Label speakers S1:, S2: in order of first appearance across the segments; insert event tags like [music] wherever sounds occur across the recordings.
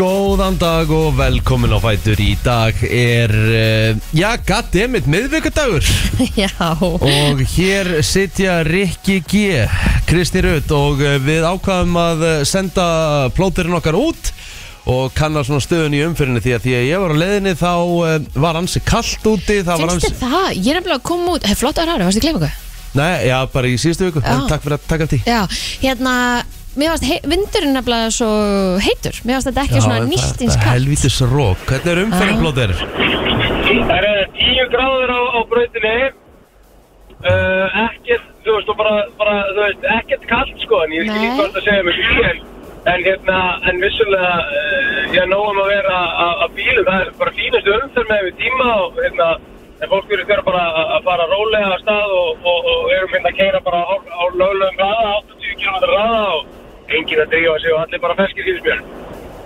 S1: Góðan dag og velkomin á Fætur Í dag er, eh, já, goddammit, miðvíkudagur
S2: [laughs] Já,
S1: Og hér sitja Rikki G, Kristi Rutt Og eh, við ákvaðum að eh, senda plóterinn okkar út Og kanna svona stöðun í umfyrinni Því að því að ég var á leiðinni þá eh, var ansi kallt úti Það var
S2: finnst
S1: ansi,
S2: þið það? Ég er nefnilega að koma út, hei, flott ára ára, varstu að gleyma eitthvað?
S1: nei, já, bara í síðustu viku
S2: Já.
S1: En takk fyrir að taka því
S2: Já, hérna, mér varst hei, vindurinn nefnilega svo heitur, mér varst þetta ekki svona nýtt
S1: Það
S2: eins
S1: er
S2: kall.
S1: helvítis rók Hvernig er
S2: Já.
S1: umfyrin plóterinn?
S3: Það eru 10 gráður á, á brautinni uh, Ekkert, þú veist, og bara, bara þú veist, ekkert kallt sko En ég er ekki
S2: Nei.
S3: líka að segja með bílinn En hérna, en vissulega, uh, ég er nóg um að vera á á bílum Það er bara fínustu umferð með við tíma og hérna En fólk eru þeirra bara að- að fara rólega af stað og, og, og erum hérna að keira bara á, á löglegum raða, 80 km raða og enginn að drífa sig og allir bara feskir síðismjörn.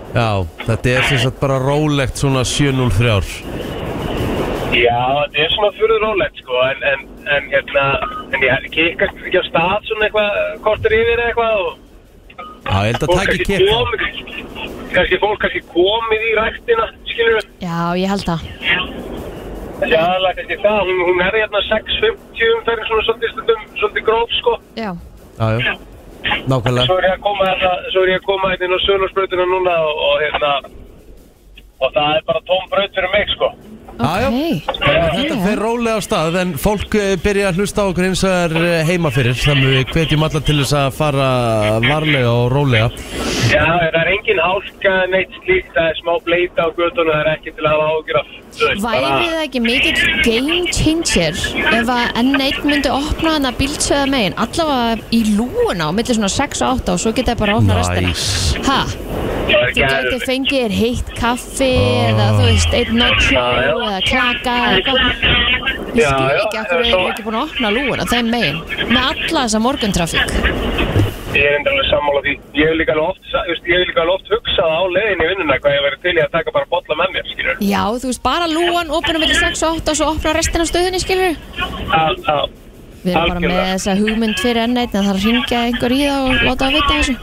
S1: Já, þetta er sem sagt bara rólegt svona 703
S3: Já, þetta er svona fyrir rólegt sko, en, en, en hérna, en ég kikast ekki á stað svona eitthvað, kortur yfir eða eitthvað og
S1: Já, ég held að taki
S3: kannski
S1: kippa
S3: komið, kannski fólk kannski komið í ræktina, skilur við,
S2: Já, ég held það.
S3: þessi aðalega kannski það, hún, hún er hérna 6.50 umferðin svona svolítið stundum, svolítið gróf sko,
S2: Já,
S1: Já, já, nákvæmlega
S3: svo er ég að koma hérna, svo er ég að koma hérna inn á sölursbröðina núna og, og hérna, og það er bara tóm bröð fyrir mig sko.
S2: ok.
S1: Já, já. Þetta fer rólega á stað en fólk eh, byrja að hlusta á okkur eins og er eh, heima fyrir þannig við hvetjum alla til þess að fara varlega og rólega
S3: Já, það er engin hálka, neitt slíkt, það er smá bleita á göttunum, það er ekki til að hafa ágjur af. þú veist,
S2: Væri
S3: bara-
S2: það ekki mikill game changer ef að enn eitt myndi opna hana bíltsöða megin, allavega í lúuna á milli svona 6 og 8 og svo geta bara opna
S1: Nice.
S2: restina. Ha?
S3: Það er
S2: Þú gæti
S3: geðveikt. Ah.
S2: fengið þér heitt kaffi eða þú veist, eitt nacho
S3: Já, já.
S2: eða klaka eða eitthvað. Ég
S3: Já,
S2: skil
S3: já,
S2: ekki af hverju
S3: en
S2: við erum
S3: svo-
S2: ekki búin að opna lúuna þeim megin með alla þessa morguntrafík.
S3: Ég er enda alveg sammála því. Ég vil líka alveg oft, sa- þú veist, ég vil líka alveg oft hugsað á leiðinni í vinnuna hvað ég verið til í að taka bara bolla með mér, skilur.
S2: Já, þú veist, bara lúan, opna mellir 6 og 8 og svo opna restina af stöðunni, skilur
S3: Á, á.
S2: Við erum bara með
S3: Algjörlega.
S2: þessa hugmynd fyrir enn eitt en það er að ringja einhver í það og láta það vita þessu.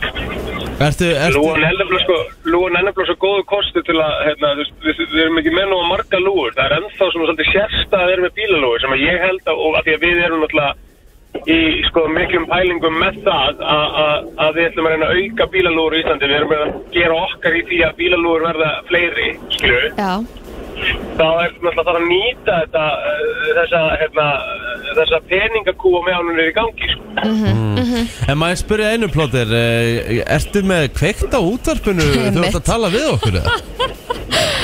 S1: Ertu, ertu,
S3: Lúan er nefnilega sko, lúan er nefnilega svo góðu kostu til að, hérna, þú veist, við, við erum ekki með nú að marga lúur. Það er ennþá svona svolítið sérsta að vera með bílalúur sem að ég held að, og að því að við erum náttúrulega í sko miklum pælingum með það að, að, að við ætlum að reyna að auka bílalúur í Íslandi. Við erum að gera okkar í því að bílalúur verða fleiri, skilju.
S2: Já,
S3: þá er náttúrulega þarf að nýta þetta, eh, þessa, hérna, eh, þessa peningakú á meðan hún er í gangi, sko.
S1: En maður spyrja einu plótir eh, Ertu með kveikt á útvarpinu
S2: Einmitt.
S1: þú ert að tala við okkur eða?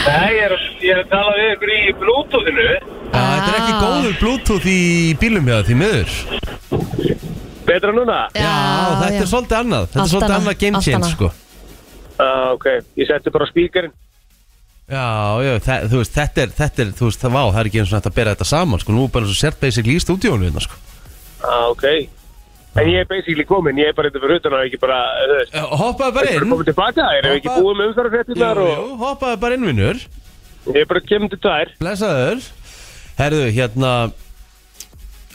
S3: Nei, ég er, að- ég er að tala við ykkur í Bluetoothinu.
S1: Já, Þetta er ekki
S2: Ah.
S1: góður bluetooth í bílum hjá því miður
S3: Betra núna?
S1: Já, þetta er svolítið annað Þetta er
S2: Allt
S1: svolítið
S2: annað,
S1: annað game
S2: allt
S1: change
S2: annað.
S1: sko
S3: Ah, ok, ég setti bara spíkarinn.
S1: Já, já, það, þú veist, þetta er, þetta er, þú veist, það, vá, það er ekki eins og hægt að bera þetta saman, sko, nú er bara svo sért basic í stúdíónu hérna, sko.
S3: Ah, ok. En ég er basically komin, ég er bara þetta fyrir utan og ekki bara, þú veist,
S1: Eh, Hoppaðu bara
S3: bara
S1: inn,
S3: komið tilbaka, erum við ekki
S1: Hoppa.
S3: búið með
S1: jú,
S3: umfærafréttinnar og
S1: jú, hoppaðu bara inn, vinnur,
S3: ég er bara kemur til tær.
S1: blessaður. Herðu, hérna,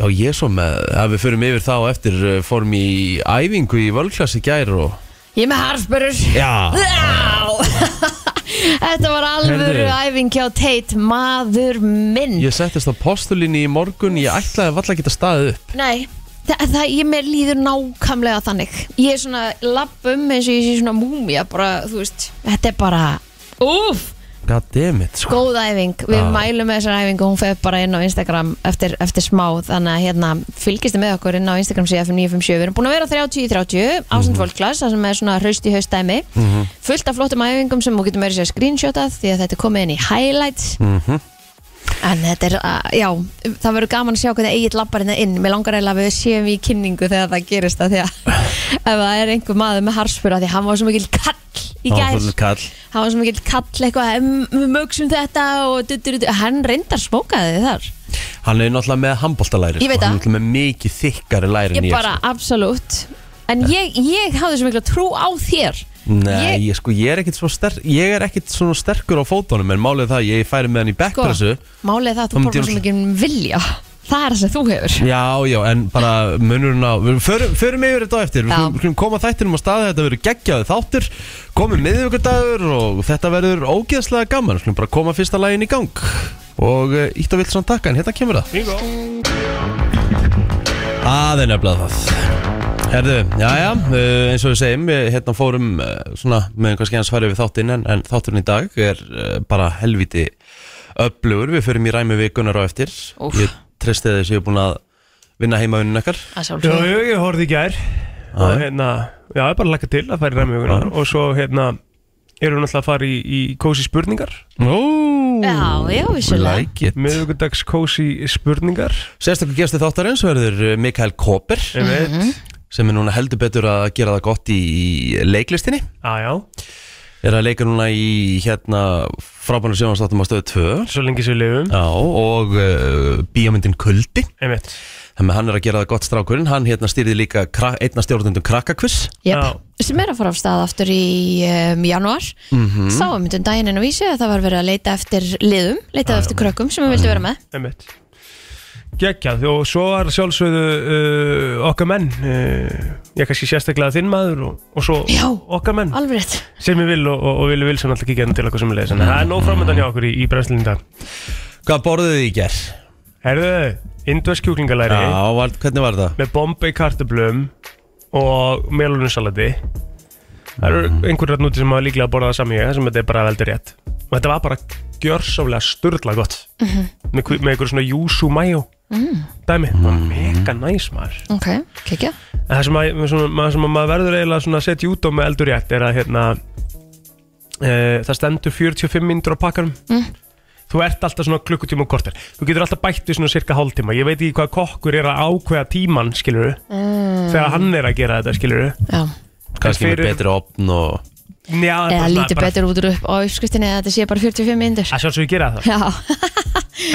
S1: já, ég er svo með, að við förum yfir þá á eftir, eh, fórum í æfingu í völklassi gær og,
S2: Ég er með harfbörur.
S1: já,
S2: Já! [laughs] Þetta var alvöru
S1: Heyrðu.
S2: æfing hjá Tate, maður minn.
S1: ég settist á postulinni í morgun, ég ætlaði valla að geta staðið upp.
S2: Nei, það, það, ég mér líður nákvæmlega þannig Ég er svona lapp um eins og ég sé svona múmia bara, þú veist, þetta er bara Úf,
S1: Goddammit, sko.
S2: góð æfing Við
S1: Já.
S2: mælum með þessar æfingu, hún fer bara inn á Instagram eftir, eftir smá, þannig að hérna fylgistu með okkur inn á Instagram síðan fyrir 957 Við erum búin að vera 30 í
S1: Mhm.
S2: 30, ásend fólklass það sem er svona hraust í haustæmi fullt af flottum æfingum sem þú getur meira sér screenshotað því að þetta er komið inn í highlights
S1: Mhm.
S2: En þetta er, uh, já, það verður gaman að sjá hvernig eigið lappar hérna inn. Mér langar eiginlega að við séum í kynningu þegar það gerist það því að [laughs] ef það er einhver maður með harspura því að hann var svo mikil kall Sko, í
S1: Hann var
S2: gær.
S1: svolítið kall.
S2: Hann var svo mikil kall eitthvað, "Mm, við mögsum þetta og duttur, duttur. Hann reyndar smókaði þið þar.
S1: Hann er náttúrulega með handbóltalæri,
S2: Ég veit
S1: Hann er
S2: það.
S1: náttúrulega með mikið þykkari læri en
S2: Ég
S1: ég, sko.
S2: bara, absolutt. En ég, ég hafði svo mikil trú á þér.
S1: Nei, ég, sko, ég er ekkit svo sterk Ég er ekkit svona sterkur á fótunum En málið er það, að ég færi með hann í
S2: sko,
S1: backpressu
S2: málið er það að
S1: Þá
S2: þú
S1: myndi
S2: borgar
S1: ég
S2: svo mikil vilja.
S4: það er það sem þú hefur
S1: Já, já, en bara munurinn á við Förum, förum yfir þetta á eftir Við
S4: Já.
S1: skulum- skulum koma þættinum á staði Þetta verður geggjaði þáttur Komið miðvikudagur og þetta verður ógeðslega gaman Við Skulum bara koma fyrsta lagin í gang Og eh, ítt og vilt samt takka En hérna kemur það
S3: Bingo
S1: Það er nefnilega það Herðu, já, já, eh, eins og við segjum Við hérna fórum eh, svona Með kannski hans farið við þáttinn en, en þátturinn í dag er eh, bara helviti öflugur Við förum í ræmi vikunar á eftir
S4: Úff.
S1: Ég treysti þess að ég er búin að vinna heimavunnin ekkar
S4: að
S3: Já,
S4: sjálfsögðu
S3: já, ég horfði í gær og hérna, já, ég bara laka til að fara í ræmiðuguna og svo hérna erum við náttúrulega að fara í, í kósi spurningar
S1: Nú
S4: Já, já, vissulega.
S1: like it.
S3: miðugundags kósi spurningar
S1: Sérstakur gæsti þáttarins verður eh, Mikael Koper
S3: ég veit,
S1: sem er núna heldur betur að gera það gott í í leiklistinni
S3: aðjá,
S1: er að leika núna í hérna frábænum sjónastáttum á stöðu 2
S3: svo lengi sem við lifum
S1: Já, og uh, bíamyndin Kuldi
S3: ég veit,
S1: þannig að hann er að gera það gott strákurinn hann hérna stýrði líka kra- einna stjórnundum krakkakviss
S3: Já.
S4: Jöp, sem er að fara af stað aftur í um, januar mm
S1: Mhm.
S4: -hmm. sáum þetta um daginn en á vísi að það var verið að leita eftir liðum, leitað eftir krökkum sem við vildi vera með
S3: ég veit geggjað og svo var sjálfsögðu uh, okkar menn uh, ég kannski sérstaklega þinn maður og, og svo
S4: Já.
S3: okkar menn
S4: alveg rétt,
S3: sem ég vil og, og, og vil vil sem alltaf kikið til okkur sem leðis en það er nóg framöndan hjá okkur í, í brennslinn í dag
S1: Hvað borðuð þið í ger?
S3: herðu, indversk kjúklingalæri
S1: Já, var, hvernig var það?
S3: með bombay kartöblum og melunsalati það eru einhverjar núti sem hafa líklega borðað það sami ég sem þetta er bara veldur rétt og þetta var bara gjörsálega sturla gott með, hvi- með einhverjum svona yuzu mayo dæmi, það var mega næs maður
S4: ok, kekja
S3: en það sem, að, svona, maður, sem að maður verður eiginlega svona að setja út á með eldur rétt er að hérna e, það stendur 45 myndur á pakkanum
S4: Mm.
S3: þú ert alltaf svona klukkutíma og kortir þú getur alltaf bætt við svona cirka hálftíma ég veit ekki hvað kokkur er að ákveða tíman skilur
S4: Mm.
S3: þegar hann er að gera þetta skilur
S4: já.
S1: Kannski með
S3: fyrir-
S1: betri opn og
S3: já,
S4: eða lítið betur út úr upp á uppskriftinni að þetta sé bara 45 myndur
S3: að sjálfsög gera það
S4: já,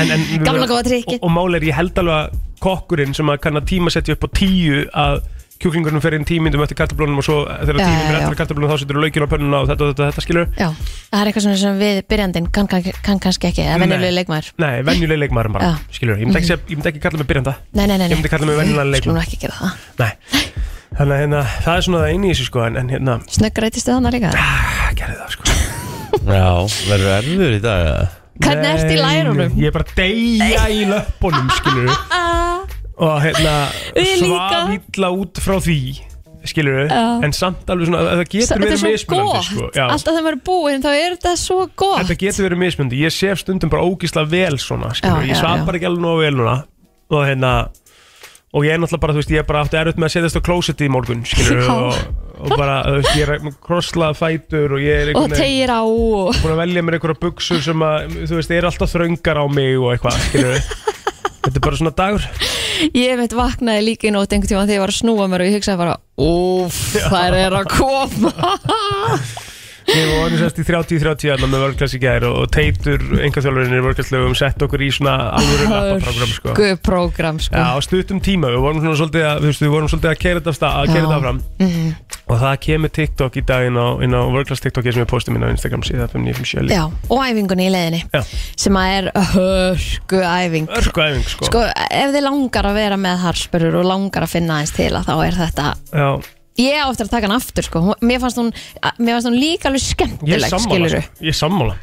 S3: en,
S4: [laughs]
S3: en,
S4: Gamla góða trikkið.
S3: og, og máli er ég held alveg að kokkurinn sem að kann að tíma setja upp á tíu að kjúklingurinn fer inn tímyndum eftir kartablónum og svo þegar
S4: Já,
S3: tímyndum
S4: já,
S3: eftir
S4: já.
S3: að kartablónum þá setur laukinn á pönnuna og þetta og þetta, þetta skilur
S4: já, það er eitthvað svona sem við byrjandinn kann, kann, kann kannski ekki, eða venjulegu
S3: Nei.
S4: leikmaður
S3: Nei, venjuleg leikmaður bara,
S4: Já.
S3: skilur Ég myndi ekki, segja- ég myndi ekki kalla mig byrjanda
S4: nei, nei, nei, nei.
S3: Ég myndi kalla mig venjulegan leikmann.
S4: Skulum nú ekki gera það
S3: Nei Þannig að hérna, það er svona það eini í þessu sko En, en hérna,
S4: snöggrætistu þannig líka
S3: ah, gerði það sko
S1: Já, verður erfiður í dag eða?
S4: hvernig ertu
S3: Nei,
S4: í lærunum?
S3: Ég er bara að deyja í löppunum, skilur
S4: [laughs]
S3: Og hérna,
S4: Ég líka.
S3: svaf illa út frá því Skilur
S4: Já.
S3: En samt alveg svona, það getur
S4: þetta er
S3: verið
S4: svo
S3: mismunandi
S4: gott,
S3: sko. Já.
S4: alltaf þegar maður er búinn þá er þetta svo gott
S3: Þetta getur verið mismunandi, ég sef stundum bara ógislega vel svona, skilur,
S4: Já,
S3: ég
S4: já, já.
S3: svaf bara ekki alveg nógu vel núna og hérna og ég er náttúrulega bara, þú veist, ég er bara aftur erut með að setjast á klósetti í morgun, skilur
S4: Já.
S3: og, og bara, þú veist, ég er krosslað fætur og ég er
S4: og
S3: einhvern veginn
S4: tegir á og
S3: búin að velja mér einhverja buksur sem að, þú veist, er alltaf þröngar á mig og eitthvað,
S4: [laughs]
S3: skilur Þetta er bara svona dagur
S4: Ég veit vaknaði líka í nót einhvern tíma þegar ég var að snúa mér og ég hugsaði bara Úf, þær er að koma
S3: Ég var orðin sérst í 30-30 aðna með vörklass í gær og, og teitur einhver þjálfurinn í vörklasslögum sett okkur í svona alvöru nappaprogram, sko
S4: Hörgu prógram sko
S3: Já, á stuttum tíma, við vorum svona svolítið að, þú veist, við vorum svolítið að keira þetta af stað, að keira
S4: Já. Mhm.
S3: þetta fram og það kemur TikTok í dag inn á, inn á Workclass TikTok sem ég posti mín á Instagram síðan 5957
S4: Já, og æfingunni í leiðinni
S3: Já.
S4: sem að er hörgu æfing
S3: Örku æfing, sko,
S4: Sko, ef þið langar að vera með harspurur og langar að finna aðeins til að þá er þetta
S3: Já,
S4: Ég á eftir að taka hann aftur sko Hún- Mér fannst hún, að- mér fannst hún líka alveg
S3: ég er
S4: skemmtileg
S3: sammála,
S4: skilurðu.
S3: sko. ég er sammála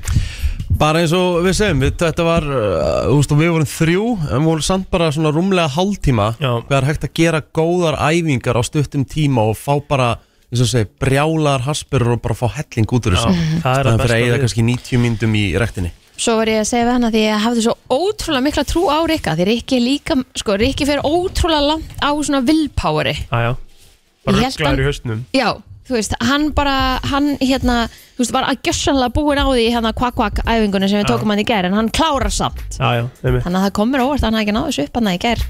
S1: Bara eins og við segjum, við, þetta var, uh, þú veist, og við vorum þrjú, en við vorum samt bara svona rúmlega hálftíma,
S3: Já.
S1: við erum hægt að gera góðar æfingar á stuttum tíma og fá bara, eins og segi, brjálar haspurur og bara fá helling út úr þessu.
S3: Já, það er að
S1: Þannig fyrir
S3: besta
S1: að eigða
S3: við-
S1: kannski 90 myndum í rektinni.
S4: Svo var ég að segja við hana því að ég hafði svo ótrúlega mikla trú á Rikka því Rikki er líka, sko, Rikki fer ótrúlega langt á svona willpoweri
S3: Já, já,
S4: Ég
S3: bara
S4: held hann-
S3: rugglaður í haustnum
S4: Já, þú veist, hann bara, hann hérna, þú veist, var að gjössanlega búin á því hérna kvakk-kvakk æfingunni sem við tókum hann í gær en hann klárar samt
S3: Já, já, nefnir
S4: Þannig að það komur óvart að hann hafi ekki náðu þessu upp hann í gær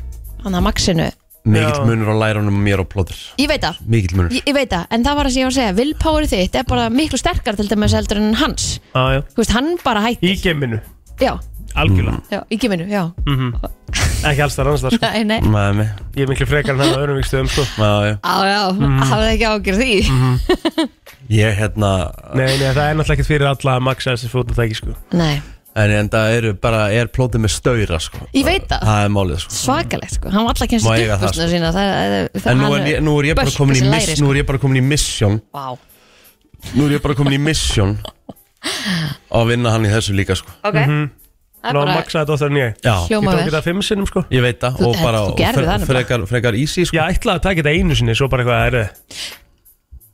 S4: hann að maxinu
S1: Mikill
S3: Já.
S1: munur á lærunum og mér og plóður.
S4: Ég veit það,
S1: Mikill munur.
S4: ég, ég veit það, en það var það sem ég var að segja willpower þitt er bara miklu sterkar til dæmis heldur en hans
S3: Já, já,
S4: Þú veist, hann bara hætti
S3: í geminu,
S4: Já,
S3: algjörlega
S4: já, í geminu, já
S1: Mm.
S4: Mm.
S3: Ekki alls þar annars þar, sko
S4: Nei, nei
S1: Með mig,
S3: Ég er miklu frekar en hann á öðrum vikstöðum, sko
S1: já, já.
S4: Já, já, hafði ekki ágjör því
S1: Ég, hérna,
S3: Nei, nei, það er náttúrulega ekkert fyrir alla að maksa þessi fótatæki, sko
S4: Nei,
S1: En en það eru bara, er plótið með stöyra sko
S4: Ég veit það.
S1: Það er málið sko
S4: svakalegt sko, hann var alltaf kennst
S1: Má eiga það,
S4: dukkusna
S1: sko.
S4: sína það, það, það,
S1: En nú
S4: hann
S1: er, ég- nú er ég bara
S4: bölkur
S1: komin í
S4: sem sko.
S1: miss,
S4: læri,
S1: nú er ég bara komin í mission
S4: Vá.
S1: Nú er ég bara komin í
S4: [laughs]
S1: mission Að vinna hann í þessu líka sko
S4: ok, það er
S3: Ná,
S4: bara
S3: maksa þetta oftar en ég
S1: Já,
S3: Ég
S4: hljóma
S3: tók
S4: vel
S3: þetta fimm sinnum sko
S1: ég veit það
S4: Þú-
S1: Og bara,
S4: þú
S1: og
S4: gerðir það nú bara.
S1: frekar, frekar easy sko
S3: Ég ætlaði að taka þetta einu sinni, svo bara eitthvað er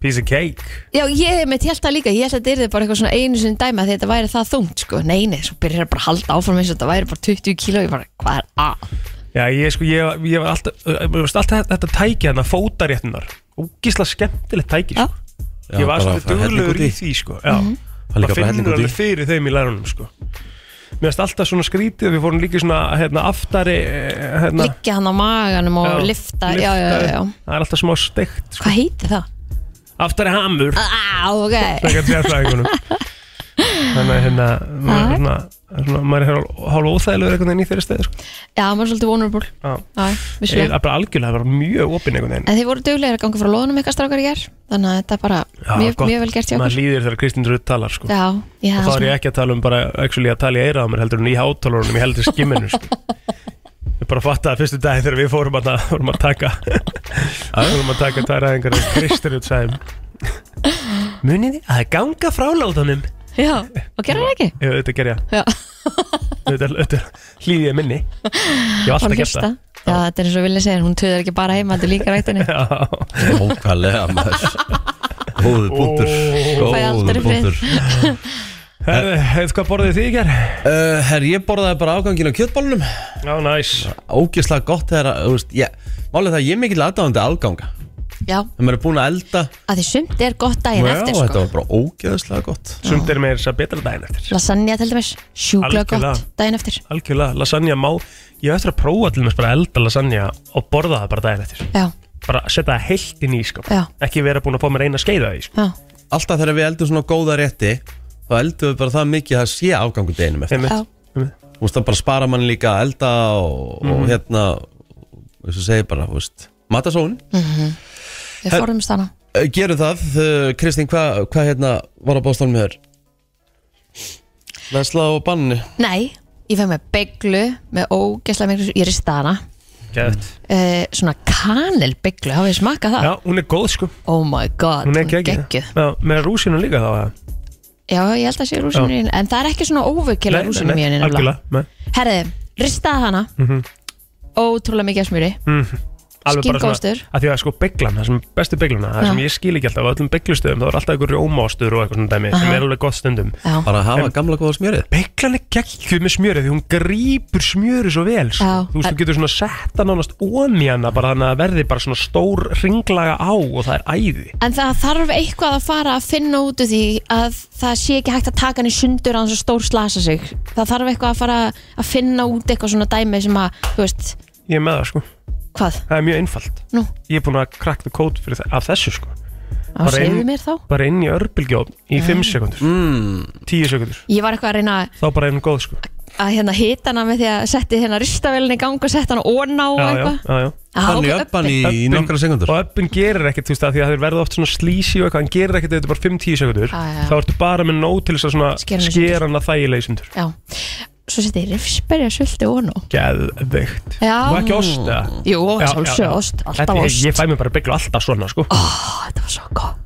S3: Piece of cake
S4: Já, ég mitt held það líka, ég held að þetta yrði bara eitthvað svona einu sinni dæma því að þetta væri það þungt sko. Nei, nei, svo byrjar það bara að halda áfram eins og þetta væri bara 20 kíló, ég bara, hvað er að?
S3: Já, ég sko, ég, ég var alltaf uh, mér varst alltaf þetta tæki hérna, fótaréttunar Úgisla skemmtilegt tæki
S4: Já.
S3: sko. Ég
S1: bara
S3: var
S1: að
S3: svolítið
S1: fara helling út
S3: duglegur í
S1: í.
S3: því sko. Já,
S1: Það er líka
S3: maður
S1: bara helling út
S3: finnur
S1: í.
S3: alveg fyrir þeim í lærunum sko. Mér varst alltaf svona skrítið Við fórum líka í svona hérna, aftari eh, hérna,
S4: Liggja hann á maganum og
S3: já,
S4: lifta, já, já, já, já.
S3: Það er alltaf smá steikt sko.
S4: Hvað heitir það?
S3: Aftari hamur
S4: Á, ok.
S3: Þegar
S4: [laughs]
S3: sérfræðingunum Þannig að hérna
S4: Ah.
S3: maður er svona, svona, maður er hálf óþægilegur einhvern veginn í þeirra steði sko.
S4: Já, maður er svolítið vulnerable,
S3: Já.
S4: já,
S3: Ég er
S4: vissulega.
S3: bara algjörlega bara mjög opinn einhvern veginn
S4: En þið voru duglegir að ganga frá loðunum ykkar strákar í ger, þannig að þetta er bara
S3: Já,
S4: mjög,
S3: gott.
S4: mjög vel gert hjá
S3: Maður
S4: okkur.
S3: líðir þegar Kristín Rutt talar sko.
S4: Já, já,
S3: Og þá er
S4: svona.
S3: ég ekki að tala um bara actually, að tala í eira á mér heldur en í hátalorunum ég heldur skimminu sko. Ég bara fattaði fyrstu dag þegar við fórum að, fórum að taka
S4: [laughs]
S3: fórum að taka tvær aðingar og Kristín Rutt sagði Munið þið að ganga frá látunum
S4: já, og gera það ekki?
S3: Ég veit þetta gerja
S4: Já,
S3: Þetta- þetta hlýði ég minni Ég hef alltaf
S4: hann
S3: gert
S4: hlusta.
S3: það
S4: Já, þetta er eins og vilja segja, hún töður ekki bara heima, þetta er líka
S3: [laughs]
S4: rættinni.
S3: Já.
S1: [laughs] Ókvæðlega maður Góður punktur
S3: Ó.
S4: Fæ aldrei
S1: Góður
S4: frið.
S1: punktur
S3: Herðu, hefðu hvað borðið þið í ger?
S1: uh, Herr, ég borðaði bara afgangin á kjötbólunum
S3: Já, næs
S1: Ógislega gott þegar að, þú veist, ég Málið það, að ég er mikill aðdáðandi afganga
S4: Já,
S1: Þegar maður er búin að elda
S4: að því sumt er gott daginn
S1: Já,
S4: eftir
S1: þetta
S4: sko.
S1: var bara ógeðslega gott
S3: Sumt er meira þess að betra daginn eftir
S4: Lasagna til dæmis, sjúkla
S3: Algjörlega.
S4: gott daginn eftir
S3: Algjörlega, lasagna má Ég hef eftir að prófa til mér bara að elda lasagna og borða það bara daginn eftir
S4: Já,
S3: Bara setja það heilt inn í sko
S4: Já.
S3: Ekki vera búin að fá mér eina skeiða í sko
S4: já,
S1: Alltaf þegar við eldum svona góða rétti Þá eldum við bara það mikið að það sé afgangu deginum eftir
S3: Einmitt.
S4: já
S3: Einmitt.
S1: Þú veist, það bara spara mann líka að elda og, og hérna Þess að segja bara, þú veist Matasón
S4: Við fórumst hana
S1: uh, Gerum það, uh, Kristín, hvað hva, hérna var að bóðstálum með þér? Vesla og banni
S4: Nei, ég fæ með beglu með ógesla miklu, ég rista hana
S3: Geðveikt.
S4: uh, Svona kanelbeglu, hafið þið smakað það?
S3: Já, hún er góð sko
S4: Oh my god,
S3: Hún er geggjuð.
S4: geggjuð.
S3: Já, Með rúsinu líka þá eða?
S4: Já, ég held að sé rúsinu í henni En það er ekki svona óvökkilega
S3: Nei,
S4: rúsinu
S3: nei,
S4: í
S3: nei,
S4: henni nefnilega.
S3: Algjörlega, nei.
S4: Herði, ristaði hana
S3: Mhm.
S4: Ótrúlega mikið af smjöri
S3: alveg bara
S4: Skinkóstur.
S3: svona að því að sko beglan, það sem bestu begluna það
S4: Já.
S3: sem ég skil ekki alltaf á öllum beglustöðum þá er alltaf einhver rjómástur og eitthvað svona dæmi sem
S4: Aha.
S3: er alveg gott stundum
S4: Já,
S1: Bara að hafa gamla góða smjörið
S3: beglan er geggjuð með smjöri því hún grýpur smjöri svo vel sko.
S4: Já.
S3: þú veist, þú getur svona setta nánast ón í hana bara þannig að það verði bara svona stór ringlaga á og það er æði
S4: En það þarf eitthvað að fara að finna út úr því að það sé ekki hægt að taka hann í sundur að hann svo stór slasa sig. Það þarf eitthvað að fara að finna út eitthvað svona dæmi sem að, þú veist,
S3: ég er með það sko,
S4: hvað?
S3: það er mjög einfalt
S4: Nú,
S3: ég er búin að crack the code fyrir það, af þessu sko
S4: á, segðu mér þá.
S3: bara inn í örbylgjóð í 5 sekundur mm. 10 sekundur,
S4: Ég var eitthvað að reyna að-
S3: þá bara er hún góð sko
S4: að hérna hita hana með því að setti hérna ristavelin í gang og setti hana ón á og
S3: já, já,
S4: eitthvað.
S3: já, já.
S4: Já,
S1: Banni
S4: ok,
S1: upp banni
S4: uppi.
S1: í
S3: Öppin-
S1: nokkra sekundur
S3: Og öppin gerir ekkert, þú veist það, því að þeir verða oft svona slísi og eitthvað, hann gerir ekkert ef þetta er bara 5-10 sekundur
S4: Já, já, já.
S3: Þá ertu bara með nóg til þess að
S4: Skera
S3: svona
S4: hana í
S3: skera hana þægilega í sundur
S4: Já, svo setti ég rifsberja sulti ón á.
S3: Geðveikt
S4: Já.
S3: Og ekki ost, eða?
S4: Jú,
S3: Já, já,
S4: sjálfsög
S3: já.
S4: ost, alltaf
S3: Þetta- ég-
S4: ost.
S3: Ég fæ mér bara byggla alltaf svona, sko
S4: Ó, Þetta var svo gott.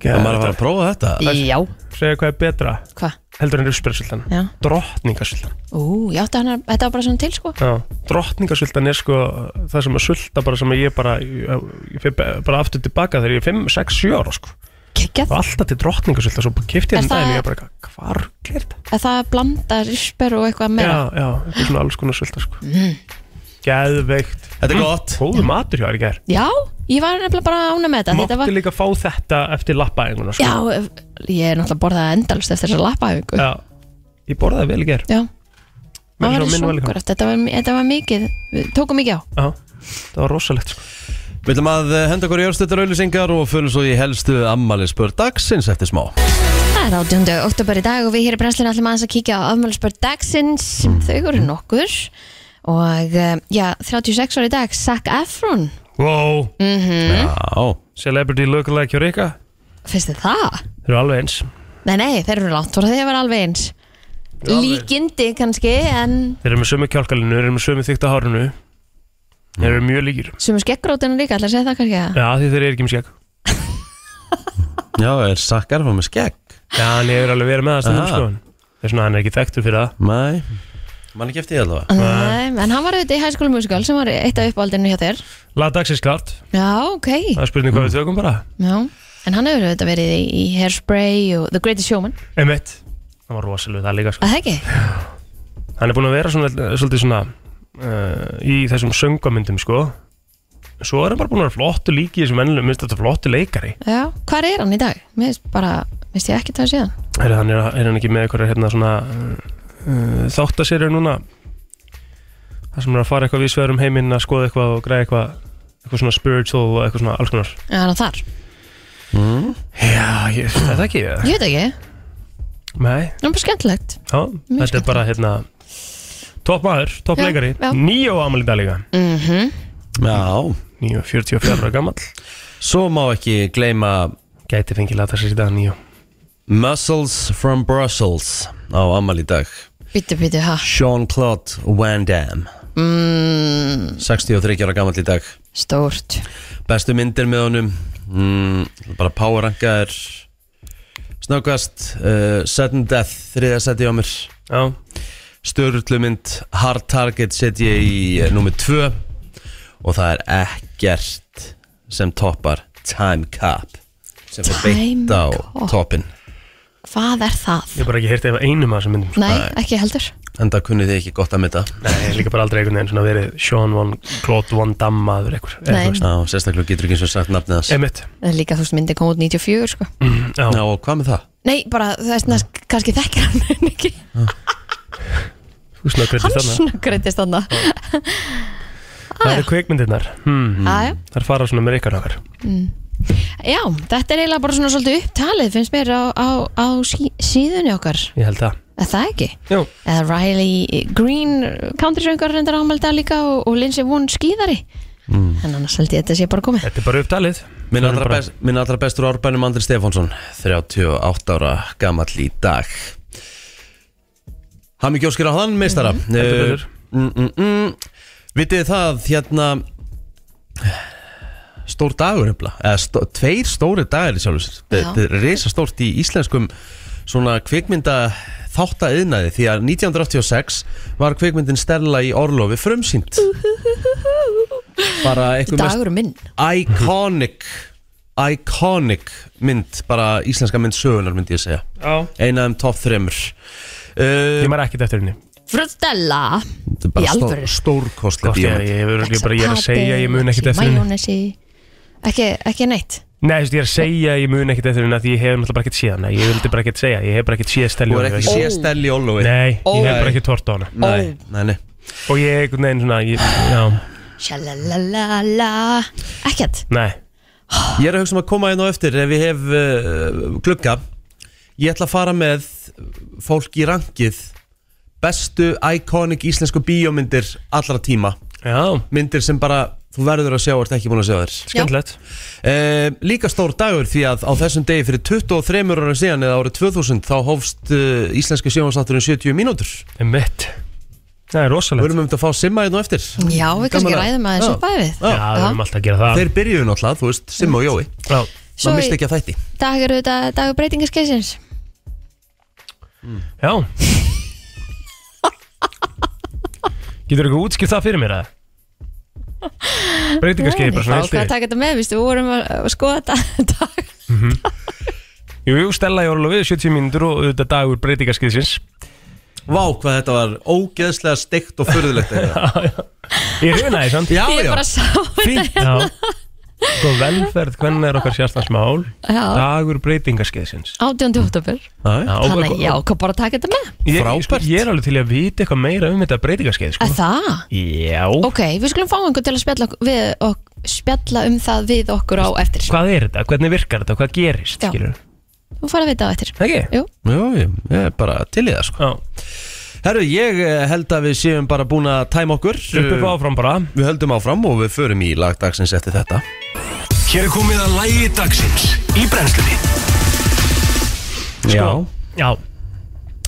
S1: Það maður að fara að
S3: Geðveikt
S1: prófa þetta
S4: Já,
S3: Segja hvað er betra,
S4: hvað?
S3: heldur en rúspjörnsultan
S4: Já.
S3: Drottningasultan
S4: Ú, já, þetta var bara svona til, sko.
S3: Já, drottningasultan er sko það sem að sulta bara sem að ég bara ég, ég fer bara aftur tilbaka þegar ég er 5, 6, 7 ára sko
S4: Kekjað.
S3: og alltaf til drottningasulta svo kipti ég
S4: Er
S3: þann
S4: það-
S3: daginn og ég bara hvað rugl er þetta?
S4: að það blanda risper og eitthvað meira
S3: Já,
S4: Mm.
S3: já, þetta er svona alls konar sulta sko Geðveikt
S1: Þetta er gott
S3: Góðu matur hjá þér í gær
S4: Já, ég var nefnilega bara ána með þetta
S3: Mátti
S4: þetta var,
S3: líka fá þetta eftir lappaæðinguna sko
S4: Já, ég er náttúrulega borðað endalust eftir þessa lappaæfingu
S3: Já, Ég borðaði vel í gær
S4: Já,
S3: Meira svo
S4: það var
S3: minn var líka.
S4: svongur eftir þetta var, þetta var mikið, við tókum mikið á
S3: Já, það var rosalegt sko
S1: Við ætlum að eh, henda okkur í örstuttar auðlýsingar og fölum svo í helstu ammali spör dagsins eftir smá
S4: Það er 18. oktober í dag og við hér í brennslinu ætlum aðeins að kíkja á afmjölusbörn dagsins þau eru nokkur og eh, já, 36 ári í dag Zac Efron,
S3: Wow,
S1: Já,
S3: celebrity lookalike hjá Rika
S4: finnst þið það?
S3: Þeir eru alveg eins
S4: Nei, nei, þeir eru langt voru þeir var alveg eins líkindi kannski en
S3: Þeir eru með sömu kjálkalinu, þeir eru með sömu þykta hárinu Þeir eru mjög líkir
S4: sem er skeggrótinu líka, ætla að segja það kannski eða?
S3: Já, því þeir eru ekki með skegg
S1: Já, er sakkarfa með skegg?
S3: Já, hann hefur alveg verið með það stundum
S1: Ah.
S3: sko en Það er svona, hann er ekki þekktur fyrir það
S1: Mæ, mann ekki eftir ég allavega
S4: Nei, en hann var auðvitað í High School Musical sem var eitt af uppáldinu hjá þér
S3: Lað dagsins klart,
S4: Já, ok,
S3: það er spurning hvað við tökum bara
S4: já En hann hefur auðvitað verið í, í Hairspray og The Greatest Showman
S3: M1, það var rosalega það líka sko
S4: Að það ekki?
S3: Hann er búin að vera svona, svolítið svona uh, í þessum söngamyndum sko Svo er hann bara búin að vera flottu líki í þessum ennlum, minnst þetta flottu leikari
S4: Já, hvar er hann í dag? Mér finnst bara, minnst ég ekki það síðan
S3: Er hann, er, er hann ekki með eitthvað hérna svona uh, þáttaserjur núna Það sem er að fara eitthvað við sverum heiminn að skoða eitthvað og græða eitthvað eitthvað svona spiritual og eitthvað svona alls konar
S4: Er hann þar?
S3: Já, ég, þetta ekki ég
S4: Ég veit ekki,
S3: Nei,
S4: hann er bara skemmtilegt
S3: já, þetta er
S4: skemmtilegt.
S3: bara hérna topp maður, topp
S4: Já,
S3: leikari
S4: já. Mm.
S3: Níu ámali dag líka
S1: Já,
S3: Níu, 44 ára gamall
S1: svo má ekki gleyma
S3: Gæti fengið lata sér í dag níu
S1: Muscles from Brussels á amal í dag
S4: Bítu, bítu, ha
S1: Jean-Claude Van Damme
S4: mm,
S1: 63 ára gammal í dag
S4: Stórt
S1: bestu myndir með honum mm, bara power rankaðir snöggast uh, sudden death, þriðja seti á mér
S3: Já,
S1: störlu mynd hard target set ég í uh, nummer 2 og það er ekkert sem toppar time cap sem er
S4: Time
S1: beint á
S4: Cop.
S1: toppin
S4: Hvað er það?
S3: ég hef bara ekki heyrti ef einum að þessum myndum sko.
S4: Nei, ekki heldur
S1: en það kunnið þið ekki gott að mynda
S3: Nei, ég hef líka bara aldrei einhvern veginn svona verið Sean Von Claude Von Damme maður einhver eða
S4: Nei.
S3: þú veist.
S1: Já, sérstaklega getur ekki eins og sagt nafnið hans
S3: Einmitt, Mm,
S4: En líka þú veist myndi kom út 94 sko
S3: já
S1: Já, og hvað með það?
S4: Nei, bara þess vegna kannski þekkir hann [laughs] en ekki
S3: Þú snöggrætti
S4: Hann
S3: þarna
S4: snöggrættist hann
S3: Það eru kveikmyndirnar hmm.
S4: Aðja
S3: Það er fara svona með ykkar okkar
S4: Já, þetta er eiginlega bara svona svolítið upptalið finnst mér á, á, á sí, síðunni okkar
S3: Ég held það
S4: Er það ekki?
S3: Jú
S4: Eða Riley Green countrysöngar reyndar ámelda líka og, og Lindsay Vonn skýðari
S3: Mm.
S4: En annars held ég að þetta sé bara komið
S3: Þetta er bara upptalið
S1: Minn
S3: Það er
S1: allra,
S3: bara-
S1: best, minn allra bestur árbænum Andri Stefánsson 38 ára gamall í dag Hami Gjóskir á þann meistara mm
S3: Mhm. Heldur betur.
S1: mm, mm, mm. Vitið þið það hérna Stór dagur hefla Eða stó, tveir stóri dagar í sjálfum sér
S4: Já.
S1: Þetta er reysa stórt í íslenskum Svona kvikmynda þátta yðnaði Því að 1986 var kvikmyndin Stella í Orlofi frumsýnd Bara einhver mest
S4: Dagur minn
S1: Iconic Iconic mynd Bara íslenska mynd sögunar myndi ég segja
S3: Já
S1: Eina um top 3
S3: Ég
S1: uh,
S3: maður ekkert eftir henni
S4: Frustella
S1: Þetta er bara
S4: í
S1: stó,
S4: alvöru.
S1: stórkostlega
S3: Kosti, ég,
S1: bíómynd
S3: ég, ég, ég, bara, ég er að segja að ég mun ekkert eftir henni
S4: Majónesi Ekki, ekki neitt
S3: Nei, þú veist, ég er að segja að ég mun ekkert eftir henni af Því ég hef náttúrulega bara ekkert séð hana Ég vildi bara ekkert segja Ég hef bara ekkert séð
S1: Þú
S3: stelju
S1: er ekki
S3: Nei,
S1: séð Stelli Ólofi
S3: ég hef
S1: Nei.
S3: bara ekkert tort á hana
S1: Nei, nei, nei
S3: Og ég, einhvern veginn svona ég, Já,
S4: Shalalala Ekkert
S3: nei
S1: Ég er að hugsa um að koma einn á eftir Ef ég hef uh, glugga Ég ætla að fara með fólk í rangið Bestu iconic íslensku bíómyndir allra tíma
S3: Já,
S1: Myndir sem bara þú verður að sjá og ert ekki búin að sjá þér
S3: skemmtilegt
S1: Eh, líka stór dagur því að á þessum degi fyrir 23 ára síðan eða árið 2000 þá hófst uh, íslenski sjónvarsátturinn 70 mínútur Við
S3: Það er mitt Það er rosalegt
S1: erum um þetta að fá simma hérna á eftir
S4: Já, við kannski
S1: Gaman að-
S4: ræðum aðeins um
S1: Já.
S4: upp aðeins
S3: Já, Ah, við erum alltaf að gera það
S1: Þeir byrjuðu náttúrulega, þú veist, Simma og Jói
S3: Já,
S1: Maður
S4: Svo í
S1: misti ekki að þætti
S4: dag eru þetta dagur breytingaskeisins
S3: já Getur ykkur útskipt það fyrir mér að Breytingarskeið bara
S4: Það
S3: svona
S4: var hvað að
S3: heilt
S4: taka þetta með, vístu, við vorum að að skoða þetta [laughs] dag
S3: yfir. Jú, jú, Stella í orlofi, 70 mínútur og auðvitað dagur breytingarskeiðsins
S1: Vá, hvað þetta var ógeðslega steikt og furðulegt eitthvað.
S3: Ég reyna því samt
S1: [laughs] Já,
S4: Ég
S1: já,
S4: bara sá þetta
S3: Já Sko velferð, hvernig er okkar sérstans mál
S4: Já,
S3: Dagur breytingarskeiðsins
S4: 18. oktober
S1: já
S3: Já, og-
S4: Þannig að já, hvað bara að taka þetta með
S3: Ég,
S1: Frábært.
S3: sko, ég er alveg til í að vita eitthvað meira um þetta breytingarskeið sko.
S4: Að það?
S3: Já
S4: Ok, við skulum fá einhvern til að spjalla, ok- við, ok, spjalla um það við okkur á eftir
S3: Hvað er þetta? Hvernig virkar þetta? Hvað gerist?
S4: Já.
S3: skilurðu?
S4: Þú farið að vita á eftir
S3: Það Ekki?
S4: Jú,
S1: Jó, ég, ég er bara til í það sko
S3: Já,
S1: Herru, ég eh, held að við séum bara búin að tæma okkur Eh,
S3: upp upp áfram bara
S1: Við höldum áfram og við förum í lagdagsins eftir þetta
S5: Hér er komið að lægi
S1: Sko.
S5: dagsins í brennslunni
S1: Já
S3: Já,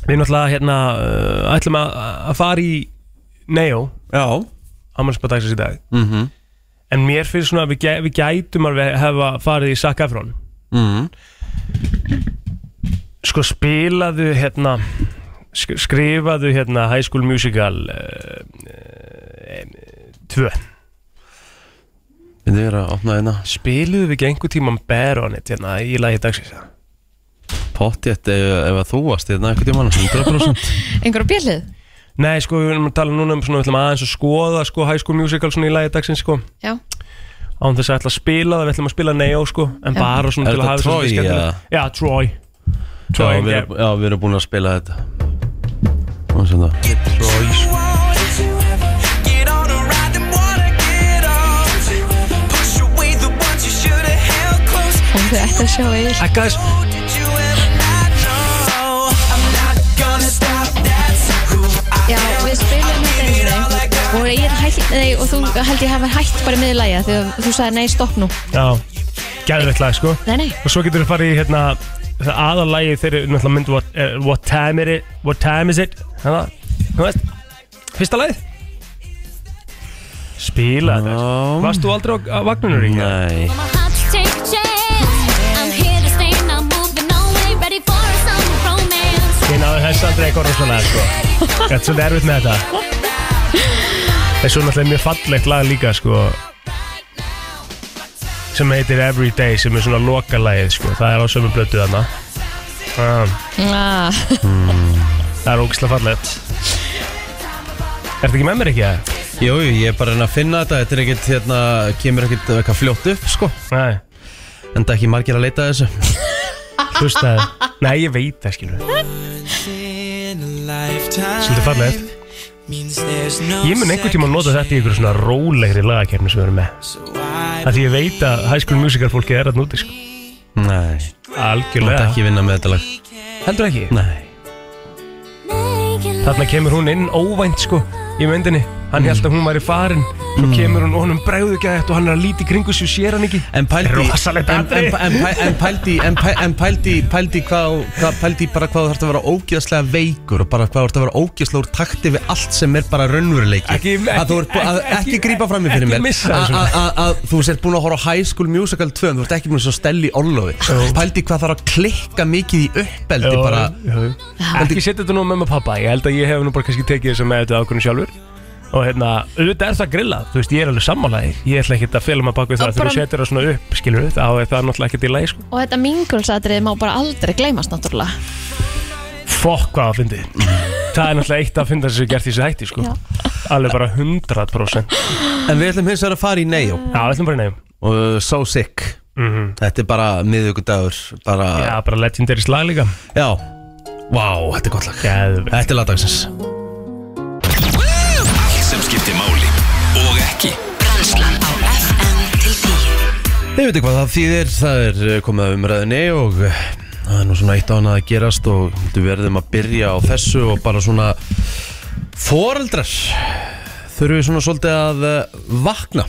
S3: Við náttúrulega hérna uh, ætlum að, að fara í Neo
S1: Já,
S3: Amalsbadagsins í dag
S1: mm
S3: En mér finnst svona að við, gæ, við gætum að við hefa farið í Zac Efron
S1: Mhm.
S3: Sko spilaðu hérna sk Skrifaðu hérna High School Musical 2 uh, uh,
S1: Þið er að opna hérna
S3: Spiluðu við ekki einhver tíma Baronet hérna í lagi dagsins
S1: Pottjett ef, ef að þú varst hérna einhvern tímann 100%
S4: Einhverja bjallið?
S3: Nei sko við erum að tala núna um svona Við ætlum aðeins að skoða sko High School Musical svona í lagi dagsins sko
S4: Já,
S3: án þess að ætla að spila það, við ætlum að spila Neo sko, en
S4: Já.
S3: bara svona
S1: Er
S3: til að
S1: þetta
S3: hafa
S1: Troy,
S3: svolítið skemmtilegt. Já, Troy
S1: [laughs] já,
S3: Troy,
S1: við
S3: já.
S1: erum, já, við erum búin að spila þetta Og sem það
S4: og þau ætti að sjá Egil
S3: Hey guys,
S4: Já, við spilum þetta eins og þeim og Egil hætti, nei, og þú held ég hafa hætt bara miður lægja þegar þú sagði nei, stopp nú
S3: já, gæður eitt lag sko
S4: Nei, nei,
S3: og svo getur við farið í hérna það aðalægi þeirri náttúrulega mynd what, uh, what time is it, what time is it hérna, þú veist, fyrsta lagið spila þetta
S1: Já.
S3: Varst þú aldrei á, á vagnunur í hérna?
S1: Nei
S3: Ég náði þess aldrei eitthvað rosalega sko Þetta er svolítið erfitt með þetta Það er svo náttúrulega mjög fallegt lag líka sko sem heitir Everyday sem er svona lokalagið sko það er á sömu blötu þarna ah,
S4: ah,
S3: Það er ógislega fallegt Ertu ekki með mér ekki það?
S1: Jú, jú, ég er bara að reyna að finna þetta Þetta er ekkert, hérna, kemur ekkert eitthvað fljótt upp, sko
S3: Nei,
S1: En það er ekki margir að leita að þessu
S3: hlustaði Nei, ég veit það skilur Svolítið
S6: Svolítið
S3: fallegt Ég mun einhvern tíma nota þetta í ykkur svona rólegri lagakefni sem við erum með Það því ég veit að High School Musical fólki er að núti sko
S1: Nei, þú mátt
S3: Algjörlega
S1: ekki vinna með þetta lag
S3: Heldur ekki?
S1: Nei
S3: Þarna kemur hún inn óvænt sko í myndinni Hann held að hún væri farin Svo
S1: Mm.
S3: kemur hún og honum bregðu ekki og hann er að líti kringu sér sér hann ekki
S1: En pældi
S3: Rosalegt
S1: en, en,
S3: atriði.
S1: en, pæ- en pældi En pæ- en pældi Pældi hvað hvað- Pældi bara hvað þú þarfst að vera ógeðslega veikur Og bara hvað þú þarfst að vera ógeðslega úr takti Við allt sem er bara raunveruleiki
S3: Ekki- ekki-
S1: Að þú ert bú- að
S3: ekki-
S1: Ekki grípa fram í fyrir
S3: ekki
S1: mér
S3: missa
S1: Að-
S3: þessu.
S1: að- að- Að þú sért búin að horfa á High School Musical 2 en Þú ert ekki búin að svo stella í orlofi Pældi hvað þarf að klikka mikið í uppeldi
S3: Jú,
S1: bara
S3: jú. Ekki setja þetta nú með maður pappa Ég held að ég hef nú bara kannski tekið þess að með þetta ákvörðum sjálfur Og hérna, auðvitað er það grillað Þú veist, ég er alveg sammálaði Ég ætla ekki að fela maður bak við
S4: Og
S3: það Þegar
S4: bara-
S3: þú setur það svona upp, skilur við Þá er það náttúrulega ekki til leið, sko
S4: og þetta mingulsatrið má bara aldrei gleymast náttúrulega
S3: Fokk hvað að fyndi Það er náttúrulega eitt að fynda sem er gert í þessu hætti, sko
S4: Já.
S3: Alveg bara 100% Já,
S1: En við ætlum hins vegar að fara í Neo
S3: við ætlum bara í nefn
S1: og uh, So Sick
S3: Mhm.
S1: Þetta er bara miðvikudagur bara,
S3: Já, bara legendary slag líka
S1: já Vá, þetta er gott lag
S3: Geðveikt.
S1: Þetta er lagdagsins
S5: Allt sem skiptir máli og ekki
S7: Brennslan á FM til 10
S1: Þið veitir hvað það þýðir, það er uh, komið að umræðinni og uh, það er nú svona eitt á hana að gerast og við verðum að byrja á þessu og bara svona foreldrar þurfum við svona svolítið að uh, vakna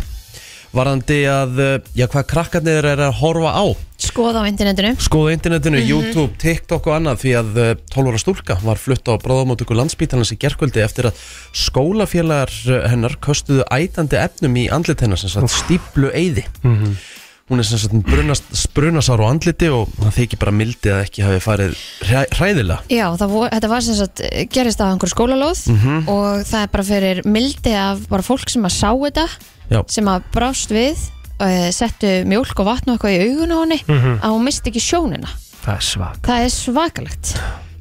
S1: varðandi að, uh, já hvað krakkarnir er að horfa á
S4: Skoða á internetinu
S1: skoða internetinu, YouTube, TikTok og annað því að eh, 12 ára stúlka var flutt á bráðamótöku landsbítalans í gerkvöldi eftir að skólafélagar eh, hennar köstuðu ætandi efnum í andlit hennar sem sagt stíplu eyði hún er sem sagt með brunast, brunasár á andliti og það þykir bara mildi að ekki hafi farið hræ, hræðilega
S4: Já, það vor, þetta var sem sagt eh, gerist á einhverju skólalóð
S3: Mhm.
S4: og það er bara fyrir mildi af bara fólk sem að sá þetta
S1: Já.
S4: sem að brást við eh, settu mjólk og vatn og eitthvað í augun á henni að hún misti ekki sjónina
S3: Mhm. Það er svak
S4: það er svakalegt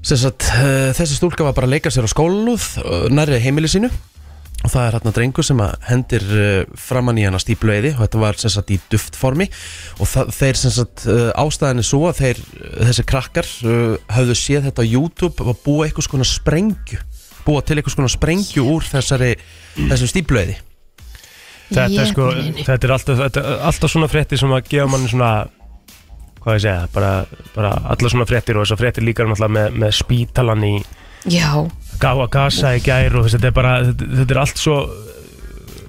S1: sem sagt eh, þessi stúlka var bara að leika sér á skólalúð eh, nærri heimili sínu og það er hérna drengur sem að hendir eh, framan í hana stíplu eyði og þetta var sem sagt í duftformi og það, þeir sem sagt eh, ástæðan er svo að þeir, eh, þessi krakkar eh, höfðu séð þetta á YouTube og búa einhvers konar sprengju búa til einhvers konar sprengju úr þessari þessum stíplu eyði
S3: þetta er, sko,
S4: Jökullinn.
S3: þetta er alltaf, þetta er alltaf svona fréttir sem að gefa manni svona hvað ég segja, bara, bara allar svona fréttir og þessar fréttir líka náttúrulega með, með spítalan í
S4: Já,
S3: gáa gasa í gær og þess, þetta er bara, þetta, þetta er allt svo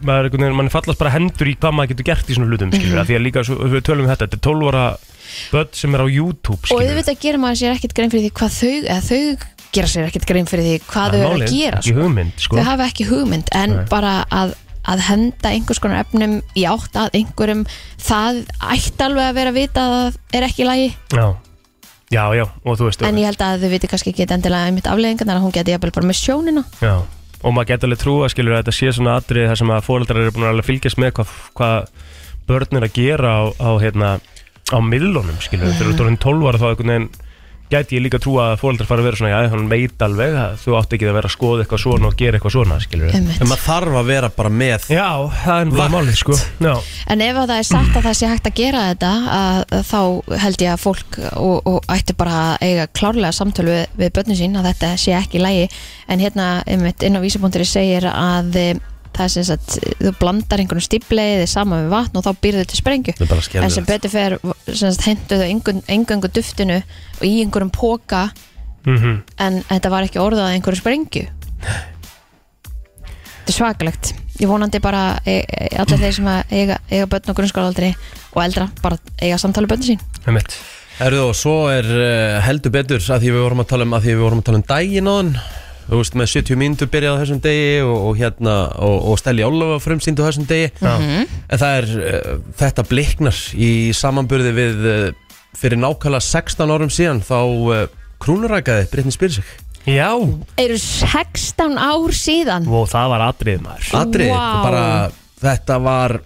S3: maður, einhvern veginn- mann fallast bara hendur í hvað maður getur gert í svona hlutum, skilur mm. því að líka, svo, við tölum um þetta, þetta er 12 ára börn sem er á YouTube,
S4: og
S3: skilur
S4: auðvitað gerir maður sér ekkert grein fyrir því hvað þau, eða þau gera sér ekkert grein fyrir því hvað þau eru að gera
S3: Ekki
S4: sko.
S3: hugmynd, sko
S4: þau hafa ekki hugmynd en
S3: Nei.
S4: bara að, að henda einhvers konar efnum í átt að einhverjum það ætti alveg að vera að vita að það er ekki í lagi
S3: Já, já, já, og þú veist
S4: en ég held að þau viti kannski ekki endilega einmitt afleðingarnar að hún geti jafnvel bara með sjónina
S3: Já, og maður getur alveg trúa skilur að þetta sé svona atrið þar sem að fóreldrar eru búin að alveg fylgjast með hvað, hvað börn er að gera á, á hérna á miðlunum skilur, þegar þú ert orðin 12 ára þá einhvern veginn gæti ég líka trúa að fóreldrar fara að vera svona, já, hann veit alveg að þú átt ekki að vera að skoða eitthvað svona og gera eitthvað svona skilur.
S1: En
S4: einmitt.
S1: maður þarf að vera bara með
S3: Já, það er bara
S1: Vakt.
S3: málið sko Já,
S4: en ef að það er sagt að það sé hægt að gera þetta að, að þá held ég að fólk og, og ætti bara að eiga klárlega samtölu við, við börnin sín að þetta sé ekki í lagi en hérna einmitt inn á vísapunktur segir að eh, það er sem sagt þú blandar einhvern stípleiði saman við vatn og þá býrðu til sprengju
S1: Það er bara
S4: en sem
S1: skelfilegt
S4: betur fer sem sagt, hendu þau engun- engöngu duftinu og í einhverjum póka
S3: mm
S4: en þetta var ekki orðað að einhverju sprengju þetta er svakalegt ég vonandi bara e, e, allir þeir sem að eiga, eiga börn og grunnskólaaldri og eldra bara eiga samtali börn sín
S3: einmitt
S1: Erðu og svo er eh, heldur betur að því við vorum að tala um, að því við vorum að tala um daginn á hann Þú veist, með 70 mínútur byrjaði á þessum degi og, og hérna, og, og Stelli Ólofa frumsýndi á þessum degi
S3: Já.
S1: En það er, eh, þetta bliknar í samanburði við eh, fyrir nákvæmlega 16 árum síðan þá eh, krúnurækaði Brittany Spears sig
S3: Já,
S4: eru 16 ár síðan
S3: og það var atrið maður
S1: Atrið,
S4: Vá.
S1: bara, þetta var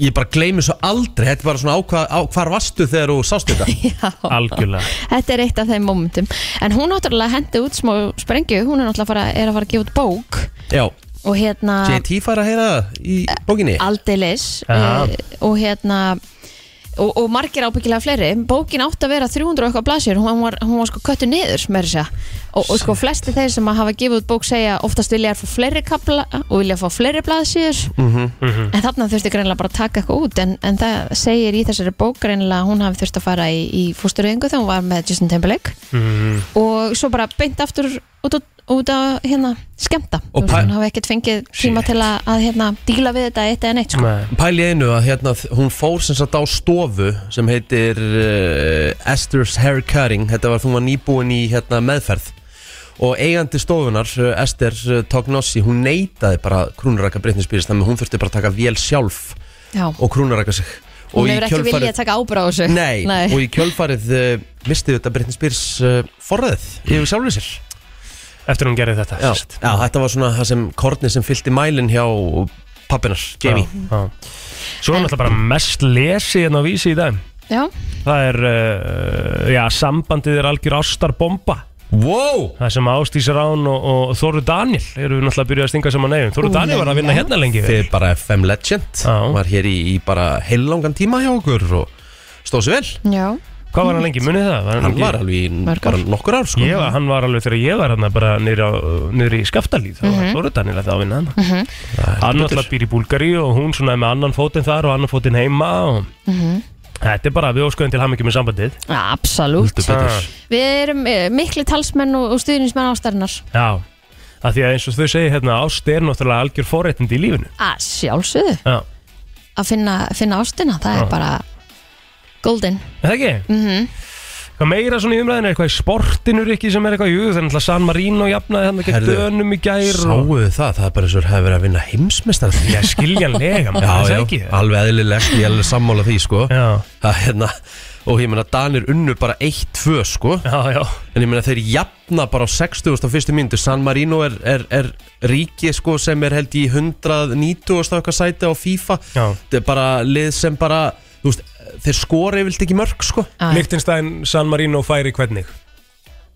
S1: Ég bara gleymi svo aldrei, þetta var svona ákvað, á, hvar varstu þegar þú sást þetta
S4: Já.
S3: Algjörlega
S4: þetta er eitt af þeim momentum en hún náttúrulega hendi út smá sprengju hún er náttúrulega að fara, er að fara að gefa út bók
S1: Já,
S4: og hérna
S1: JT fær að heyra það í bókinni
S4: aldeilis
S3: Aha.
S4: uh, og hérna og, og margir ábyggilega fleiri bókin átti að vera 300 og eitthvað blasjur hún var, hún var sko köttu niður með þess að segja. og, og sko flesti þeir sem að hafa gefið út bók segja oftast vilja að fá fleiri kapla og vilja að fá fleiri blasjur en þarna þurfti greinlega bara að taka eitthvað út en, en það segir í þessari bók greinlega að hún hafi þurft að fara í, í fóstureyðingu þegar hún var með Justin Timberlake
S3: mm.
S4: og svo bara beint aftur út á, út á hérna skemmta
S1: Og
S4: Þú veist,
S1: pa-
S4: hún hafi ekkert fengið tíma til að, að hérna díla við þetta eitt eða neitt sko.
S3: Nei.
S1: Pæli einu að hérna, þ- hún fór sem sagt á stofu sem heitir uh, Esther's Hair Cutting þetta var, hún var nýbúin í hérna, meðferð og eigandi stofunar uh, Esther uh, Tognossi, hún neitaði bara krúnuraka Britney Spears þannig að hún þurfti bara að taka vél sjálf
S4: Já.
S1: og krúnuraka sig
S4: Hún
S1: og
S4: hefur ekki viljað að taka ábyrgð á þessu
S1: Nei, og í kjölfarið uh, misti þetta Britney Spears uh, forræðið yfir sjálfur sér
S3: Eftir hún gerði þetta
S1: já,
S3: sem sagt.
S1: já, þetta var svona það sem kornið sem fyllti mælinn hjá pappinar, Jamie
S3: já, já. Svo er náttúrulega bara mest lesið hérna á vísi í dag
S4: Já,
S3: Það er, uh, já, sambandið er algjör ástarbomba
S1: Wow!
S3: Það sem Ástís Rán og, og Þóru Daniel eru náttúrulega að byrja að stinga saman nefn Þóru
S4: Ú,
S3: Daniel var að vinna
S4: já.
S3: hérna lengi vel.
S1: Þið er bara FM Legend
S3: Já.
S1: Var hér í, í bara heilangan tíma hjá okkur og stóð sér vel
S4: já,
S3: Hvað var hann lengi, munið það? Var
S1: Hann
S3: ekki-
S1: var alveg í
S4: Mörg
S1: bara
S4: ár.
S1: nokkur ár sko
S3: Ég var, hann var alveg þegar ég var hann bara niður, á, niður í Skaftalíð þá
S4: Mhm.
S3: var Þóru Daniel að það vinna hann Hann náttúrulega býr í Búlgari og hún svona er með annan fótinn þar og annan fótinn heima og...
S4: Mhm.
S3: Þetta er bara við ósköðum til hamingjum með sambandið
S4: absolutt
S3: Ah.
S4: Við erum eh, mikli talsmenn og, og stuðnismenn ástarinnar
S3: Já, af því að eins og þau segir hérna ást er náttúrulega algjör forréttindi í lífinu
S4: að sjálfsögðu
S3: Já,
S4: að finna, finna ástina, það
S3: Já.
S4: er bara golden
S3: er það ekki? Mm -hmm. Hvað meira svona í umræðinu, eitthvað í sportinu ekki sem er eitthvað, jú, það er náttúrulega San Marino jafnaði hann ekki
S1: Herðu,
S3: dönum í gær og...
S1: Sáuðu það, það er bara eins og hefur verið að vinna heimsmeistar
S3: Já, skiljanlega, maður,
S1: Já,
S3: það
S1: já,
S3: er ekki
S1: alveg eðlilegt, ég er alveg sammála því sko
S3: Já,
S1: Það er hérna Og ég meina Danir unnu bara 1-2 sko
S3: já, já,
S1: En ég meina þeir jafna bara á 60. og fyrstu myndu San Marino er, er, er ríki sko sem er held í 190. og eitthvað sæti á FIFA
S3: já.
S1: Þetta er bara lið sem bara Þú veist, þeir skori vilt ekki mörg sko
S4: Já.
S3: Lichtenstein, San Marino færi hvernig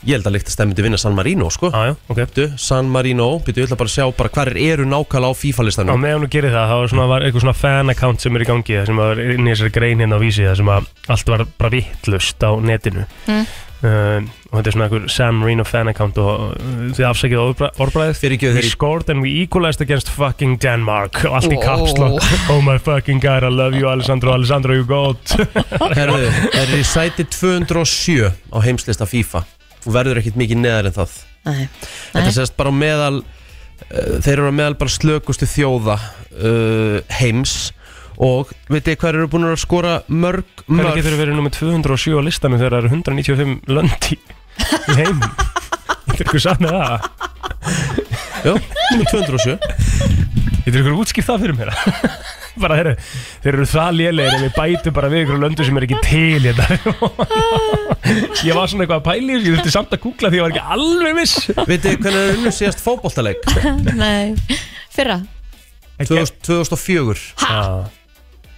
S1: Ég held að líkt að stæði myndi vinna San Marino sko
S3: Já, já, ok
S1: Bíddu, San Marino, byrju, ég ætla bara að sjá bara hver eru nákvæmlega á
S3: Og
S1: FIFA-listanum
S3: meðan þú gerir það, þá var, svona, var eitthvað svona fan-account sem er í gangi, það sem var inn í þessari grein hérna á vísi, það sem að allt var bara vittlust á netinu.
S4: Mm.
S3: Um, og þetta er svona einhver San Marino fan-account og uh, þið afsakið orðbra- orðbragðið.
S1: Fyrirgefðu,
S3: We
S1: þeir-
S3: scored and we equalized against fucking Denmark. Og allt í caps
S4: Wow.
S3: lock. Oh my fucking god, I love you Alessandro, Alessandro you got.
S1: Herðu, er í sæti 207 á heimslista FIFA og verður ekkit mikið neðar en það
S4: Nei.
S1: Þetta sést bara á meðal uh, þeir eru á meðal bara slökustu þjóða uh, heims og veit ég hver eru búin að skora mörg
S3: Hvernig
S1: mörg
S3: getur þið verið nummer 207 á listanum þegar það eru 195 löndi í heim? Þetta er ykkur satt með það
S1: Jó, númer 207
S3: Þetta er ykkur útskipt það fyrir mér [laughs] Bara þeir, þeir eru það lélegir En við bætum bara við ykkur löndu sem er ekki til hérna. [laughs] Ég var svona eitthvað að pæli Ég þurfti samt að googla því ég var ekki alveg viss
S1: Vitið þið hvernig er unnu síðast fótboltaleik?
S4: Nei, fyrra
S1: 2000 2004
S3: Já.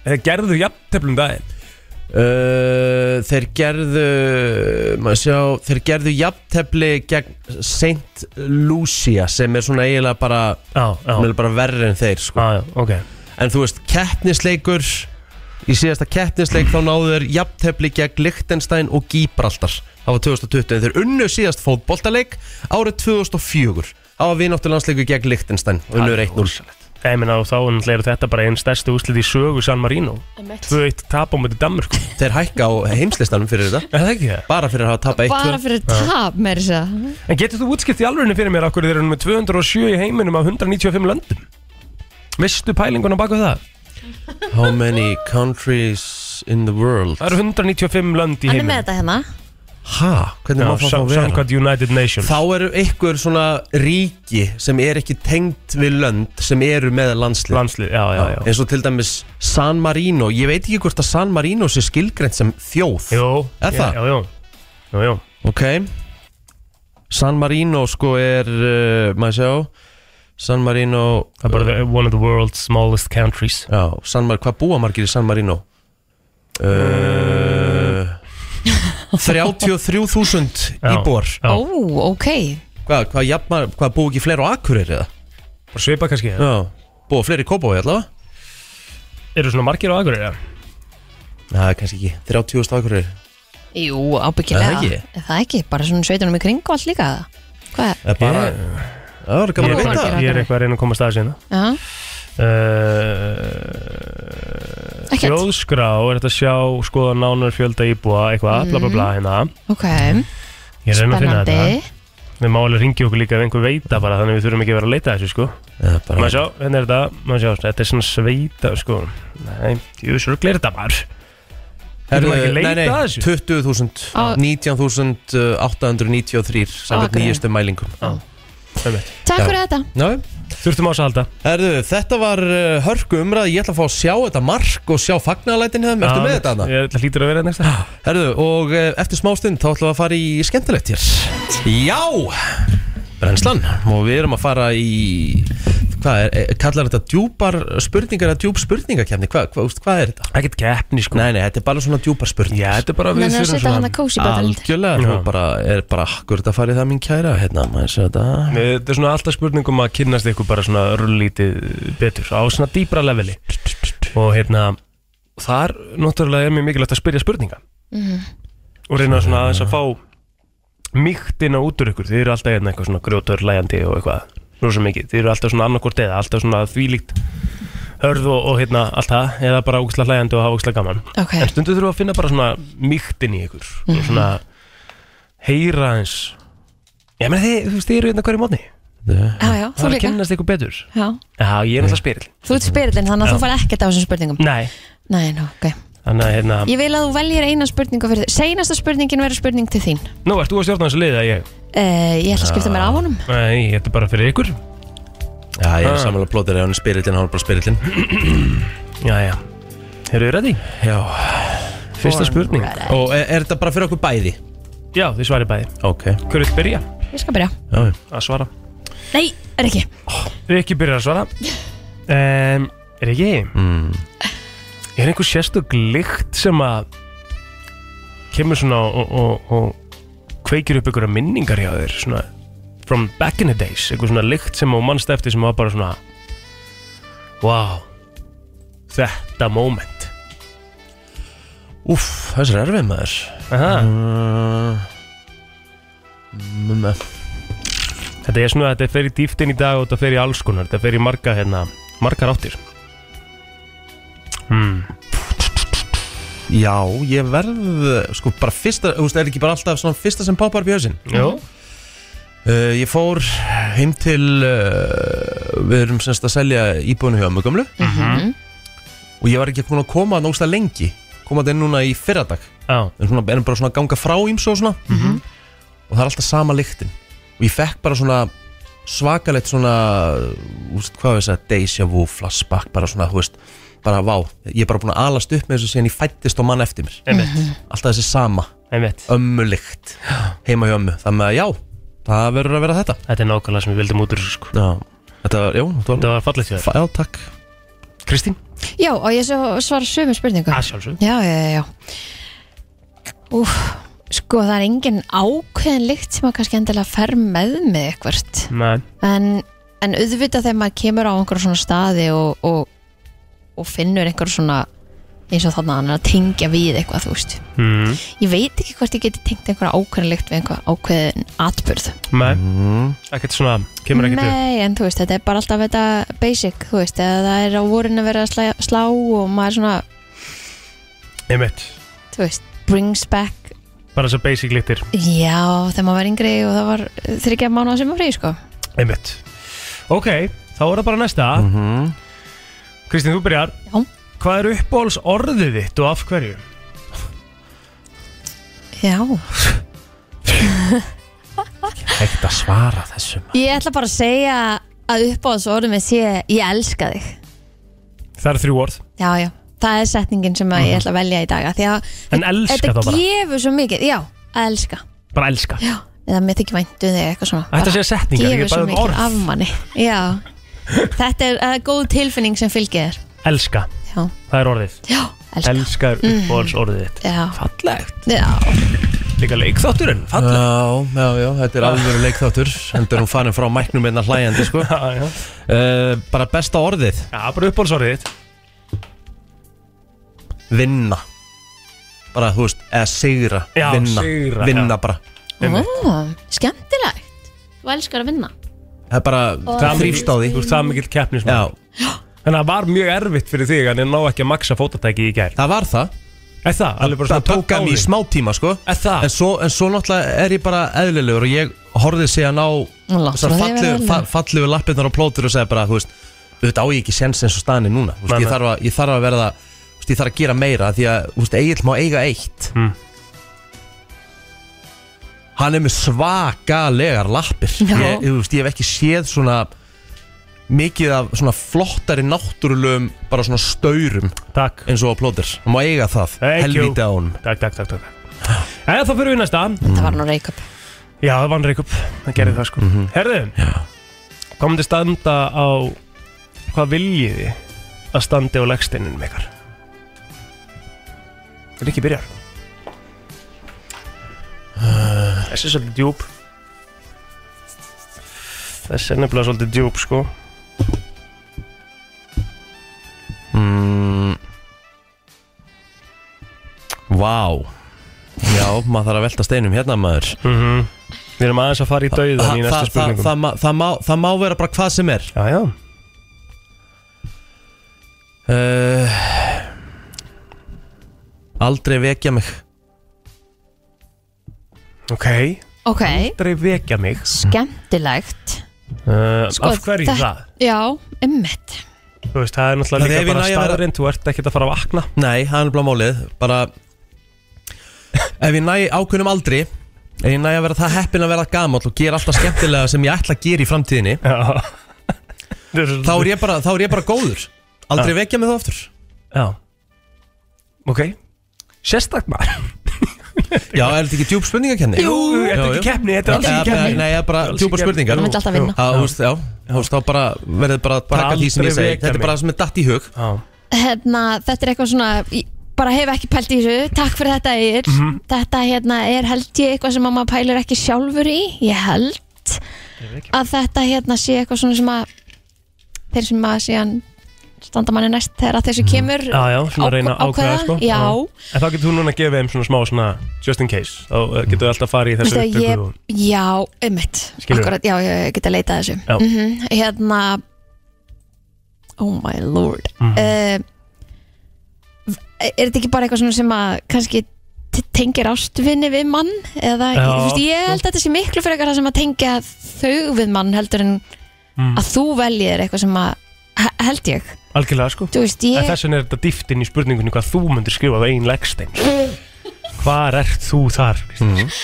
S3: Þeir gerðu jafnteflum daginn
S1: Uh, þeir gerðu maður sjá, þeir gerðu jafntefli gegn Saint Lucia sem er svona eiginlega bara,
S3: Já,
S1: hún er
S3: já,
S1: bara verri en þeir sko.
S3: já, já ok
S1: en þú veist, keppnisleikur í síðasta keppnisleik þá náðu þeir jafntefli gegn Liechtenstein og Gibraltar það var 2020, en þeir unnu síðast fótboltaleik árið 2004 á að vináttu landsleiku gegn Liechtenstein unnur 1-0
S3: Nei, menn á þá en er þetta bara einn stærsti úslit í sögu San Marino 2-1 tap á mæti Danmörk Er
S1: þeir hækka á heimslistanum fyrir þetta
S3: það ekki það?
S1: bara fyrir að hafa tapað 1-2
S4: Bara fyrir tap, meir þess að segja.
S3: En getur þú útskipt í alvegni fyrir mér Akkur þeir eru með 207 í heiminum af 195 löndum Vistu pælinguna baku það?
S1: How many countries in the world?
S3: Það eru 195 lönd í
S4: Hann er
S3: heiminum
S4: með þetta hérna
S1: Hæ? Hvernig má það þá
S3: sam-
S1: vera?
S3: Samkvæmt United Nations
S1: Þá eru ykkur svona ríki sem er ekki tengt við lönd sem eru með landslið
S3: Landslið, já, já, já
S1: eins og til dæmis San Marino ég veit ekki hvort að San Marino sé skilgreint sem þjóð
S3: Jú,
S1: Er það?
S3: já, já, já, já, já.
S1: ok San Marino sko er uh, maður sjá San Marino
S3: Það er bara the- one of the world's smallest countries
S1: já, San Mar hvað búa margir í San Marino?
S3: [laughs]
S1: Uh, 33.000
S3: Já.
S1: íbúar
S3: Já.
S4: Ó, ok
S1: Hvað, hvað, jafna, hvað búið ekki fleiri á Akureyri eða?
S3: Bara svipa kannski
S1: Já Búið fleiri í Kópói allavega?
S3: Eru svona margir á Akureyri? eða?
S1: Nei, kannski ekki 30.000 á Akureyri Er
S4: Jú,
S1: það ekki?
S4: ábyggilega Er Það ekki, bara svona sveitunum í kring og allt líka Hvað?
S1: Það er bara Það var gaman að
S3: Ég er
S4: Búa
S1: vita
S4: margir.
S3: eitthvað- ég er eitthvað að reyna að komast að sína
S4: Já,
S3: uh,
S4: Ekkert.
S3: Þjóðskrá er þetta að sjá skoða nánar fjölda íbúa eitthvað,
S4: Mm.
S3: bla bla bla hérna
S4: ok,
S3: Ég er að reyna að finna
S4: spennandi
S3: þetta Við má alveg ringi okkur líka ef einhver veita bara þannig að við þurfum ekki að vera að leita að þessu sko
S1: Já, bara
S3: Maður sjá, hérna er þetta, maður sjá, þetta er svona sveita sko Nei, jú, svo er þetta bara
S1: Herðu,
S3: Getum við ekki
S1: Nei,
S3: leitað
S1: nei,
S3: að þessu?
S1: 20.000
S4: Á-
S1: 19.893 Samkvæmt
S4: Akureyri.
S1: nýjustu mælingum
S4: Takk
S1: Já.
S4: fyrir þetta
S1: Ná,
S3: Þurftum á þess að halda
S1: herðu, þetta var uh, hörku umræð Ég ætla að fá að sjá þetta mark og sjá fagnalætin hefðum Ertu með þetta hana?
S3: Ég ætla hlýtur að vera hérna næsta
S1: Herðu, og uh, eftir smástund þá ætlum við að fara í skemmtilegt hér Já, brennslan og við erum að fara í hvað er, eh, kallar þetta djúpar spurningar eða djúp spurningakefni, hvað hva, hva, hva er þetta?
S3: Ekkert keppni sko
S1: Nei, nei, þetta er bara svona djúpar
S3: Já,
S1: spurningar
S3: þetta er bara við
S4: Nei, nei, setja
S1: hérna
S4: hana cozy button.
S1: Algjörlega,
S3: Já.
S1: þú bara er bara akkur þetta farið það mín kæra, hérna, maður sé þetta
S3: Nei, Þetta er svona alltaf spurningum að kynnast ykkur bara svona rullítið betur á svona dýbra leveli og hérna þar náttúrulega er mjög mikilvægt að spyrja spurninga og reyna svona aðeins að fá mýktina út úr ykkur þið eru alltaf hérna eitthvað svona grjótur, læjandi og eitthvað rosa mikið, þið eru alltaf svona annarkvort eða alltaf svona þvílíkt hörð og, og hérna allt það eða bara ógislega hlæjandi og hafa ógislega gaman
S4: Ok,
S3: en stundu þurfum við að finna bara svona mýktin í ykkur og svona heyra eins Já, menn þið, þú veist, þið eru hérna hverju mótni
S4: já,
S3: Það
S4: já, þú
S3: er að
S4: líka
S3: kynnast ykkur betur
S4: Já,
S3: Já, ég er náttúrulega spyrill
S4: þú ert spyrillin, þannig að þú fær ekkert á þessum spurningum
S3: Nei
S4: Nei, nú, ok
S3: Þannig að hérna
S4: Ég vil að þú veljir eina spurningu fyrir þig Seinasta spurningin verður spurning til þín
S3: Nú, ert þú að stjórna þessu liða, ég
S4: uh, Ég ætla að skipta mér af honum
S3: Nei, þetta er bara fyrir ykkur
S1: Já, ég er samanlega plótir eða hann er spyrillin, hann er bara spyrillin
S3: Já, já Eru þið ready?
S1: Já,
S3: Fyrsta spurning
S1: og er, er þetta bara fyrir okkur bæði?
S3: Já, þið svarið bæði
S1: Ok,
S3: Hver vil byrja
S4: Ég skal byrja
S1: já,
S3: að svara?
S4: Nei, er ekki
S3: Rikki byrjar að svara um, Rikki mm. Er einhver sérstök lykt sem að kemur svona og, og, og kveikir upp einhverja minningar hjá þér svona from back in the days einhver svona lykt sem á mannst eftir sem var bara svona wow þetta moment
S1: Úff, þessi er erfið maður
S3: Aha,
S1: Mhm. Uh, Mm,
S3: þetta er svona þetta fer í dýftin í dag og þetta fer í alls konar þetta fer í marga hérna margar áttir hmm
S1: Já, ég verð sko bara fyrsta, þú veist, er ekki bara alltaf svona fyrsta sem poppar upp í hausinn
S3: jú
S1: uh, Ég fór heim til uh, við erum semst að selja íbúinu hjá mögumlu mm og ég var ekki búin að koma að nógsta lengi koma þetta inn núna í fyrradag
S3: á
S1: en svona, erum bara svona að ganga frá ímsu og svona og það er alltaf sama lyktin og ég fekk bara svona svakalegt svona úst, hvað við segja, deja vu, flashback bara svona, þú veist, bara vá ég er bara búin að alast upp með þessu síðan ég fættist og mann eftir mér,
S3: einmitt,
S1: alltaf þessi sama
S3: einmitt
S1: ömmulikt heima hjá ömmu, þannig að já það verður að vera þetta
S3: Þetta er nákvæmlega sem við vildum út úr þessu, sko.
S1: já, þetta var, já, þetta
S3: Þetta
S1: var
S3: var fallið því það
S1: já, takk Kristín?
S4: Já, og ég svo- svara sömu spurningu
S3: Að sjálfsög
S4: Já, já, já, já Úf, sko það er engin ákveðin lykt sem að kannski endilega fer með mig eitthvert
S3: Nei,
S4: en, en auðvitað þegar maður kemur á einhverjum svona staði og, og, og finnur einhver svona eins og þannig að hann er að tengja við eitthvað þú veist,
S3: mm.
S4: ég veit ekki hvort ég geti tengt einhverja ákveðin lykt við einhver ákveðin atburð
S3: Nei.
S1: Mm.
S3: ekkert svona, kemur ekkert upp
S4: Nei, en þú veist, þetta er bara alltaf þetta basic, þú veist, eða það er á vorin að vera að slá, slá og maður svona,
S3: Einmitt,
S4: þú veist, brings back
S3: bara svo basic litir
S4: Já, þegar maður var yngri og það var þryggja mánuða sem var frí, sko
S3: Einmitt Ok, þá er það bara næsta
S1: Mm.
S3: Mhm. Kristín, þú byrjar
S4: Já.
S3: Hvað er uppbóls orðið þitt og af hverju?
S4: Já
S1: Hægt að svara þessum
S4: Ég ætla bara að segja að uppáðs orðum ég sé ég elska þig
S3: Það eru þrjú orð
S4: Já, já, það er setningin sem að ég ætla að velja í dag af Því að
S3: Mhm. En elska þá
S4: þetta
S3: bara
S4: gefur svo mikið, já, að elska
S3: Bara elska
S4: Já, eða mér þykir væntu þig eitthvað svona
S3: Þetta
S4: Bara
S3: séu setningar, ekki
S4: gefur svo
S3: bara um
S4: mikið
S3: orð.
S4: af manni Já, þetta er, það er góð tilfinning sem fylgir þér
S3: Elska,
S4: Já,
S3: það er orðið
S4: já, elska Mm.
S3: Elska er uppbóls orðið þitt
S4: Já,
S3: Fallegt
S4: já,
S3: Líka leikþátturinn, fallegt
S1: Já, já, já, þetta er alveg leikþáttur endur hún farin frá mæknum einna hlæjandi sko. uh,
S3: [laughs] Já, já.
S1: bara besta orðið
S3: Já, bara uppbóls orðið þitt
S1: vinna bara, þú veist, eða sigra
S3: Já,
S1: vinna,
S3: sigra,
S1: vinna
S3: já.
S1: bara
S4: Ó,
S3: Einmitt.
S4: skemmtilegt Þú elskar að vinna
S1: það er bara
S3: Það
S1: þrýfst á því
S3: Þú ert það mikill keppnismann
S1: já,
S3: Þannig að það var mjög erfitt fyrir þig að ég ná ekki að maksa fótatæki í gær
S1: það var það,
S3: Er það? Alveg bara
S1: það
S3: svona
S1: tók hann í smá tíma sko.
S3: Er það?
S1: en, svo, en svo náttúrulega er ég bara eðlilegur og ég horfið síðan á
S4: Láttu
S1: þessar
S4: það vera
S1: fallegu
S4: eðlilegur.
S1: fa- fallegu lappirnar á plótur og segja bara, þú veist auðvitað á ég ekki sens eins og staðinni núna Þú veist,
S3: Nei,
S1: ég,
S3: nei.
S1: þarf að, ég þarf að verða þú veist, ég þarf að gera meira því að þú veist, Egil má eiga eitt
S3: Mm.
S1: hann er með svakalegar lappir
S4: Já.
S1: ég, ég, þú veist, ég hef ekki séð svona mikið af svona flottari náttúrulegum bara svona staurum
S3: Takk
S1: eins og á plótur hann má eiga það,
S3: Thank you.
S1: helvítið á hún
S3: Takk, takk, takk, takk Eða þá fyrir við í næsta
S4: Þetta var nú reykjöp
S3: Já, það vann Reykjavík Það gerði það sko
S1: Mhm.
S3: Herðu Hvað myndi standa á Hvað viljið þið að standi á leggsteininum ykkar? Rikki byrjar
S1: Uh.
S3: Þessi er svolítið djúb Þessi er nefnilega svolítið djúb sko
S1: Mm. Vá Já, maður þarf að velta steinum hérna maður
S3: Við erum aðeins að fara í dauðan
S1: Þa-
S3: í næsta
S1: það- það-
S3: spurningum
S1: það má- það má- Það má vera bara hvað sem er
S3: Já, já
S1: uh, Aldrei vekja mig
S3: Ok
S4: Ok,
S3: Aldrei vekja mig
S4: skemmtilegt
S3: uh,
S4: Sko,
S3: Af hverju
S4: þetta-
S3: það?
S4: Já, ymmit
S3: Þú veist, það er náttúrulega
S1: Það er
S3: líka
S1: ef ég
S3: bara
S1: næ að vera-
S3: staðurinn, þú ert ekkert að fara að vakna
S1: Nei, það er bara málið Bara Ef ég næ ákveðnum aldri Ef ég næ að vera það heppin að vera gamall Og gera alltaf skemmtilega sem ég ætla að gera í framtíðinni
S3: [laughs] Já
S1: Þá er ég bara, þá er ég bara góður Aldrei vekja mig þá aftur
S3: Já Ok Sérstak maður
S1: Já, er þetta ekki djúb spurningakenni?
S3: Þetta er ekki keppni, þetta er alls
S1: Eða-
S3: ekki keppni
S1: Nei, ég er bara
S3: Alls ekki
S1: djúpar
S3: keppni.
S1: spurningar
S4: Hann vill alltaf vinna.
S1: Já, þú veist, já, þú veist, þá bara verðið bara að
S3: Bara
S1: taka því sem ég
S3: aldrei
S1: segi
S3: vekja
S1: Þetta er
S3: mig.
S1: bara það sem er datt í hug
S3: Já,
S4: hérna, Þetta er eitthvað svona ég bara hef ekki pælt í þessu, takk fyrir þetta Egil Þetta hérna, er held ég eitthvað sem að maður pælir ekki sjálfur í Ég held að þetta hérna sé eitthvað svona sem að þeir sem að síðan standa manni næst þegar að þessu kemur
S3: já, já svona reyna að ákveða sko
S4: Já,
S3: En þá getur þú núna að gefa þeim svona smá svona Just in case Þá uh, getur við alltaf farið í
S4: Veistu
S3: þessu
S4: að ég,
S3: upptöku og-
S4: já, einmitt
S3: Skilurðu?
S4: Akkurat, já, já, ég get að leita að þessu
S3: Já.
S4: mm Hérna Oh my lord mm
S3: Mhm.
S4: Er þetta ekki bara eitthvað svona sem að kannski t- tengir ástvinni við mann eða,
S3: Já,
S4: þú veist, ég held að þetta sé miklu fyrir eitthvað sem að tengja þau við mann heldur en að þú veljir eitthvað sem að he- held ég,
S3: Algjörlega sko
S4: þú veist,
S3: En
S4: ég
S3: þess vegna er þetta dýftin í spurningunni Hvað þú myndir skrifa á einn leggstein Hvar ert þú þar? Kristín?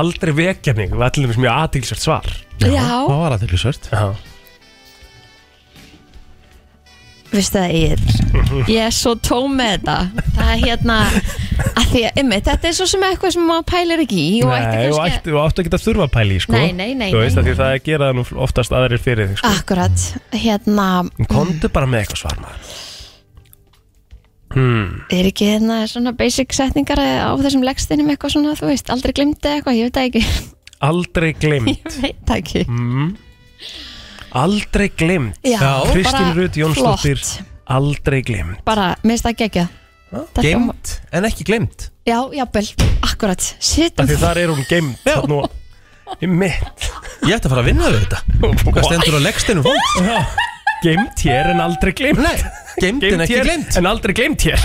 S3: aldrei vekjarning var allir mjög aðtilsvært svar
S4: Já,
S1: Það var aðeins svört
S3: Já.
S4: veistu það ég Ég er svo tóm með þetta Það er hérna að því að, ymmið, þetta er svo sem eitthvað sem maður pælir ekki í og ætti
S3: Nei, og
S4: kannski
S3: ætti- og áttu ekki að þurfa að pæli sko.
S4: Nei, nei, nei,
S3: Þú veist
S4: nei.
S3: að því það gera það nú oftast aðrir fyrir þig sko.
S4: Akkurat, hérna
S3: En Komdu bara með eitthvað svar maður
S4: er ekki hérna svona basic setningar eh, á þessum legstinum eitthvað svona, þú veist, aldrei glimti eitthvað, [laughs] ég veit það ekki
S3: Aldrei glimt
S4: [laughs] Ég veit það ekki
S3: Aldrei glimt
S4: Já, bara
S3: Kristín Rut Jónsdóttir
S4: flott.
S3: Aldrei glimt
S4: Bara, mér finnst það gegja
S1: Geimt en ekki gleimt
S4: Já, jafnvel, akkurat Sittum
S3: Af því þar er hún geimt
S1: Já.
S3: Þarna og- Í mitt
S1: Ég ætti að fara að vinna við þetta [laughs] Hvað stendur á leggstinu fólk?
S3: Geimt hér en aldrei glimt
S1: Nei, geimt en
S3: Geimt
S1: ekki
S3: hér
S1: gleimt
S3: en aldrei geimt hér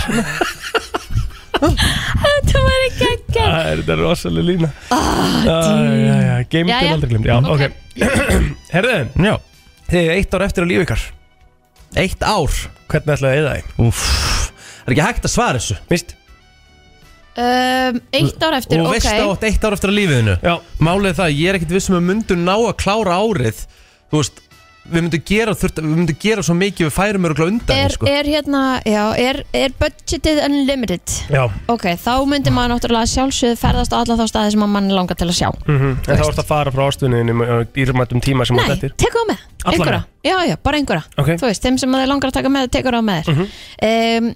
S4: Þetta var ekki gegja
S3: Það er þetta rosalega lína ah, Geimt en
S4: Jæja.
S3: aldrei glimt Já, ok
S4: Ok.
S3: [clears throat] Herðu,
S1: Já,
S3: þið er eitt ár eftir á lífi ykkar
S1: eitt ár
S3: Hvernig ætlaðu að eða þið?
S1: Úff, það er ekki hægt að svara þessu
S3: Vist?
S4: um, Eitt ár eftir,
S1: Og
S4: ok
S1: veist átt eitt ár eftir að lífiðinu
S3: Já
S1: Málið er það, ég er ekkert vissum að myndu ná að klára árið Þú veist, við myndum gera, þurft, við myndum gera svo mikið við færum örgulega undan
S4: er,
S1: sko.
S4: er hérna, já, er, er budgetið unlimited
S3: Já,
S4: Ok, þá myndi maður náttúrulega að sjálfsögðu ferðast á alla þá staði sem að mann langar til að sjá
S3: Mhm. en þá ertu að fara frá ástunniðinum í rúmættum tíma sem
S4: Nei,
S3: þetta er
S4: tekur á með,
S3: Alla
S4: einhverja Já, já, bara einhverja,
S3: Ok.
S4: þú veist, þeim sem maður langar að taka með tekur á með þér
S3: Mhm.
S4: um,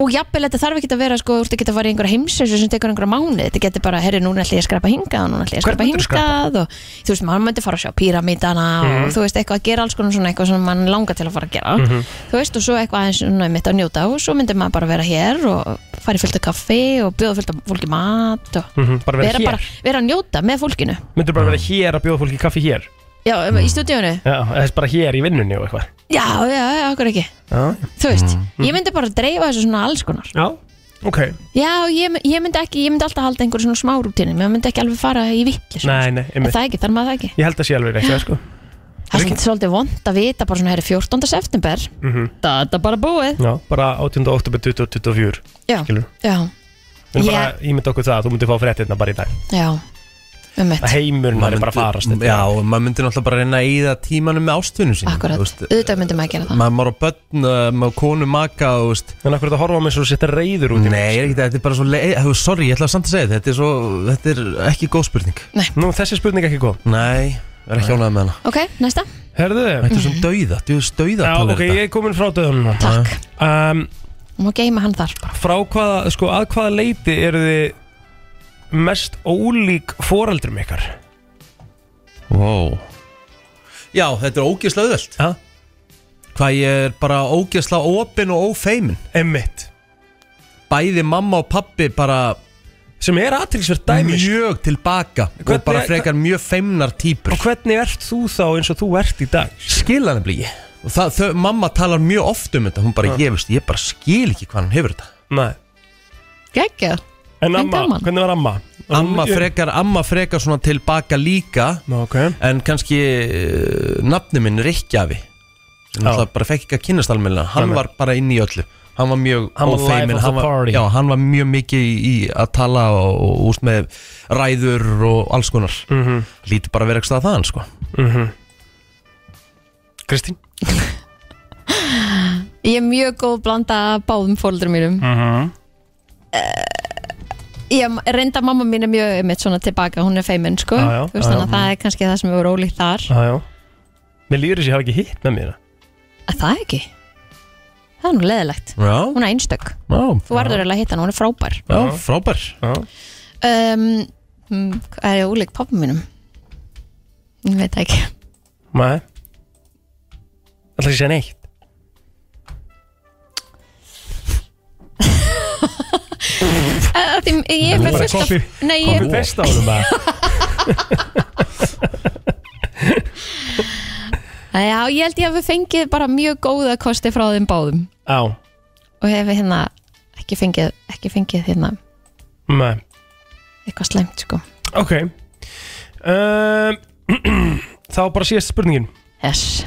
S4: Og jafnvel, þetta þarf ekki að vera, sko, þú ert ekki að fara í einhverja heimsessu sem tekur einhverja mánuði Þetta getur bara, herri, núna ætla ég að skrapa hingað og núna ætla ég að
S3: Hvern
S4: skrapa
S3: myndirðu
S4: hingað og, Þú veist, maður myndi fara að sjá píramítana og þú veist, eitthvað að gera alls konar svona eitthvað sem mann langar til að fara að gera Þú veist, og svo eitthvað aðeins svona mitt að njóta og svo myndi maður bara vera hér og fara í fullt af kaffi og bjóða fullt af fólki mat og
S3: Mhm, Bara vera
S4: vera,
S3: hér
S4: bara, vera að njóta með fólkinu
S3: Myndur bara vera hér að bjóða fólki kaffi hér
S4: Já, í stúdíónu
S3: Já, þess bara hér í vinnunni og eitthvað
S4: Já, já, já, okkur ekki
S3: Já,
S4: Þú veist, ég myndi bara að dreifa þessu svona alls konar
S3: já, ok
S4: Já, ég, ég myndi ekki, ég myndi alltaf halda einhverju svona smá rútinu Mér myndi ekki alveg fara í vitt
S3: Nei, nei,
S4: En
S3: einmitt
S4: það ekki, þarf maður það ekki
S3: Ég held að sé alveg reiklega sko
S4: Það er svolítið- svolítið vond að vita bara svona hér 14. september mm
S3: Mhm.
S4: -hmm. Það er bara búið
S3: Já, bara 18. oktober 2024
S4: Já,
S3: Skilur.
S4: já,
S3: Við erum
S4: Já.
S3: bara að ímynda okkur það að þú myndir fá fréttina bara í dag
S4: já Um mitt,
S3: Að heimurinn væri bara að farast
S1: myndi, Já, og maður myndi náttúrulega bara reyna að eyða tímanum með ástunum sín
S4: akkurat Auðvitað myndi maður að gera það
S1: Maður maður á börn, uh, maður á konu maka þú veist.
S3: En akkur þetta horfa á mig svo að setja reyður út í mig.
S1: Nei, er ekki, þetta er bara svo leið þú, Sorry, ég ætla samt að segja þetta Þetta er, svo, þetta er ekki góð spurning
S3: Nú, þessi spurning er ekki kom
S1: Nei, er ekki ánægð með hana
S4: Ok, næsta,
S3: Herðu
S1: Þetta er svona dauða, þú veist dauða
S3: Já, ok, ég er komin frá döðunum
S4: takk
S3: um,
S4: Má geima hann þar bara
S3: Frá hvaða, sko, að hvaða leiti eru þið mest ólík foreldrum ykkar?
S1: wow. Já, þetta er ógislega auðvelt
S3: Já,
S1: Hvað ég er bara ógislega opinn og ófeimin
S3: emmitt
S1: Bæði mamma og pappi bara
S3: Sem er aðtilsverð dæmi sko.
S1: mjög tilbaka
S3: Hvernig-
S1: Og bara frekar mjög feimnar týpur
S3: Og hvernig ert þú þá eins og þú ert í dag?
S1: Skila hann blíði Og það, þau, mamma talar mjög oft um þetta Hún bara, ég veist, ég bara skil ekki hvað hann hefur þetta
S3: Nei
S4: Gægja,
S3: En
S4: En
S3: amma,
S4: gaman.
S3: hvernig var amma? Var hún-
S1: Amma frekar, amma frekar svona tilbaka líka
S3: Ná, Ok
S1: En kannski uh, nafni minn Rikkjafi
S3: Já.
S1: Það bara fekk ekki að kynast almennilega Hann
S3: Nei, nei.
S1: var bara inn í öllu Hann var mjög
S3: Hann var
S1: ófeiminn,
S3: life of
S1: hann
S3: the
S1: var,
S3: party.
S1: já, hann var mjög mikið í, í að tala og, og úst með ræður og alls konar mm
S3: Mhm.
S1: -hmm. Lítur bara að vera ekki stað þaðan sko.
S3: Kristín
S4: ég er mjög góð blanda af báðum fóldur mínum
S3: Mhm.
S4: Eh, ég reynda mamma mín er mjög mitt svona tilbaka, hún er feimin sko
S3: Já, já,
S4: Þú veist
S3: já,
S4: þannig að
S3: já.
S4: það er kannski það sem er ólíkt þar
S3: Já, já Mér líður þess að ég hafa ekki hitt með mér
S4: að það ekki, það er nú leðilegt
S1: Já,
S4: hún er einstök,
S1: já,
S4: þú verður eiginlega að hitta hann, hún er frábær
S1: já, frábær
S3: Já
S4: um, mm, hvað er ég ólík pappa mínum ég veit það ekki
S3: Nei Alltaf ekki að segja neitt
S2: Eh,
S4: Að því, ég er
S3: Bara
S4: fullt af
S3: copy-
S4: nei, ég
S3: Komur
S4: er
S3: best á
S4: [laughs]
S3: húnum bara
S4: Eh, Já, ég held ég hafi fengið bara mjög góða kosti frá þeim báðum
S3: Já
S4: og hef hérna ekki fengið, ekki fengið hérna
S3: Nei
S4: eitthvað slæmt sko
S3: Ok um, [clears throat] Þá bara síðast spurningin
S4: yes.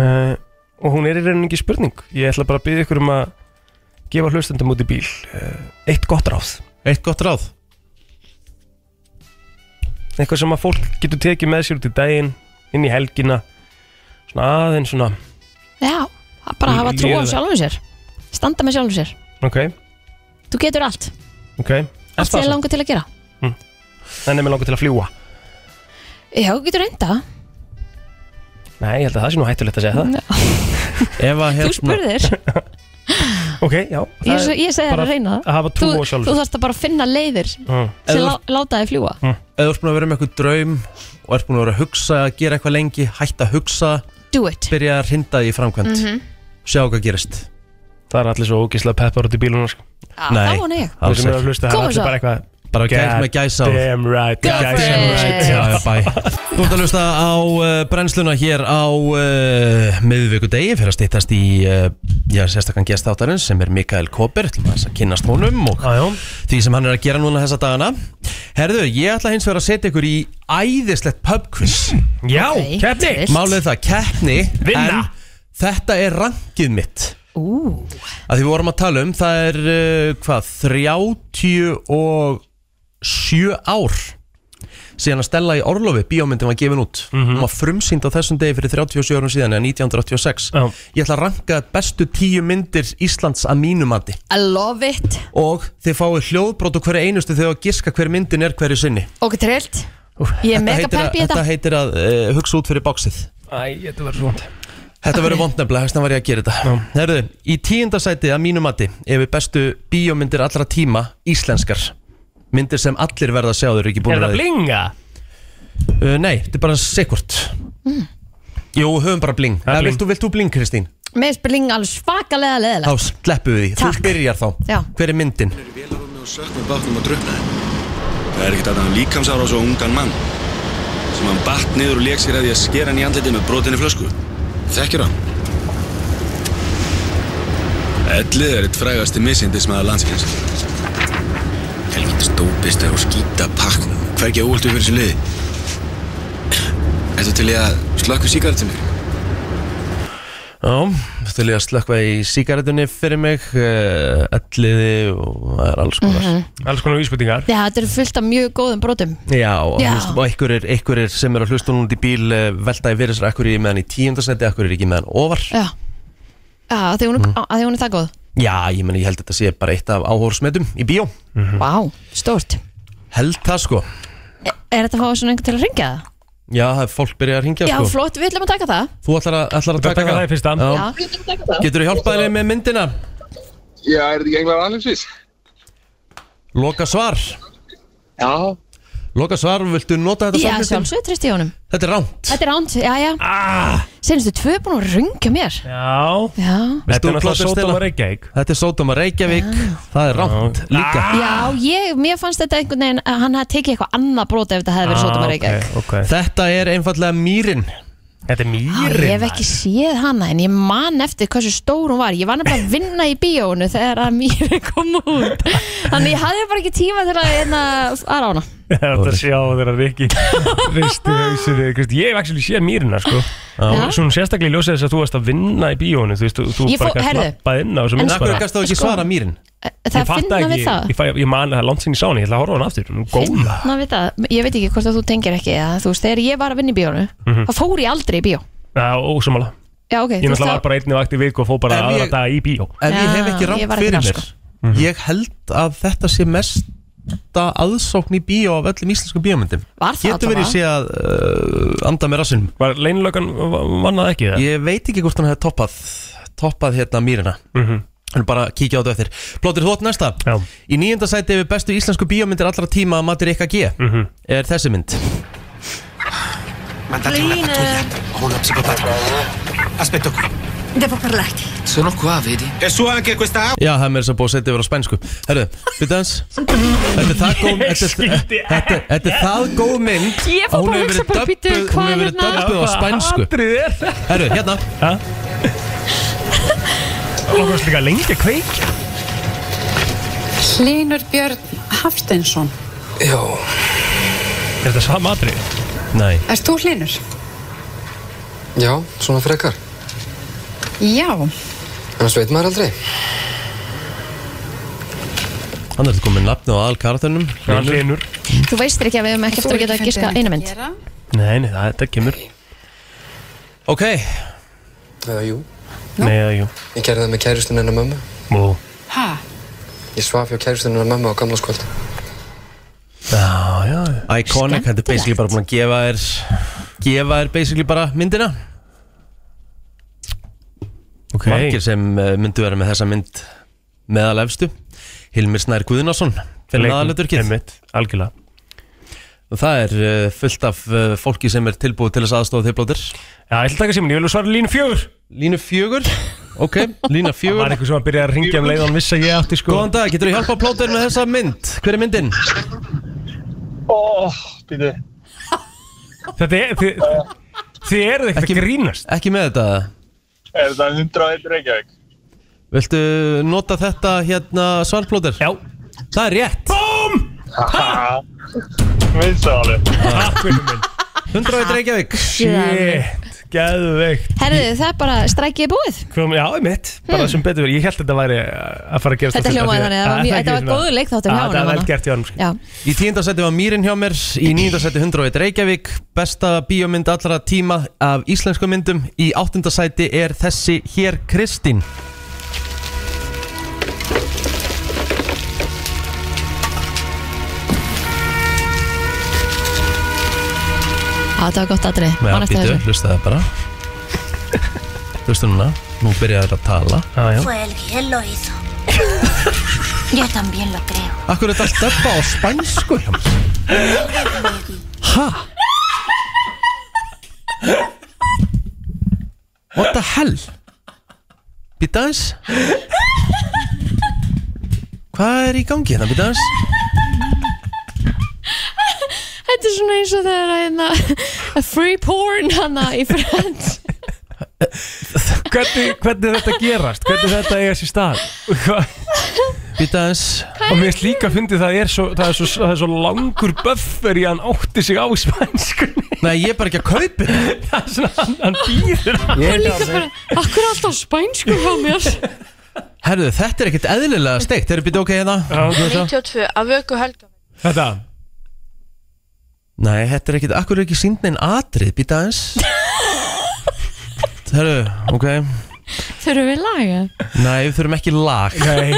S3: uh, Og hún er í rauninni ekki spurning Ég ætla bara að byggja ykkur um að gefa hlustendum út í eh, bíl uh, Eitt gott ráð
S1: Eitt gott ráð
S3: eitthvað sem að fólk getur tekið með sér út í daginn inn í helgina svona aðeins svona
S2: Já, að bara hafa trú á
S3: Líður það.
S2: sjálfum sér Standa með sjálfum sér
S3: ok,
S2: Þú getur allt,
S3: ok
S2: allt sem þið
S3: það samt?
S2: langar til að gera
S3: Nei, nei, mér langar til að fljúa
S2: Já, þú getur reynda
S3: Nei, ég held að það sé nú hættulegt að segja það
S1: Ef að
S2: Þú spurðir,
S3: Ok, já það
S2: ég,
S3: er
S2: ég segi það
S3: bara
S2: að reyna það
S3: Að hafa
S2: Þú,
S3: trú á
S2: þú
S3: sjálfur
S2: þarfst að bara finna leiðir
S3: Mm.
S2: sem
S1: þú-
S2: lá, láta þið fljúa
S1: Ef þú ert búin að vera með eitthvað draum og ert búin að vera að hugsa að gera eitthvað lengi hætta að hugsa,
S2: Do it Mhm.
S1: byrja að hrinda því í framkvæmt sjá hvað gerist
S3: Það er allir svo ógislega peppar út í bílunum sko.
S2: Já,
S1: Nei.
S2: Það vona ég
S3: Þú
S1: Alls
S3: sem eru að
S1: ekki
S3: hlusta, það
S2: Komum
S3: er allir
S2: svo.
S3: bara eitthvað
S1: Bara gæt með gæsa á
S3: Damn right
S2: Go for
S3: guys, damn
S2: it.
S3: right.
S1: Já, já, bæ Þú ert að hlusta á uh, brennsluna hér á uh, miðvíkudegi fyrir að stýttast í uh, já, sérstakann gestáttarins sem er Mikael Koper til að kynnast honum og
S3: Já, já.
S1: því sem hann er að gera núna þessa dagana Herðu, ég ætla hins vegar að setja ykkur í æðislegt pubquiz
S3: Já,
S2: Ok,
S3: keppni
S2: vilt.
S1: Málið er það, keppni
S3: Vinna.
S1: En þetta er rankið mitt
S2: Ú,
S1: að því við vorum að tala um það er uh, hvað 37 ár síðan að Stella í Orlofi bíómyndin var gefin út
S3: Mhm.
S1: hún var frumsýnd á þessum degi fyrir 37 árum síðan eða 1986
S3: Já.
S1: ég ætla að ranka bestu 10 myndir Íslands að mínumandi
S2: I love it
S1: og þið fáið hljóðbrot og hverja einustu þegar að giska hver myndin er hverju sinni
S2: Ok, trillt Ég er mega
S1: heitir, að,
S2: pepp í þetta
S1: þetta heitir að uh, hugsa út fyrir bóksið
S3: Æ, þetta var svona
S1: Þetta verður vond nefnilega, þess vegna var ég að gera þetta Herðu, í tíundasæti að mínu mati ef við bestu bíómyndir allra tíma íslenskar myndir sem allir verða að sjá þau eru ekki búin
S3: Er það blinga?
S1: Uh, nei, þetta er bara sikkurt
S2: Mm.
S1: Jú, höfum bara bling
S3: er
S1: Eða,
S3: bling.
S1: vilt, þú, vilt þú bling, Kristín?
S2: Mér spilning alveg svakalega
S1: Þá
S2: leðilega
S1: sleppu við því,
S2: Takk.
S1: þú byrjar þá
S2: Já.
S1: Hver er myndin?
S8: Vélarúmi og söknum bátnum og druknaði. Það er ekkert annað en líkamsára á svo ungan mann sem hann batt niður og leik sér að því að skera hann í andliti með brotinni flösku. Þekkir hann? Ellið er eitt frægasti missindismæða landsins. Helvítið stópist er og skýta pakknum. Hvergi óvöldu fyrir þessu liði. Ertu til í að slökku síkartinu?
S1: Já, þú vil ég að slökva í sígaretunni fyrir mig uh, Elliði og það er alls konar
S2: Mhm.
S3: Alls konar
S2: [laughs]
S3: vísbyttingar
S2: Já, þetta er fullt af mjög góðum brotum
S1: Já, og
S2: Já.
S1: hlustum- og einhverjir, einhverjir sem eru að hlusta núna út í bíl eh, velta í fyrir sér, einhverjir er ég meðan í tíundasæti, einhverjir er ekki meðan ofar
S2: Já, Já, af því hún, mm. að því hún er það góð
S1: Já, ég meni, ég held að þetta sé bara eitt af áhórsmetum í bíó
S2: Vá,
S3: Mm.
S2: stórt
S1: Held það sko
S2: Er þetta að fá svona einhvern til að ringja það?
S3: Sko.
S1: Já, það er fólk byrjað að ringja
S2: Já,
S1: sko
S2: flott, við ætlum að taka það
S1: Þú ætlar að, ætlar að
S3: ætlar að
S1: taka,
S3: taka það í fyrsta.
S1: Já.
S2: Já,
S1: Getur þú hjálpað henni með myndina?
S9: Já, er þetta ekki englar alheimsins?
S1: Loka svar
S9: Já.
S1: Loka svar, viltu nota þetta
S2: já
S1: svar, Kristín?
S2: sjálfsög tristi í honum
S1: Þetta er ránt
S2: Þetta er ránt, já, já
S3: ah,
S2: Senstu tvö búin að ringja mér
S3: Já
S1: Vilt
S2: Já,
S3: Þetta
S1: þú
S3: er náttúrulega
S1: plata
S3: sótum
S1: Stella?
S3: að Reykjavík
S1: Þetta er Sódóma Reykjavík Það er ránt líka
S2: já ég, mér fannst þetta einhvern veginn að hann hafði tekið eitthvað annað brot ef þetta hefði verið sótum að reykja
S3: Ah, ok, ok.
S1: Þetta er einfallega mýrin
S3: Þetta er mýrin
S2: Ég hef ekki séð hana en ég man eftir hversu stór hún var Ég var nefnilega að vinna í bíónu þegar að mýri [laughs] kom út Þannig ég hafði bara ekki tíma til að hérna að rána
S3: Þetta er að sjá þeirra [laughs] Rikki Risti hausið þig Kristi, Ég hef ekki séð mýrina sko
S2: Já.
S3: Svo hún sérstaklega í ljósið þess að þú varst að vinna í bíónu Þú veist, þú- þú
S2: Ég fó-
S3: bara gæst
S2: heyrðu.
S3: lappað inn á þessu
S2: En
S3: mynd
S1: En akkur
S3: bara
S1: gæst þá ekki
S2: Sko-
S1: svara mýrin
S3: Ég
S2: Það
S3: fatta
S2: finna
S3: ekki,
S2: við það
S3: ég, fæ, ég man að það er langt sinni sá hann, ég ætla að horfa á hann aftur Hún er góð
S2: Finna við það Ég veit ekki hvort að þú tengir ekki eða, þú veist, Þegar ég var að vinna í bíónu þá fór ég aldrei í bíó
S3: Já, ósamála
S2: Já, ok
S3: Ég
S2: þú veist
S3: náttúrulega
S2: það-
S3: var bara einni vakt í viku og fó bara
S1: Ef
S3: aðra
S1: ég-
S3: dag í bíó
S1: Ef ég
S2: Já,
S1: hef ekki
S2: ég
S1: rámt
S2: var ekki
S1: fyrir
S2: þar,
S1: mér
S3: Mhm.
S1: Ég held að þetta sé mesta aðsókn í bíó af öllum íslensku bíómyndum
S2: Var það
S1: Getur verið
S2: allavega?
S1: sé að uh, anda með rassinum
S3: Var leinlökan, vann það ekki það?
S1: Ég veit ekki hvort hann hefði toppað toppað hérna mýrina
S3: Mhm.
S1: En bara kíkja á þetta eftir Plótur, þú átt næsta
S3: Já.
S1: Í nýjönda sæti við bestu íslensku bíómyndir allra tíma að matur eitthvað G
S3: Mhm.
S1: Er þessi mynd
S10: Mandate una pattugliata o una psicopatica. Aspetto qui.
S11: Devo parlarti.
S10: Sono qua, vedi?
S8: Er svo ekki eitthvað
S1: Já, það er meira sem búið að setja yfir á spænsku Herru, byrja hans Þetta er það góð þetta,
S3: skildi
S1: þetta, þetta er það góð mynd
S2: Ég fór
S1: að hún
S2: bara
S1: hefur
S2: að hugsa
S1: verið
S2: bara, bíddu,
S1: döbbuð-
S2: hvað
S1: Hún hefur verið
S2: hérna?
S1: döbbuð á spænsku
S3: Atrið er það
S1: Herru, hérna
S3: Það var slíka lengi kveik
S12: Hlynur Björn Hafsteinsson.
S3: Er þetta sama atrið?
S1: Nei,
S12: Erst þú Hlynur?
S13: Já, svona frekar.
S12: Já.
S13: Annars veit maður aldrei.
S1: hann er þetta komið nafni á aðal karatunum
S3: Hlinur
S4: Þú veistir ekki að við höfum ekki eftir að geta að giska eina mynd
S3: Nei, nei, það, þetta kemur
S1: Ok
S14: Eða jú,
S3: Nei, eða jú
S14: ég gerði það með kærustinu hennar mömmu.
S3: Mó
S15: Ha?
S14: Ég svaf hjá kærustinu hennar mömmu á gamla skvöldi.
S3: Já, já
S1: Iconic, þetta er basically bara búin að gefa þér gefa þér basically bara myndina
S3: Ok
S1: Margir sem eh, myndu vera með þessa mynd meðal efstu Hilmir Snær Guðnason fyrir aðaluturkið
S3: Emmitt, algjörlega
S1: og það er eh, fullt af eh, fólki sem er tilbúið til þess aðstofa þig blóttir
S3: Já, ég ætla að taka símin, ég vil svara línu fjögur
S1: Línu fjögur Ok, lína
S3: Það var
S1: fjögur
S3: eitthvað sem að byrja að ringja um leiðan viss að ég átti sko
S1: Góðan dag, getur þú hjálpað plótir með þessa mynd? Hver er myndin?
S2: Óh, býtu.
S3: Þetta er, þið, þið eruð ekkert
S1: Ekki-
S3: að grínast
S1: Ekki með þetta
S2: Er þetta 101 Reykjavík?
S1: Viltu nota þetta hérna svarplótir?
S3: Já
S1: Það er rétt
S3: Búm!
S2: Ha? Minnst það alveg.
S3: Takk fyrir minn
S1: 101 Reykjavík
S3: Shit, geðveikt
S4: Herðu, það er bara strækið búið
S3: Kom, Já, einmitt, bara sem betur verið Ég held þetta væri að fara að gerast
S4: Þetta
S3: á fullu,
S4: hljómaði
S3: af því
S4: þannig, það
S3: að-
S4: var mjög-
S3: að
S4: þetta
S3: ekki
S4: var
S3: svona-
S4: góður leikþáttur hjá
S3: Já, Þetta
S4: honum,
S3: var
S4: hana.
S3: vel gert hjá honum sko.
S4: Já,
S1: Í tíundasæti var Mýrin hjá mér, í níundasæti 101 Reykjavík, besta bíómynd allra tíma af íslensku myndum, í áttundasæti er þessi hér Kristín.
S4: á, þetta var gott atrið Man eftir þessu
S1: hlusta það bara. Hlusta núna, nú byrjaði það að tala.
S3: Já, já.
S7: Fue él quien lo hizo. Yo también lo creo.
S1: Akkur er þetta að steppa á spænsku hjá mér? Ha? What the hell? Býta aðeins? Hvað er í gangi hérna, býta aðeins?
S4: Þetta er svona eins og það er að hérna Free porn hana í Friends
S3: hvernig, hvernig þetta gerast hvernig þetta eiga sér stað Hva-
S1: Býta aðeins?
S3: og mér finnst líka að fyndi það er svo, það er svo, það er svo langur buffer í að hann átti sig á spænskunni
S1: Nei, ég er bara ekki að kaupi það
S3: það er [laughs] svona, hann, hann býður hann
S4: Og líka bara, akkur er alltaf spænsku hjá mér
S1: Herðu, þetta er ekkert eðlilega steikt Þeir eru býtið ok hérna
S3: Já,
S16: 92 af vöku helga
S3: þetta
S1: Nei, þetta er ekkert, akkur er ekki sínd neinn atrið Býta aðeins Herðu, ok
S4: Þurfum við laga
S1: Nei, við þurfum ekki lag
S4: [laughs]
S3: nei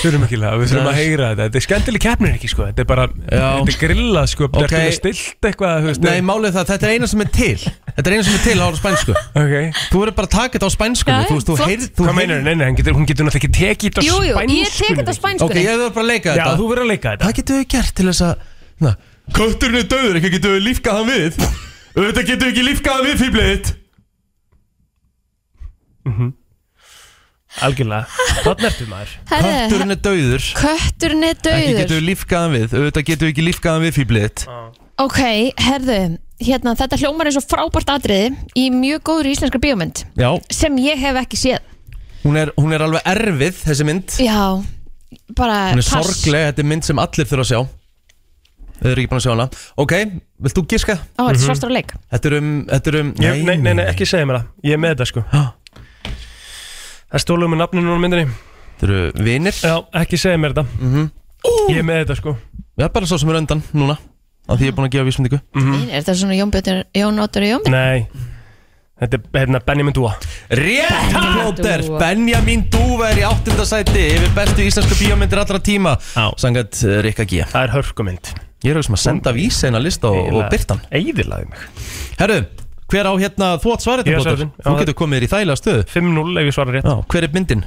S3: þurfum ekki lega, við þurfum að
S1: Nei.
S3: heyra þetta þetta er skemmtileg keppnir ekki sko, þetta er bara þetta er grilla sko,
S1: Ok.
S3: þetta er stilt eitthvað þú veist,
S1: Nei, málið er það, þetta er eina sem er til Þetta er eina sem er til ára spænsku
S3: ok
S1: Þú verður bara að taka þetta á spænsku
S4: Já,
S1: Þú veist, þú
S4: flott.
S1: heyrð þú
S3: Hvað meinar,
S1: heyrð-
S3: nei, nei, hann getur, hún getur náttúrulega ekki tekið þetta á
S4: Jú, jú,
S3: spænskunni.
S4: ég tek þetta á
S1: Ok,
S4: spænskunni
S1: ég verður bara að leika
S3: Já,
S1: þetta
S3: þú verður að leika þetta
S1: Hvað getur við gert til þess að Na, Kötturinn er döður, ekki getur við lífkað hann við Auðvitað getur við ekki lífkað hann við fýblið þitt
S3: Algjörlega, þannig ertu maður
S4: Herðu,
S1: Kötturinn er döður,
S4: kötturinn er
S1: ekki getur
S4: döður
S1: við lífkað hann við Auðvitað getur við ekki lífkað hann við fýblið þitt
S4: Ok, herðu, hérna, þetta hljómar eins og frábært atriði í mjög góður íslenskar bíómynd
S1: Já,
S4: sem ég hef ekki séð
S1: hún er, hún er alveg erfið þessi mynd
S4: Já, bara
S1: Hún er
S4: pass.
S1: sorgleg, þetta er mynd sem allir þurfa að sjá Þau eru ekki búin að sjá hana Ok, vilt þú giska?
S4: Ó, þetta er svartur á leik
S1: Þetta er um, þetta er um Ah.
S3: Ég, nei, nei, nei, ekki segja mér það, ég er með þetta sko
S1: Ha?
S3: Það stóluðu með nafninu núna á myndinni
S1: Þetta eru vinir
S3: Já, ekki segja mér þetta
S1: Mhm.
S3: Ég er með þetta sko
S1: Við erum bara svo sem er undan núna Af því ég er búin að gefa vísmyndingu
S4: mm. Er þetta svona Jón Björn, Jón Óttur og Jón Björn?
S3: Nei, þetta er hérna Benjamin Dúa
S1: Rétt plóter
S4: Dúfa.
S1: Benjamin Dúfa er í áttundasæti Yfir bestu íslensku bíómyndir allra tíma
S3: Já.
S1: Sangat Rikka G
S3: Það er hörkumynd
S1: Ég er auðvitað sem að senda vísina lista og, og byrtan
S3: Eðilaði mig
S1: Herru, hver á hérna þú átt svarið
S3: Ég á
S1: þetta plóter
S3: svarið. Já,
S1: Þú
S3: það-
S1: getur komið þér í þægilega stöðu
S3: 5-0 ef ég svara rétt
S1: Já, hver er myndin?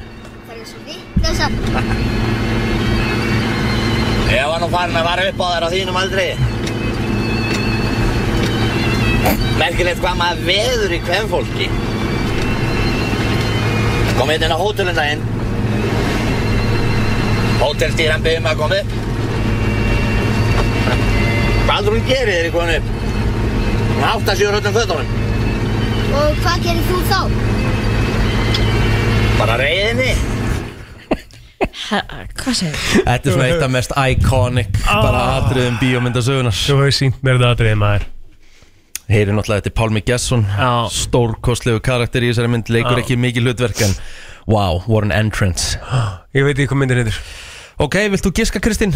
S17: Ég var nú farin að vara upp á þær á þínum aldrei. Merkilegt hvað maður veður í hvem fólki. Kom hérna inn á hótelun daginn. Hótelstýran byggði mig að koma upp. Hvað heldur hún gerir þegar ég kom upp? Hún átt að sjóra öllum fötunum.
S16: Og hvað gerir þú þá?
S17: Bara reyðinni.
S4: Ha- Hvað segir þið?
S1: Þetta er svona eitt af mest iconic bara
S3: Ah.
S1: atriðum bíómyndasögunar
S3: Þú hefur sínt mér þetta aðriðið maður
S1: Heyri náttúrulega þetta er Pálmi Gesson
S3: Já.
S1: stórkostlegu karakter í þessari mynd leikur
S3: Já.
S1: ekki mikið hlutverk en wow, what an entrance
S3: Ég veit ekki hvað myndin heitir
S1: Ok, vilt þú giska Kristín?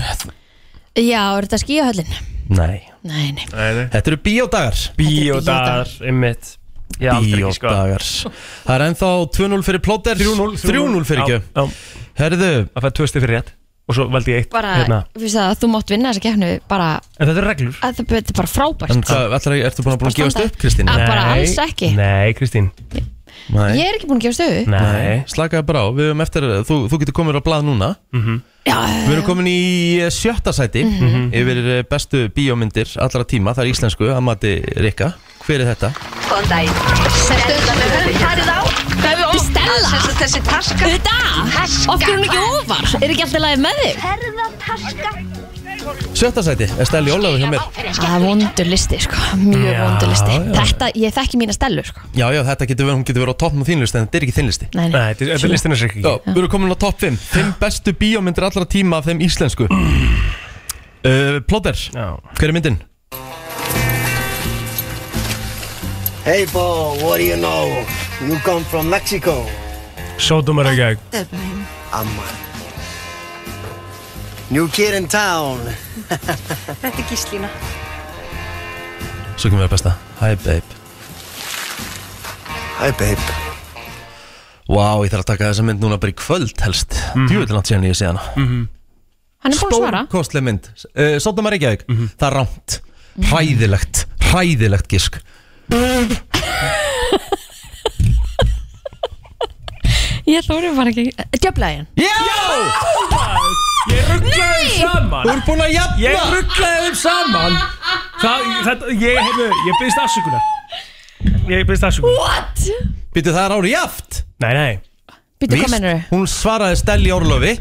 S4: Já, er þetta skíahöllin?
S3: Nei
S4: Nei, nei
S1: Þetta eru bíódagar
S3: Bíódagar, ymmit sko.
S1: Bíódagar Það er ennþá 2-0 fyrir plóter
S3: 3-0
S1: 3-0 fyrir ekki
S3: Herðu Það fæði tvö stið fyrir rétt Og svo veldi ég eitt
S4: Bara,
S3: hérna.
S4: við það að þú mátt vinna þessa keppnu bara,
S3: En þetta er reglur
S4: að það þetta er bara frábært
S1: En það, ætlar, ertu búin að búin að gefast upp, Kristín?
S4: Að bara alls ekki.
S3: Nei, Kristín
S4: Ég er ekki búin að gefa stöðu
S1: Nei Slakaði bara á, við höfum eftir Þú, þú getur komin á blað núna -hmm.
S4: Já,
S1: Við erum komin í eh, sjötta sæti
S4: Mhm.
S1: Yfir eh, bestu bíómyndir allra tíma Það er íslensku, að mati Rikka Hver er þetta?
S18: Góðan daginn. Stella, við höfum farið á. Hvað hefur ofan? Stella? Þessi, þessi taska. Þetta? Taska.
S4: Af hverju er hún ekki ofar? Er ekki alltaf lagið með þig?
S18: Ferðataska.
S1: Sjötta sæti, er Stæli Ólafur hjá mér
S4: Það er vondur listi, sko, mjög
S1: Já,
S4: vondur listi
S1: já.
S4: Þetta, ég þekki mína stellu, sko
S1: Já, já, þetta getur verið, hún getur verið á toppnum þínlisti En þetta er ekki þínlisti
S4: Nei, nei.
S3: Nei, þetta er- þetta er listin hans ekki
S1: Já, við erum komin á topp 5 5 bestu bíómyndir allra tíma af þeim
S4: [clears throat]
S1: íslensku uh, Plotter, hver er myndin?
S17: Hey Bo, what do you know? You come from Mexico.
S3: Sótum er ekki
S17: Amma. New kid in town.
S19: Þetta er gíslína
S1: Svo kemur við að besta Hi babe
S17: Hi babe
S1: Vá, ég þarf að taka þessa mynd núna bara í kvöld helst mm -hmm. Djúvillanat síðan ég sé hana mm -hmm.
S4: Hann er búin að svara
S1: Kostleg mynd uh, Sotnamar Reykjavík, það er rámt Hræðilegt, hræðilegt gisk
S4: Ég þóri bara ekki Eh, Djöflægin
S1: Já!
S3: Ég rugglaði
S4: Nei!
S3: þeim saman
S4: Þú ert
S1: búin að jafna.
S3: Ég rugglaði þeim saman Það, þetta, ég, hefðu, ég byrðist afsökunar Ég byrðist afsökunar
S4: What?
S1: Býtu það er ári jaft
S3: Nei, nei
S4: Býtu, hvað mennur
S1: Hún svaraði Stelli Orlofi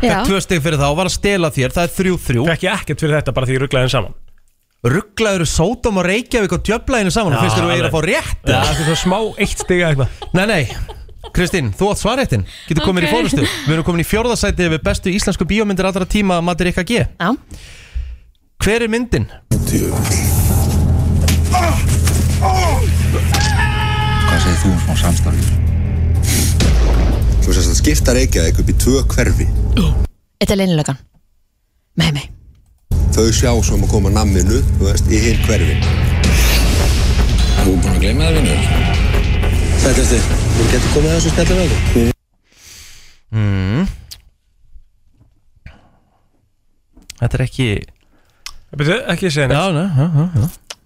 S4: Já.
S1: Fekk tvö stig fyrir það og var að stela þér Það er 3-3
S3: Fekk ég ekkert fyrir þetta bara því ég rugglaði þeim saman
S1: Rugglaður Sótam og Reykjavík og djöflæðinu saman
S3: Já,
S1: Fyrst eru við að
S3: alveg.
S1: fá rétt
S3: Já, þetta er svo smá eitt stiga eitthvað
S1: Nei, nei, Kristín, þú átt svarréttin Getur komin
S4: Ok.
S1: í fórustu Við erum komin í fjórðasæti við bestu íslensku bíómyndir allra tíma Matur Rikka G
S4: Já.
S1: Hver er myndin?
S20: Hvað segir þú um svona samstarfi? Þú sést að skipta Reykjavík upp í tvö hverfi.
S4: Þetta er leinilegan Með mig
S20: Þau sjá svo um að koma namminu, þú veist, í hinn hverfi. Þú er búin að gleyma þér vinnur. Sætjast þið, þú getur komið að þessu stættu veginn.
S1: Mm. Þetta er ekki
S3: Byrðu, ekki segja
S1: neitt Já, nei, já, já,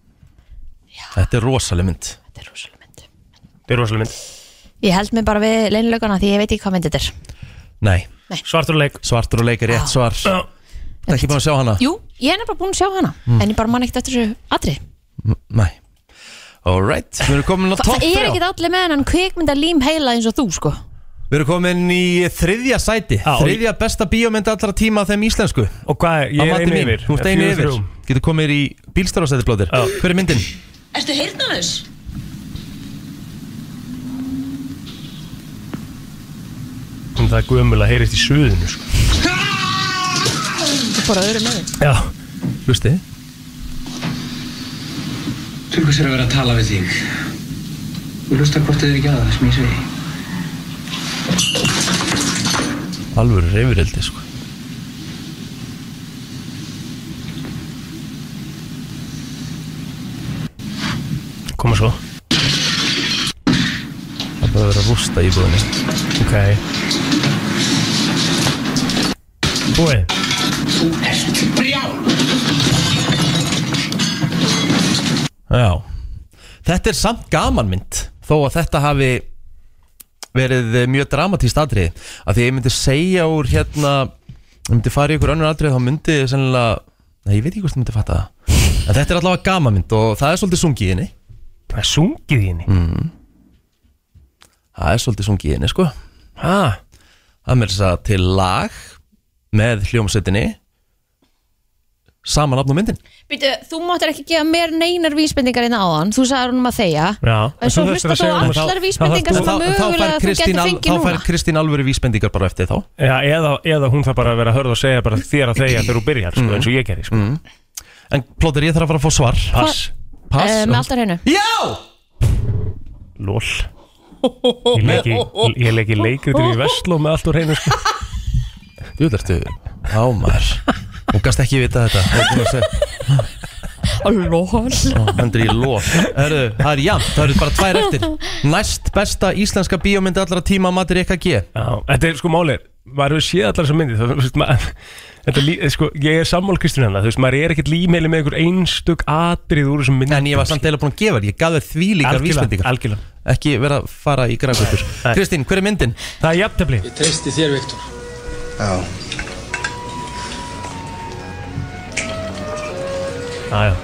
S1: já. Þetta er rosaleg mynd Þetta
S4: er rosaleg mynd
S3: Þetta er rosaleg mynd
S4: Ég held mig bara við leinilegana því ég veit ekki hvað mynd þetta er
S1: Nei,
S4: Nei.
S3: Svartur og leik
S1: Svartur og leik er rétt svar Þetta er ekki búin að sjá hana
S4: Ah. Jú, ég er nefnilega búin að sjá hana
S1: Mm.
S4: En ég bara man ekkert eftir þessu atri
S1: Nei Alright, við erum komin á topp
S4: Það er
S1: þrjá.
S4: ekkert allir með hennan kvikmynda lím heila eins og þú sko
S1: Við erum komin í þriðja sæti Þriðja besta bíómynd allra tíma af þeim íslensku
S3: Og hvað, ég er einu yfir.
S1: Þú ert einu
S3: Fjögur
S1: yfir
S3: þrjú.
S1: Getur komið í bílstarfasæti blóðir Hver er myndin?
S18: Ertu heyrnalaus?
S3: En það er gömul að heyrist í suðinu sko.
S4: Þú bara öðru með
S3: Já
S1: Hlusti
S21: Til hvers er að vera að tala við þig? Þú hlusta hvort þið er ekki að það sem ég segi.
S1: Alvöru reyfureldi sko
S3: Koma svo
S1: Það er bara að vera að rústa í búðinni
S3: Ok Búið
S21: Þú ert brjál.
S1: Já Þetta er samt gaman mynd Þó að þetta hafi verið mjög dramatíst atrið Af því ég myndi segja úr hérna Ég myndi fara í ykkur önnur atrið Þá myndi ég sennilega Nei, ég veit ekki hvort ég myndi fatta það En þetta er allavega gaman mynd og það er svolítið sungið í henni
S3: Það er sungið í henni?
S1: Mm. Það er svolítið sungið í henni, sko
S3: Ha?
S1: Það er mér þess að til lag með hljómsveitinni saman afn á myndin
S4: Býtu, þú máttir ekki gefa mér neinar vísbendingar inn á hann Þú sagði honum að þegja
S1: Já,
S4: En svo hlustar þú á allar vísbendingar sem að mögulega þú getur
S1: Þá
S4: fengið
S1: fær
S4: núna
S1: Kristín alvöru vísbendingar bara eftir þá
S3: Já, eða, eða hún þarf bara að vera að hörða og segja bara þér að
S4: Mm.
S3: þegja þegar þú byrjar sko, eins og ég gerði sko.
S1: En plóter, ég þarf að fara að fá svar
S3: Pass
S1: Pass.
S4: Eh, Með alltaf hreinu
S1: Já
S3: Lól Ég leik í- Ég leik í leikritir í Vestló með allt úr hreinu sko.
S1: Þú þarftu Á maður Hún gast ekki vita þetta Hún er búin að segja,
S4: Lól
S1: Hendur í lof Herðu, það er jafn, það eru bara tvær eftir Næst besta íslenska bíómynd allra tíma Matur Ekka G
S3: Þetta er sko málið maður hefur séð allar þessar myndir þú veist, maður, þetta, er lí- sko, ég er sammál Kristín hennar, þú veist, maður er ekkert límeili með einhver einstök atrið úr þessum myndir
S1: En ég var samt eða búin að gefa þér, ég gaf þér því líkar vísbendingar
S3: Algjörlega
S1: Ekki vera að fara í grænkvöldur Kristín, hver er myndin?
S3: Það er jafntefli
S20: Ég treysti þér, Viktor Já
S3: Aja.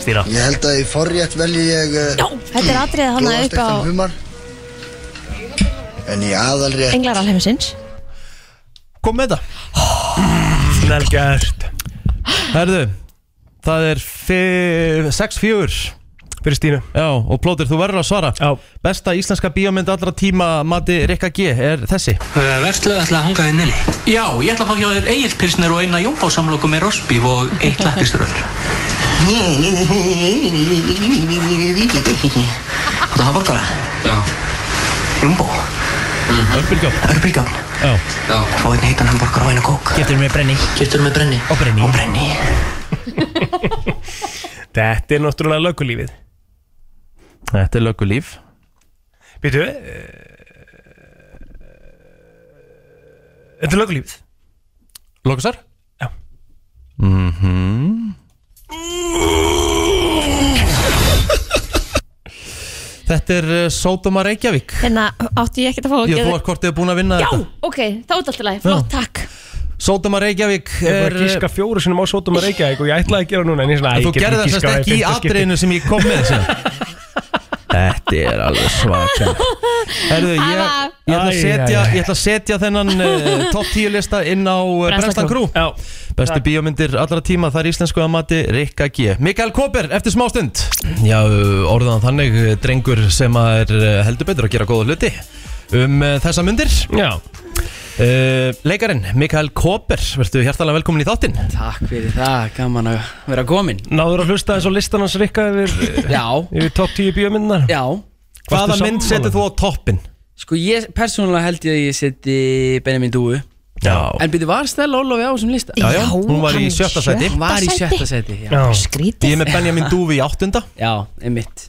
S3: Stína
S22: Ég held að í forrétt velji ég eh, Já,
S4: Þetta er atriðið hann upp á
S22: humar En í aðalrétt
S4: Englar alheimisins
S1: Kom með það
S3: Snell gert
S1: Herðu, það er 6-4
S3: Fyrir Stínu
S1: Já, og Plóter, þú verður að svara
S3: Já.
S1: Besta íslenska bíómynd allra tíma Mati Rikka G er þessi
S21: Verslu ætla að hanga þig nynni Já, ég ætla að fá hjá þér eigilpilsnir og eina jómbásamlóku með rosbíf og eitt lakristuröll Þetta hafa borgara? Já Jómbó
S1: Örbylgjón
S21: Örbylgjón
S1: Já
S21: Já Fá einn heitan hambúrgar og eina kók Giftur með brenni Giftur með brenni Og brenni Og brenni
S3: [laughs] þetta er náttúrulega lögulífið
S1: Þetta er löggulíf
S3: Býtu eh, Þetta er lögulífið
S1: Lókusar?
S3: Já
S1: mm -hmm. Þetta er uh, Sódoma Reykjavík
S4: Hérna átti ég ekkert að fá að
S1: Ég þú
S4: gefa
S1: var hvort þið er búin að vinna
S4: Já,
S1: þetta
S4: ok, þá er þetta alltaf læg, flott, takk
S1: Sódoma Reykjavík
S3: Ég er
S1: er eh,
S3: bara að gíska fjóru sinum á sótum að reykja og ég ætlaði að gera núna en ég er svona
S1: En
S3: æ,
S1: þú
S3: ég get
S1: gerði það
S3: giskað
S1: semst
S3: í
S1: ekki í
S3: fimmta skipti.
S1: atriðinu sem ég kom með
S3: [laughs]
S1: sem. Þetta er alveg svaka Herðu, ég, ég, ætla að
S3: Æ,
S1: setja,
S3: æ, æ.
S1: ég ætla að setja þennan uh, topp 10 lista inn á uh,
S3: Brennslan
S1: Brenslan Crew Bestu bíómyndir allra tíma, það er íslensku að mati Rikka G. Mikael Kóper, eftir smástund Já, orðan þannig uh, drengur sem að er uh, heldur betur að gera góða hluti um uh, þessa myndir
S3: Já
S1: Eh, Leikarinn, Mikael Kóper, verður hjartalega velkomin í þáttinn
S12: Takk fyrir það, gaman að vera komin
S3: Náður að hlusta eins og listan hans rikka yfir, eh,
S12: Já
S3: yfir topp 10 bíómyndunar
S12: Já
S1: Hvaða mynd setur þú á toppin?
S12: Sko ég, persónulega held ég að ég seti Benjamin Dúu
S1: Já
S12: En byrju, var Stella Ólofi á þessum lista?
S1: Já, já, Já, hún var í hann er í sjötta sæti. sjötta
S12: Var í
S1: sæti.
S12: sjötta sæti, já,
S1: Já. Skrítið. Ég er með Benjamin Dúfu í áttunda
S12: Já, einmitt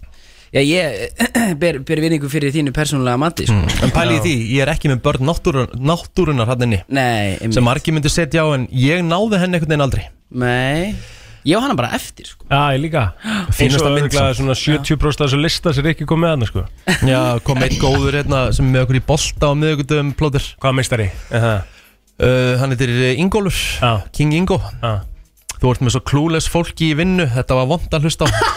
S12: Já, ég [clears throat] ber, ber vinningu fyrir þínu persónulega mati sko.
S1: En pæli í því, ég er ekki með börn náttúrun, náttúrunar hann inni
S12: Nei, einmitt.
S1: Sem margir myndi setja á en ég náði henni einhvern veginn aldrei
S12: Nei Ég á hana bara eftir sko.
S3: Já, ég líka
S1: Fínasta mynd
S3: Eins og örgulega
S1: samt.
S3: svona 70% af þessu lista sem Rikki kom með hann sko.
S1: Já, kom eitt góður hérna sem er með okkur í bolta á miðugundum plóður
S3: Hvað meistari? Uh,
S1: hann heitir eh, Ingólfur, King Ingo Þú ert með svo klúles fólki í vinnu, þetta var vond að hlusta á
S12: Já,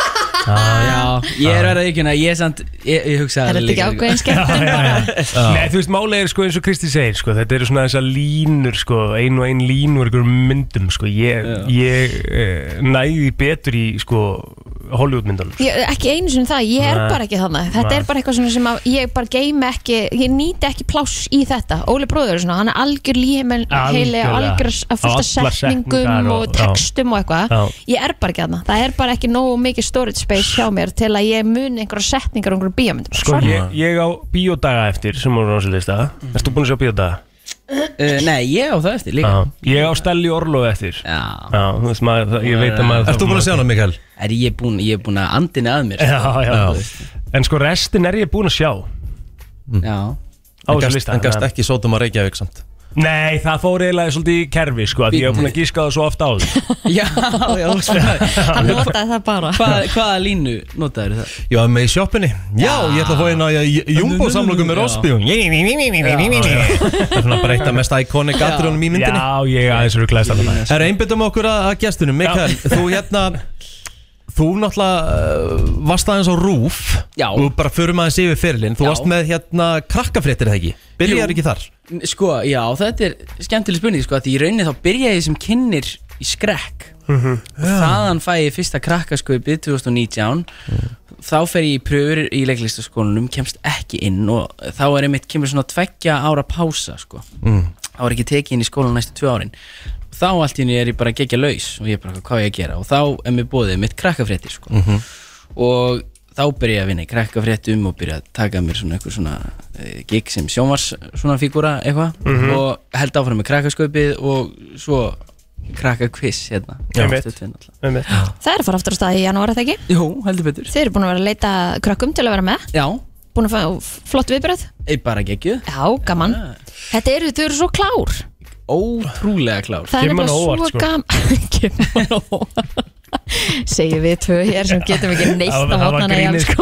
S1: Ah.
S12: ég er verið að ekki að ég samt Ég, ég hugsa
S4: Er þetta ekki ákveðin skemmtun bara?
S3: Nei, þú veist, málega er sko eins og Kristi segir sko, Þetta eru svona þessar línur sko, Ein og ein línur ykkur myndum sko. Ég, ég eh, næði betur í sko, Hollywoodmyndunum
S4: Ég, ekki einu sinni það, ég er
S3: Nei.
S4: bara ekki þannig þetta
S3: Nei.
S4: er bara eitthvað svona sem að ég bara geima ekki ég nýti ekki pláss í þetta Óli bróður er svona, hann er algjör líheimil heili og
S3: Algjörlega.
S4: algjör að fullta
S3: Allar setningar
S4: setningum og,
S3: og- já.
S4: textum og
S3: Já.
S4: eitthvað ég er bara ekki þannig, það er bara ekki nógu mikið storage space hjá mér til að ég muni einhverja setningar og einhverju bíómyndum
S3: sko, ég, ég á bíódaga eftir sem voru á þessu lista mm. Erstu búin að sjá bíódaga?
S12: Uh, nei, ég á það eftir líka
S3: Já, ég á Stelli Orlof eftir
S12: Já,
S3: Já, þú veist maður, það- ég veit að maður
S1: Ertu búin að sjá hana, Mikael?
S12: Er ég búin, ég er búin að andinni að mér sko.
S3: Já, já, En sko restin er ég búin að sjá
S1: Eh.
S12: Já
S3: Á
S1: En
S3: þessu
S1: gast-
S3: lista
S1: En gast ekki sótum að reykja samt
S3: Nei, það fór eiginlega svolítið í kerfi sko, að ég hef búin að gíska það svo oft áður
S12: Já, já,
S4: [laughs] hann notaði það bara
S12: Hvað, hvaða línu notaður það?
S1: Já, með í sjoppunni Já, ég ætla að fá einn að jumbo samlokum með
S12: Já.
S1: Rósbjón Það er svona bara eitt af mest iconic atriðunum í myndinni
S3: Já, ég aðeins eru klæðist alveg
S1: Það er einbyttum okkur að, að gestunum Mikael, þú hérna Þú náttúrulega uh, varst aðeins á rúf
S12: Já.
S1: Þú bara förum aðeins yfir fyrirlin Þú
S12: Já.
S1: varst með hérna krakkafréttir eða ekki Byrjar
S12: Jú.
S1: ekki
S12: [laughs]
S1: þar
S12: Sko, já, þetta er skemmtileg spurning sko, að Því í rauninni þá byrja ég sem kynir í skrekk Og þaðan fæ ég fyrsta krakkaskaupið 2019 Þá fer ég í pröfur í leiklistaskólanum Kemst ekki inn og þá er einmitt Kemur svona tveggja ára pása sko.
S23: Mm.
S12: Þá er ekki tekið inn í skólan næstu tvö árin Þá allt í henni er ég bara gegja laus Og ég er bara hvað á ég að gera Og þá er mér bóðið mitt krakkafréttir sko.
S23: Mhm.
S12: og þá byrja ég að vinna í krakkafréttum og byrja að taka mér svona eitthvað svona eh, gig sem sjónvars svona fígúra eitthvað
S3: Mhm.
S12: og held áfram með krakkaskaupið og svo krakkakviss hérna
S3: Já.
S12: Á Stöð 2 náttúrulega.
S4: Það er að fara aftur á staði í janúar, er það ekki?
S12: Jú, heldur betur
S4: Þið eru búin að vera að leita krökkum til að vera með
S12: Já
S4: Búin að fá flott viðbröð
S12: Ei, bara geggju
S4: Já, gaman Þetta eru, þau eru svo klár
S12: Ótrúlega klár
S4: Það er bara svo
S1: sko.
S4: gaman [laughs] Kemur hann á óvart. Segjum við tvö hér sem getum ekki neitt
S1: Það
S4: að
S1: var- það var
S4: mótnana í
S1: grínið.
S4: alls
S1: sko.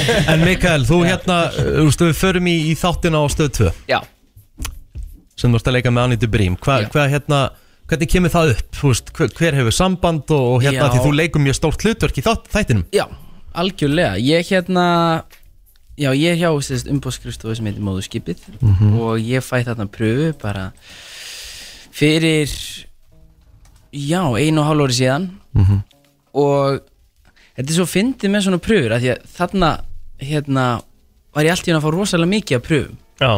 S1: [laughs]
S4: konar
S1: En Mikael, þú hérna, þú veist, við förum í, í þáttina á stöð 2
S12: Já
S1: Sem þú veist að leika með Anita Brím Hva, Hvað hérna, hvernig kemur það upp? Þú veist, hver, hver hefur samband og, og hérna
S12: Já.
S1: Því þú leikum mjög stórt hlutverk í þátt, þættinum
S12: Já, algjörlega Ég hérna Já, ég er hjá umbóðskristofu sem heitir Móðurskipið
S1: Mhm.
S12: og ég fæ þarna pröfu bara fyrir já, einu og hálf ári síðan
S1: Mhm.
S12: og þetta er svo fyndið með svona pröfur að því að þarna hérna var ég allt í hún að fá rosalega mikið að pröfum
S3: Já,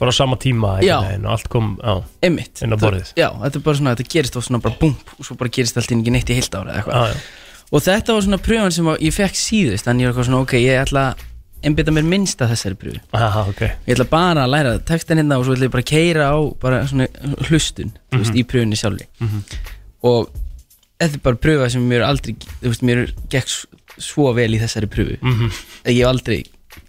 S3: bara á sama tíma einhvern
S12: Já.
S3: veginn og allt kom á,
S12: Einmitt
S3: inn á borðið
S12: Já, þetta er bara svona, þetta gerist þá svona bara búmp og svo bara gerist allt í einu ekki neitt í heilt ára eða
S3: Ah,
S12: eitthvað Og þetta var svona pröfun sem að ég fekk síðust en ég var eitthvað svona, ok, ég ætla að einbytta mér minnst að þessari pröfu
S3: Aha, ok
S12: Ég ætla bara að læra textin hérna og svo ætla ég bara að keira á bara svona hlustun, þú veist,
S3: Mhm.
S12: í pröfunni sjálfri
S3: Mhm.
S12: Og þetta er bara pröfa sem mér aldrei, þú veist, mér gekk s- svo vel í þessari pröfu
S3: Mhm.
S12: að Ég hef aldrei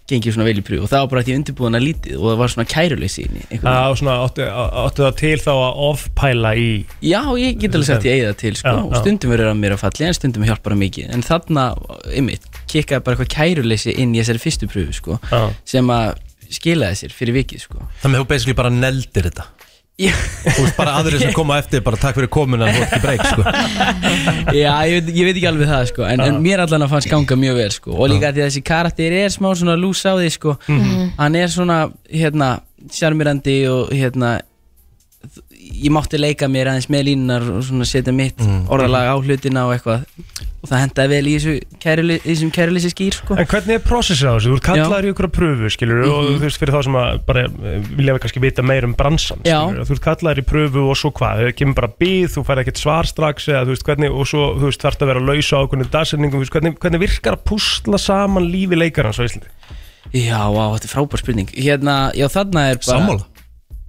S12: gengið svona vel í pröfu og það var bara að ég undirbúðan að lítið og það var svona kæruleysi í henni einhvern veginn.
S3: Það var svona, áttu, áttu það til þá að offpæla í
S12: Já, ég get alveg sagt ég eigi það til sko,
S3: Já,
S12: og
S3: já.
S12: stundum verður að mér að falli en stundum hjálpar það mikið en þarna, ymmið, kikkaði bara eitthvað kæruleysi inn í þessari fyrstu pröfu sko,
S1: Já.
S12: sem að skilaði sér fyrir vikið sko.
S1: Þannig að þú basically bara neldir þetta Þú veist, bara aðrir sem koma á eftir, bara takk fyrir komuna En þú ert ekki breyk, sko
S12: Já, ég veit, ég veit ekki alveg það sko, en, en mér allan að fannst ganga mjög vel sko, og líka því að þessi karakter er smá svona lús á því sko.
S3: Mhm.
S12: hann er svona, hérna, sjarmirandi og hérna ég mátti leika mér aðeins með línunar og svona setja mitt
S3: Mhm.
S12: orðalag á hlutina og eitthvað og það hendaði vel í þessu kæruleysi, í þessum kæruleysi skýr sko.
S3: En hvernig er prósessið á þessu? Þú ert kallaður í ykkur pröfu, skilur og
S12: Mhm.
S3: þú veist fyrir þá sem að bara eh, vilja við kannski vita meir um bransan
S12: Já.
S3: skilurðu, að Þú ert kallaður í pröfu og svo hvað? Þau kemur bara bíð, þú færði ekkert svar strax eða þú veist hvernig, og svo þú veist þarf að vera að lausa á hvernig dagsetningum, þú veist hvernig, hvernig virkar að púsla saman lífi leikarans á Íslandi?
S12: Já, á, þetta er frábær spurning Hérna, já þarna er bara
S3: Sammála.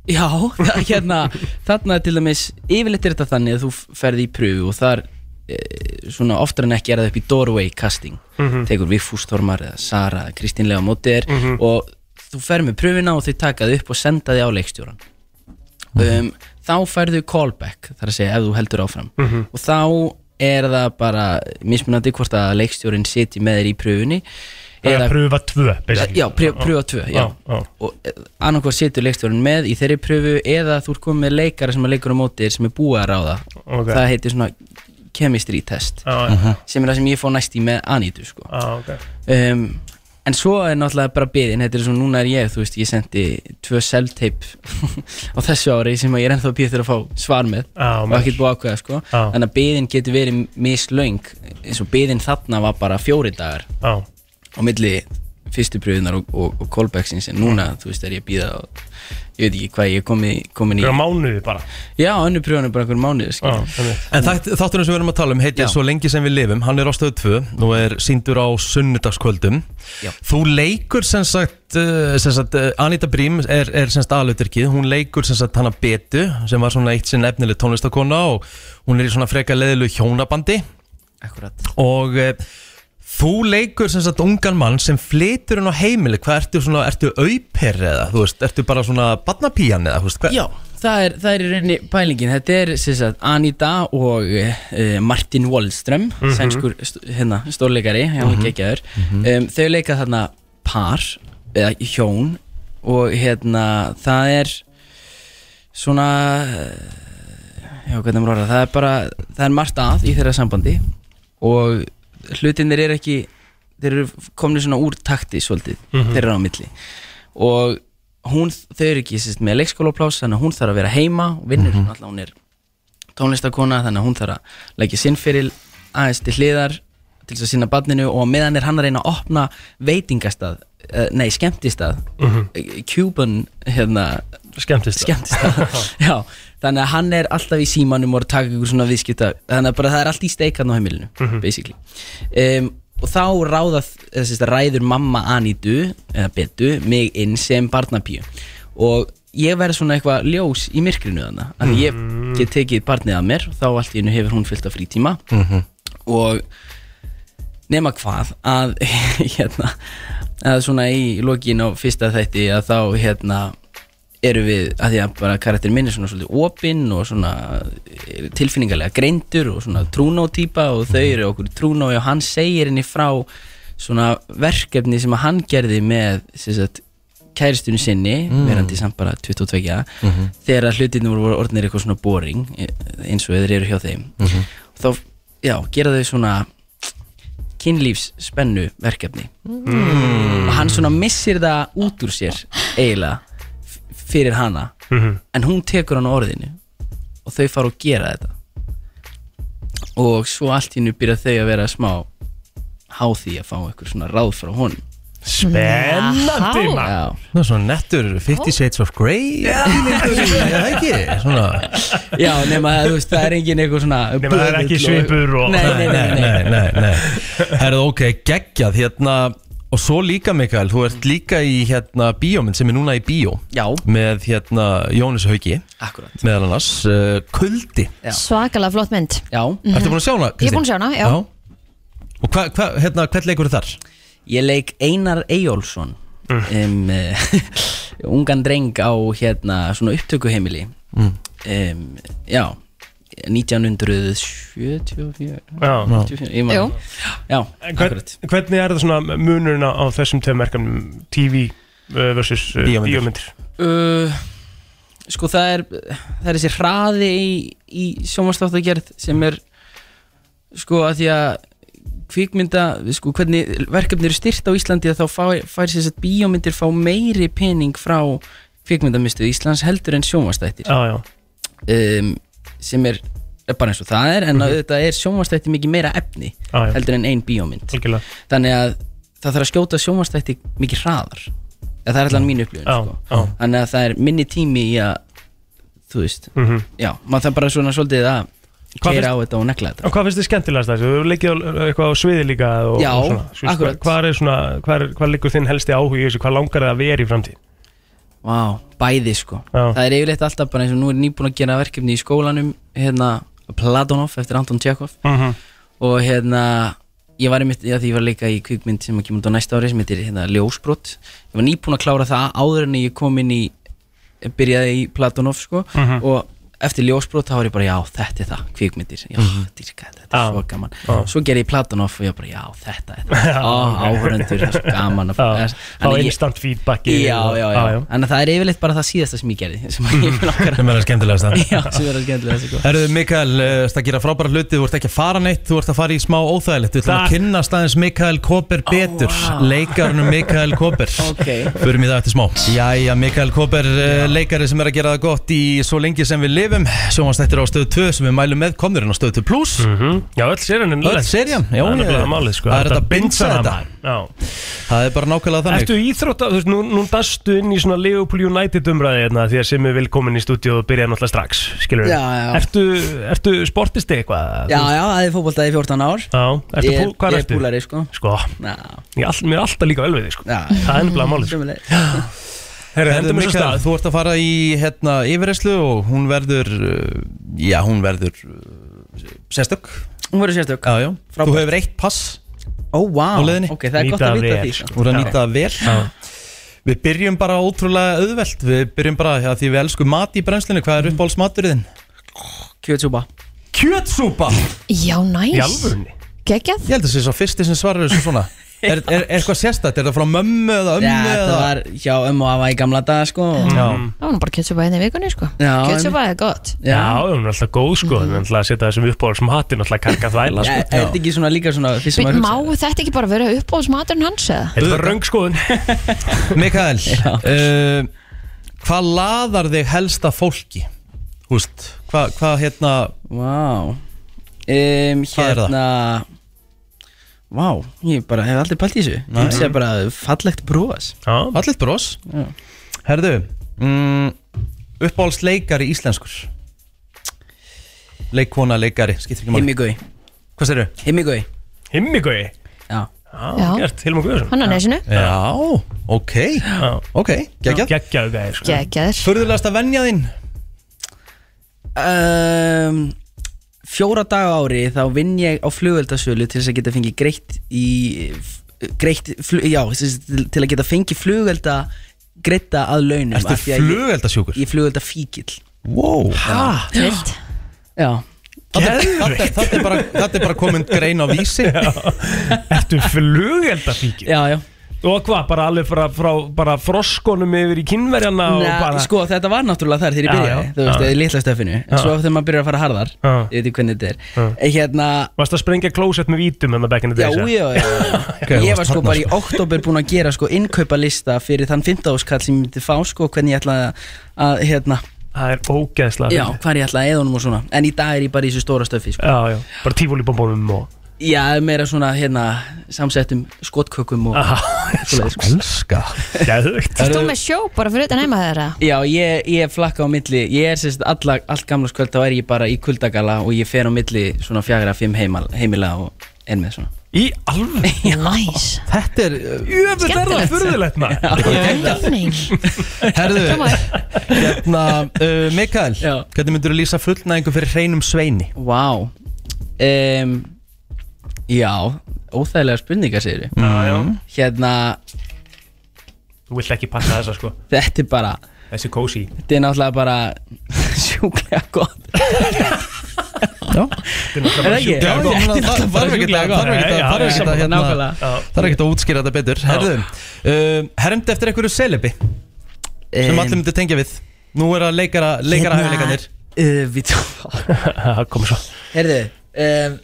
S12: Já, það- hérna, þarna er til dæmis Yfirleitt er þetta þannig að þú ferði í pröfu Og þar, e, svona oftar en ekki er það upp í doorway casting
S3: Mhm.
S12: Tekur Vigfús Tormar eða Sara eða Kristín Lea Móttir
S3: Mhm.
S12: Og þú fer með pröfuna og þau taka þau upp og senda þau á leikstjóran um, Þá færðu callback, þar að segja ef þú heldur áfram
S3: Mhm.
S12: og þá er það bara mismunandi hvort að leikstjórin sitji með þér í pröfunni
S3: Það er að prufa tvö, basically.
S12: Já, pröf, pröfa tvö, já,
S3: Já, já.
S12: og annarkvað situr leikstjórin með í þeirri pröfu eða þú ert komið með leikara sem að leikur á móti þér sem er búið að ráða
S3: Ok.
S12: það heitir svona chemistry test
S3: Já, já.
S12: sem er það sem ég fór næst í með Anitu sko.
S3: ah, okay.
S12: um, en svo er náttúrulega bara biðin þetta er svona núna er ég, þú veist, ég sendi tvö self-tape [laughs] á þessu ári sem að ég er ennþá býð þegar að fá svar með
S3: Já,
S12: og
S3: maður.
S12: ekkert búið að ákveða sko.
S3: Já.
S12: þannig að biðin getur verið mislaung eins og biðin þarna var bara fjóri dagar
S3: Já.
S12: á milli fyrstu pröfunar og, og, og callbacksins en núna, þú veist, er ég að býða og ég veit ekki hvað ég er komin, komin í
S3: Einhverja mánuði bara
S12: Já, önnu pröfunum bara einhverjum mánuði skilur.
S1: En þætt- þátturinn sem við erum að tala um heitir
S12: Já.
S1: Svo lengi sem við lifum, hann er á stöðu 2 Nú er síndur á sunnudagskvöldum
S12: Já.
S1: Þú leikur sem sagt, uh, sem sagt uh, Anita Brím er, er sem sagt aðluturkið Hún leikur sem sagt hana Betu sem var svona eitt sinn efnileg tónlistakona og hún er í svona freka leðilu hjónabandi
S12: Akkurat
S1: Og uh, þú leikur sem sagt ungan mann sem flytur hún á heimili Hvað ertu svona, ertu auper eða, þú veist, ertu bara svona badnapíjan eða, þú veist, hvað
S12: Já, það er, það er í rauninni pælingin Þetta er sem sagt Anita og uh, Martin Wallström
S3: Mhm.
S12: sænskur st hérna, stórleikari hann
S3: Mhm.
S12: er geggjaður um, Þau leika þarna par eða hjón og hérna það er svona eh, já, hvernig maður orða það er bara, það er margt að í þeirra sambandi og hlutinir er ekki þeir eru komni svona úr takti svolítið
S3: Mhm.
S12: þeirra á milli og hún, þau eru ekki sérst, með leikskólaplás þannig að hún þarf að vera heima og vinnur mm
S3: Mhm.
S12: alltaf hún er tónlistakona þannig að hún þarf að leggja sinnferil aðeins til hliðar til þess að sinna barninu og á meðan er hann að reyna að opna veitingastað uh, nei, skemmtistað
S3: Mhm.
S12: Eh, Cuban hérna,
S3: Skemmtistað.
S12: skemmtistað. [laughs] Já, þannig að hann er alltaf í símanum og er að taka ykkur svona viðskipta þannig að bara það er allt í steikarn á heimilinu basically um, og þá ráða, eða sérst, ræður mamma Anitu, eða Betu, mig inn sem barnapíu og ég verð svona eitthvað ljós í myrkrinu þannig að ég get tekið barnið að mér þá allt í einu hefur hún fyllt á frítíma
S23: Mhm.
S12: og nema hvað að [laughs] hérna að svona í lokin á fyrsta þætti að þá hérna eru við að því að bara karakter minn er svona svolítið opinn og svona eh, tilfinningalega greindur og svona trúnótýpa og
S21: Mhm.
S12: þau eru okkur trúnói og hann segir henni frá svona verkefni sem að hann gerði með sem sagt, kæristunni sinni
S21: Mm.
S12: verandi samt bara 22
S21: Mhm.
S12: þegar að hlutinu voru orðnir eitthvað svona boring eh, eins og þeir eru hjá þeim
S21: Mhm.
S12: þá já, gera þau svona kynlífsspennu verkefni
S21: Mm.
S12: og hann svona missir það út úr sér eiginlega f- fyrir hana
S21: Mhm.
S12: en hún tekur hann á orðinu og þau fara og gera þetta og svo allt í nú byrja þau að vera smá há því að fá einhver svona ráð frá hún
S1: Spennandi, Jaha. maður.
S12: Já.
S1: Það er svona nettur 50 Shades of Grey Já, það ekki Svona
S12: Já, nema að þú veist, það er engin eitthvað svona
S1: Nema það er ekki svipur og-
S12: Nei, nei, nei, nei,
S1: nei, nei, nei. Herðu, ok, geggjað hérna Og svo líka, Mikael, þú ert líka í hérna bíóminn sem er núna í bíó
S12: Já
S1: Með hérna Jónis Hauki
S12: Akkurat
S1: Meðal annars, uh, Kuldi
S4: Svakalega flott mynd
S12: Já
S4: Mhm.
S1: Ertu búin að sjá hana,
S4: Ég er búin að sjá hana, já.
S1: Og hvað, hva, hérna, hvern leikur þar?
S12: Ég leik Einar Eyjólfsson
S3: Mm.
S12: um, uh, [laughs] Ungan dreng á hérna svona upptökuheimili
S1: Mm.
S12: um, Já 1974
S3: Já.
S12: 94, ég man-
S3: Jú.
S12: Já,
S3: En hvern,
S12: akkurat
S3: hvernig er það svona munurinn á, á þessum tveim merkjum TV uh, versus uh,
S1: Bíómyndir.
S3: bíómyndir
S12: uh, Sko það er Það er þessi hraði í, í sjónvarsláttagerð sem er sko að því að kvikmynda, sko hvernig verkefni eru styrt á Íslandi að þá fær, fær sér að bíómyndir fá meiri pening frá kvikmyndamistuð Íslands heldur en sjónvarslættir
S3: já, já.
S12: Um, sem er er bara eins og það er en mm
S3: Mhm.
S12: auðvitað er sjónvarslætti mikið meira efni
S3: Já, já.
S12: heldur en ein bíómynd
S3: Algjörlega.
S12: þannig að það þarf að skjóta sjónvarslætti mikið hraðar Eða það er allan mín upplifun
S3: Já,
S12: sko.
S3: já.
S12: þannig að það er minni tími í að þú veist,
S3: Mhm.
S12: já, maður þarf bara svona svolítið að
S3: Hvað
S12: keira
S3: finnst-
S12: á þetta og negla þetta
S3: Og hvað finnst þið skemmtilegast þessu? Þú hefur leikið á- eh, eitthvað á sviði líka og,
S12: Já,
S3: og svona. Svo veist,
S12: akkurat.
S3: Hvað, hvað er svona, hvað, er, hvað liggur þinn helsti áhuga í þessu? Hvað langar það að vera í framtíð?
S12: Vá, bæði sko það er yfirleitt alltaf bara eins og nú er nýbúin að gera verkefni í skólanum hérna Platonov eftir Anton Tjekov
S3: Mhm.
S12: og hérna ég var einmitt, já því ég var líka í kvikmynd sem að kemur út á næsta ári sem heitir hérna Ljósbrot ég var nýbúin að klára það áður en ég kom inn í byrjaði í Platonov sko
S21: Mhm.
S12: og eftir Ljósbrot þá var ég bara já þetta er það, kvikmyndir já,
S21: Mhm.
S12: dýrka þetta, þetta er svo gaman svo gerði ég Platonov og ég bara já þetta er það,
S21: Já,
S12: Ó,
S21: ok.
S12: áhörundur, það er svo gaman að-
S3: Já. Fá
S12: Þannig ég-
S3: instant feedbackið
S12: já,
S3: og-
S12: já, já,
S3: Já,
S12: já.
S3: já.
S12: En það er yfirleitt bara það síðasta sem ég gerði [laughs] sem ég vil okkar
S1: [laughs] Sem er að skemmtilegast
S4: [laughs]
S1: það
S12: Já, sem er að skemmtilegast sko.
S1: Herðu Mikael, uh, það gera frábæra hluti, þú ert ekki að fara neitt, þú ert að fara í smá óþægilegt Þú ætlum að
S12: Takk.
S1: kynnast aðeins Mikael Koper betur,
S12: vá.
S1: wow. leikarunum Mikael Koper
S12: okay.
S1: Förum í það eftir smá Jæja, Mikael Koper, uh, leikari sem er að gera það gott í svo lengi sem við lifum Sjómanstættir á stöð 2 sem við mælum með, komður inn á stöð 2 plus
S3: -hmm. Já, öll serían er
S1: Öll
S3: lest.
S1: serían, já
S3: Það er nefnilega
S1: ég-
S3: málið, sko.
S1: Það er
S3: Þetta
S1: þetta að bindsa
S3: bindsar
S1: þetta
S3: hana. Já
S1: Það er bara nákvæmlega þannig
S3: Ertu íþrótt að, þú veist, nú, nú dastu inn í svona Leopold United umræði hérna því að sem er velkomin í stúdíu og byrjaði náttúrulega strax, skilur
S12: Já, já.
S3: Ertu, ertu sportisti eitthvað?
S12: Já, já, það er fótboltaði 14 ár
S3: Já, ertu
S12: Ég-
S3: pú, hvað
S12: ég er
S3: ertu?
S12: púlari, sko.
S3: Sko,
S12: Já.
S3: ég, all, mér er alltaf líka vel við þig, sko
S12: Já,
S3: Það er nefnilega málið, sko
S12: Sömuleiðis.
S3: Herru,
S1: Herðu,
S3: hendum við svo
S1: Mikael,
S3: stað
S1: Þú ert að fara í hérna yfirreyslu og hún verður, uh, já hún verður uh, sérstök
S12: Hún verður sérstök
S1: Já, já, þú hefur eitt pass
S12: Ó, vá,
S1: á leiðinni
S12: ok, það er gott að vita því sko.
S1: Þú er að
S12: Já.
S1: nýta það vel Við byrjum bara ótrúlega auðvelt Við byrjum bara að því við elskum mat í brennslinu Hvað er uppáhaldsmaturinn?
S12: Kjötsúpa
S1: Kjötsúpa?
S4: Já, næs Geggjað
S1: Ég held að það sé svo fyrsti sem svarar þessu [laughs] svona Er, er, er eitthvað sérstætt? Er það frá mömmu eða ömmu?
S12: Já,
S1: eða?
S12: það var hjá ömmu og afa í gamla daga sko
S1: Já,
S4: Það var nú bara kjötsupa hérna í vikunni sko
S12: Já,
S4: Kjötsupa er gott
S3: Já, það er alltaf góð, sko Það er alltaf að setja þessum uppáhaldsum hattin alltaf karga þvæla,
S12: Er
S3: sko
S12: þetta ekki svona líka svona fyrst sem
S4: Bíddu,
S12: maður
S4: Má
S12: hugsa?
S4: þetta ekki bara vera uppáhaldsmaturinn hans eða?
S3: Þetta var röng skoðun
S1: Mm. Mikael uh, Hvað laðar þig helst að fólki? Húst, hvað hva, hérna
S12: Vá um,
S1: Hvað er
S12: Hérna Vá, ég bara hef aldrei pælt í þessu Ég
S1: Nei.
S12: hugsa bara fallegt brós
S1: Allit bros Herðu mm, Uppáhaldsleikari íslenskur Leikona, leikari, skiptir ekki máli
S12: Himmigau
S1: Hvað sér
S12: Himmigau
S3: Himmigau
S12: Já,
S4: Já.
S3: gert, Hilma Guðarsson
S4: Hann á nesinu.
S1: Já, ok Ok, geggjað
S3: Geggjað gæðir
S4: Geggjaður.
S1: Furðulegasta venja þín?
S12: um, Fjóra daga á ári þá vinn ég á flugveldasölu til þess að geta fengið greitt í greitt, flug, já, sem sagt, til til að geta fengið flugvelda greitta að launum
S1: Ertu
S12: af því að ég-
S1: flugeldasjúkur?
S12: Ég flugvelda fíkil
S1: Wow
S12: Hæ?
S4: Trillt
S12: Já
S1: Þetta er- þetta er bara- þetta er bara komin grein á vísi
S3: Ertu flugeldafíkir?
S12: [laughs] Já, já
S3: Og hvað, bara alveg frá, frá bara froskonum yfir í kynverjana og
S12: Nei,
S3: bara
S12: sko þetta var náttúrulega þar þegar ég
S3: Já,
S12: byrjaði
S3: já,
S12: þú veist,
S3: já.
S12: eða í litla stefinu en
S3: Já.
S12: svo þegar maður byrjar að fara harðar ég veit ekki hvernig þetta er Eh, hérna
S3: Varst að sprengja klósett með vítum en það back in the
S12: Já,
S3: days
S12: já,
S3: eh?
S12: já, já.
S3: [laughs]
S12: Ég var sko
S3: þarna,
S12: bara í
S3: sko.
S12: oktober búinn að gera sko innkaupalista fyrir þann 15 áskall sem ég myndi fá sko hvernig ég ætla að hérna
S3: Það er ógeðslega
S12: Já,
S3: fyndið.
S12: hvað ég ætla að eða honum og svona En í dag er ég bara í þessu stóra stöfi sko.
S3: já, já, bara tífólibombónum og
S12: Já, meira svona hérna samsettum skotkökum
S3: Ah.
S12: og svoleiðis, sko.
S1: Elska
S3: Gæðugt
S4: Þú með sjó bara fyrir utan heima þeirra
S12: Já, ég, ég flakka á milli Ég er sérst alla, allt gamla skvöld Þá er ég bara í kuldagala og ég fer á milli Svona fjagra fimm heimal, heimila og enn með svona
S3: Í alveg?
S4: Næs
S1: [laughs] Þetta er uh,
S3: Jöfnveld er það furðulegt
S1: maður Herðu Hérna, uh, Mikael Hvernig myndur þú lýsa fullnæðingu fyrir hreinum sveini?
S12: Vá um, Já, óþægilega spurningar segir við
S3: Já, já.
S12: Hérna,
S3: Þú vilt ekki passa þessa sko
S12: þetta er bara
S3: Þessi kósi
S12: Þetta er náttúrulega bara [laughs] sjúklega gott
S3: Þetta er náttúrulega bara
S1: Þetta er náttúrulega bara sjúklega
S3: sjúklega gott.
S1: gott. Þarf ekki að- þarf ekki að- hérna, þarf ekki að útskýra þetta betur Herðu, um, hermdi eftir einhverju selebi Sem
S12: Em.
S1: allir myndu tengja við Nú er að leikara, leikara hæfileikarnir
S12: uh, hérna- Við [laughs] Það
S3: kom svo
S12: Herðu um,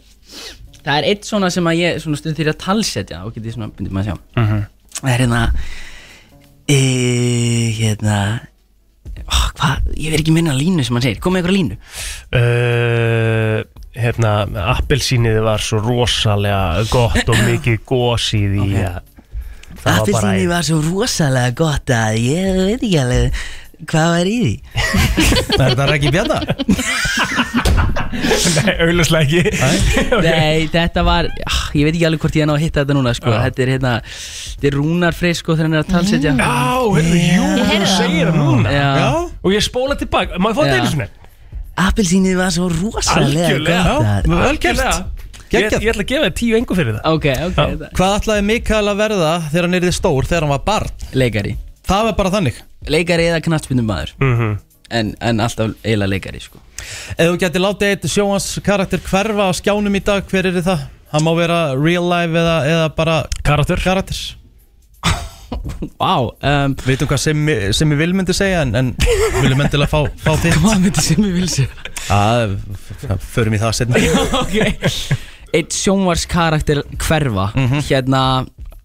S12: Það er eitt svona sem að ég svona stund þýr að talsetja og getið svona, myndið maður að sjá
S3: Mhm.
S12: Það er hérna e, Hérna ó, Hvað, ég verð ekki minna línu sem hann segir Komið ykkur línu
S3: uh, hérna, appelsínið var svo rosalega gott og mikið gósið í okay. það var bara
S12: Appelsínu var svo rosalega gott að ég veit ekki alveg hvað var í því
S1: Er þetta Raggi Bjarna?
S3: [laughs] Nei, auðvitað ekki
S12: Nei, þetta var, ah, ég veit ekki alveg hvort ég er ná að hitta þetta núna sko. Þetta er hérna, þetta er Rúnar Freyr sko þegar hann er að talsetja
S3: [laughs] Já, heyrðu, jú, þú segir það núna Og ég spóla tilbaka, má ég fá þetta
S12: Já.
S3: einu sinni?
S12: Appelsínið var svo rosalega
S3: Algjörlega,
S12: gott
S3: já, vel gert. Ég, ég ætla að gefa þér tíu engu fyrir það
S12: Ok, ok
S3: Já.
S1: Hvað ætlaði Mikael að verða þegar hann er stór þegar hann var barn?
S12: Leikari
S1: Það var bara þannig
S12: Leikari eða knattspindum maður
S3: -hmm.
S12: en, en alltaf eiginlega leikari sko.
S1: Ef þú gæti látið eitt sjóhans karakter hverfa á skjánum í dag, hver er það? Hann má vera real life eða, eða bara
S3: Karakter
S1: Karakter
S12: Vá um,
S1: Veitum hvað sem, sem ég vil myndi segja en, en viljum endilega fá, fá þitt
S12: Hvað myndi sem ég vil segja?
S1: Að, förum í það setna
S12: Eitt sjónvars karakter hverfa Hérna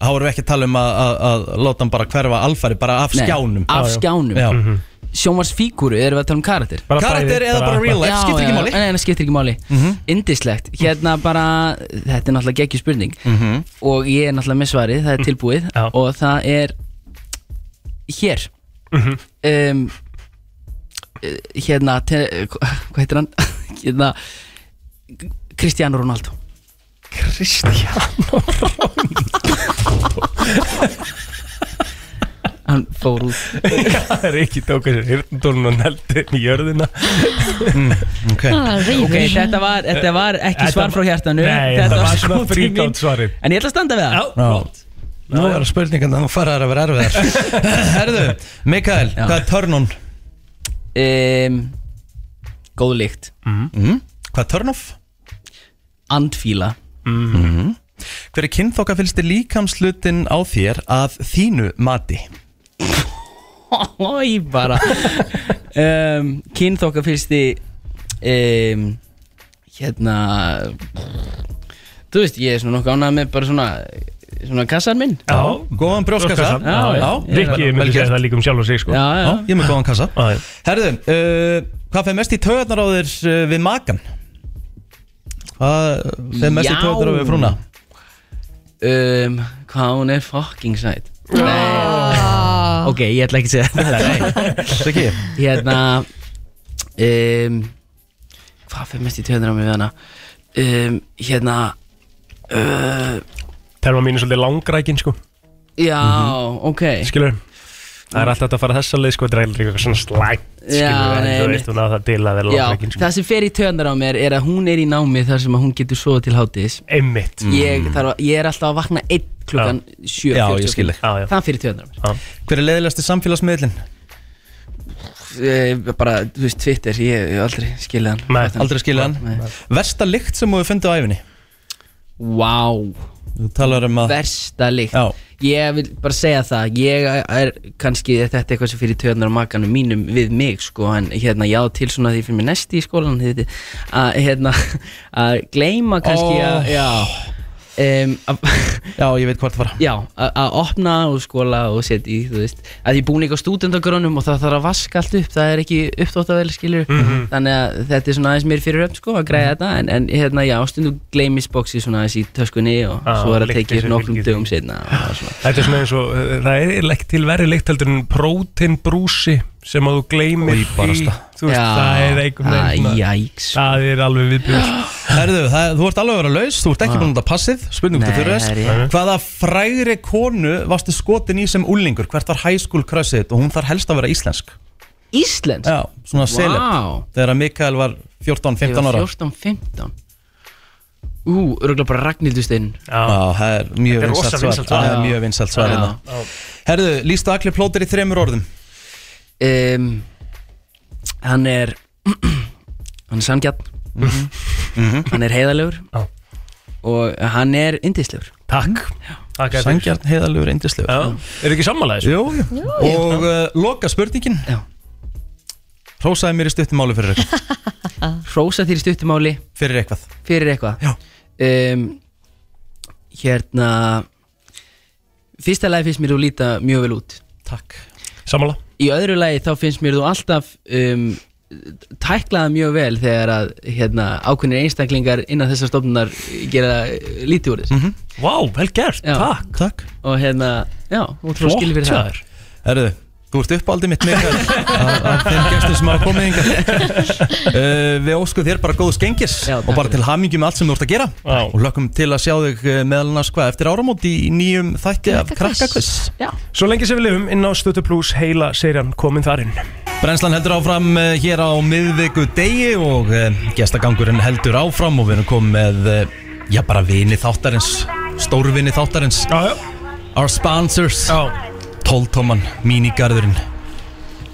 S1: Þá erum við ekki að tala um að, að, að láta hann bara hverfa alfari bara af
S12: Nei,
S1: skjánum
S12: af skjánum.
S1: Já.
S12: Mhm. Sjónvarsfígúru, erum við að tala um karakter?
S1: Bara Karakter bæði, eða bara bara real life,
S12: Já,
S1: skiptir ekki
S12: já,
S1: máli.
S12: Nei, nei, skiptir ekki máli Indislegt, hérna bara, þetta er náttúrulega geggjur spurning
S1: Mhm.
S12: Og ég er náttúrulega með svarið, það er tilbúið Og það er hér
S3: Mhm.
S12: um, eh, Hérna, te, eh, hva- hvað heitir hann? [laughs] hérna, Cristiano Ronaldo
S3: [laughs] Kristján
S12: Hann fór út
S3: Það er ekki tóka sér hirtundólun og neldi í jörðina
S1: Ok,
S12: Ah, rífur. Ok, þetta var- þetta var ekki svar frá hjartanu.
S3: Nei,
S12: Þetta
S3: þetta
S12: var
S3: var svona
S12: skotin
S3: frík
S12: mín.
S3: át svari
S12: En ég ætla að standa við það
S1: Já. Nú er spurningan að þú faraðar að vera erfiðar [laughs] Herðu, Mikael, hvað er turn on?
S12: Um, góð lykt
S1: mm. Hvað er turn off?
S12: Andfíla
S1: mm. Hver er kynþóka fylgst líkamslutin á þér að þínu mati?
S12: Ói bara um, Kynþokka fyrsti um, Hérna Þú veist, ég er svona nokkuð ánað með bara svona Svona kassan minn
S3: Já,
S1: góðan brjóstkassa. Já,
S12: Já,
S1: já.
S3: Rikki
S1: Vel
S3: myndi
S1: gert.
S3: segja það líka um sjálf og sig sko
S12: Já, já.
S1: Já, ég er með góðan kassa
S3: Já, já.
S1: Herðu, uh, hvað fer mest í taugarnar á þér uh, við makan? Hvað fer mest í
S12: Já.
S1: taugarnar á þér við frúna?
S12: um, Hvað hún er fucking sæt Nei Ok, ég ætla ekki að segja þetta
S1: Nei, ekki
S12: Hérna um, Hvað fyrir mest í töðunar á mig við hana um, Hérna uh,
S3: Terma mín er svolítið langrækin sko
S12: Já, ok
S3: Skilur Það er alltaf hægt að fara þessa leið sko Þetta er eitthvað eitthvað svona slæmt
S12: Já,
S3: Skilur en
S12: nei,
S3: Þú
S12: einmitt.
S3: veist hún á það til að vera
S12: Já,
S3: langrækin sko
S12: það sem fer í töndar á mér er að hún er í námi þar sem að hún getur sofa til hátis
S3: Einmitt
S12: ég, þarf að, ég er alltaf að vakna 1 klukkan 7
S1: Mm. Já, ég skil þig. Já, já.
S12: Það fyrir töndar á mér
S1: Hver er leiðilegasti samfélagsmiðlinn?
S12: ég, eh, Bara, þú veist, Twitter, ég hef aldrei skilið hann Nei,
S1: Aldrei skilja hann Versta lykt sem þú hefur fundið á æfinni?
S12: Vá
S1: Þú talar um að
S12: Versta lykt Ég vil bara segja það Ég er kannski er þetta eitthvað sem fyrir töðunar og makanum mínum við mig sko En hérna ég á til svona því fyrir mig næsti í skólan þið veitir, Að hérna [laughs] að gleyma kannski
S1: Ó.
S12: að Já Um, [laughs]
S1: já, ég veit hvort það fara
S12: Já, að að opna og skóla og setja í, þú veist að ég búin eitthvað stúdendagrunum og það þarf að vaska allt upp það er ekki uppdóttavel, skilur
S1: Mhm.
S12: þannig að þetta er svona aðeins mér fyrir öfn sko, að græða þetta, en, en hérna, já, stundum gleymisboksi svona aðeins í töskunni og
S3: Ah,
S12: svo er það
S3: lyktin
S12: tekið
S3: sem
S12: nokkrum
S3: fylgir
S12: dögum setna og það er svona.
S3: Þetta er svona eins og uh, Það er eiginlega ekki til verri leikt heldur en prótinbrúsi sem að þú gleymir
S1: Í barasta.
S3: [laughs] Þú veist,
S1: Já.
S3: það er einhvern
S1: Æ,
S3: svona-
S12: jæks.
S3: Það er alveg viðbjörn
S1: Herðu, það, þú ert alveg að vera laus, þú ert ekki búin að nota passið Spurning út af
S12: Nei,
S1: fyrir
S12: það er
S1: þess Hvaða frægri konu varstu skotin í sem úlingur? Hvert var high school crushið þitt? Og hún þarf helst að vera íslensk
S12: Íslensk?
S1: Já, svona
S12: Vá.
S1: seleb Þegar að Mikael var 14-15
S12: Ég
S1: ára
S12: var 14, 15 Ú, örgulega bara Ragnhildur Steinn
S1: Já, það er mjög
S12: Þetta er
S1: vinsalt svar
S12: rosa vinsælt svar.
S1: Það er
S12: Já.
S1: mjög vinsalt svar
S12: Já.
S1: hérna.
S12: Já.
S1: Herðu, lístu allir plótir í þremur orðum
S12: um, Hann er [clears throat] Hann er sangjarn Hann er heiðalegur Og hann er indislegur
S3: Takk, Takk fyrir.
S1: Sangjarn, heiðalugur, indislegur
S3: Já. Eru ekki sammála þessu?
S1: Jú, jú. Og uh, loka spurningin Rósaði mér í stuttumáli fyrir eitthvað
S12: Rósa þér í stuttumáli
S1: Fyrir eitthvað
S12: Fyrir eitthvað um, Hérna Fyrsta lagi finnst mér þú líta mjög vel út
S1: Takk
S3: Sammála
S12: Í öðru lagi þá finnst mér þú alltaf um, tæklaða mjög vel þegar að hérna, ákveðnir einstaklingar innan þessar stofnunar gera eh, lítið úr þess mm -hmm.
S3: Vá, vel gert, takk.
S1: takk
S12: Og hérna, já, hún trú skil fyrir það
S1: Herðu, þú ert uppáldið mitt Mikael af- af þeim gestum sem hafa komið yngar uh, Við óskum þér bara góðs gengis og bara til hamingjum með allt sem þú ert að gera Já. og lökum til að sjá þig eh, meðal annars hvað eftir áramót í nýjum þætti af krakkakviss
S3: Svo lengi sem við lifum inn á Stötu Plus heila serían komin þar inn
S1: Brennslan heldur áfram eh, hér á miðviku degi og eh, gestagangurinn heldur áfram og við erum komið með eh, já bara vini þáttarins stórvini þáttarins
S3: já, já.
S1: Our sponsors
S3: já.
S1: 12 tóman, mínigarðurinn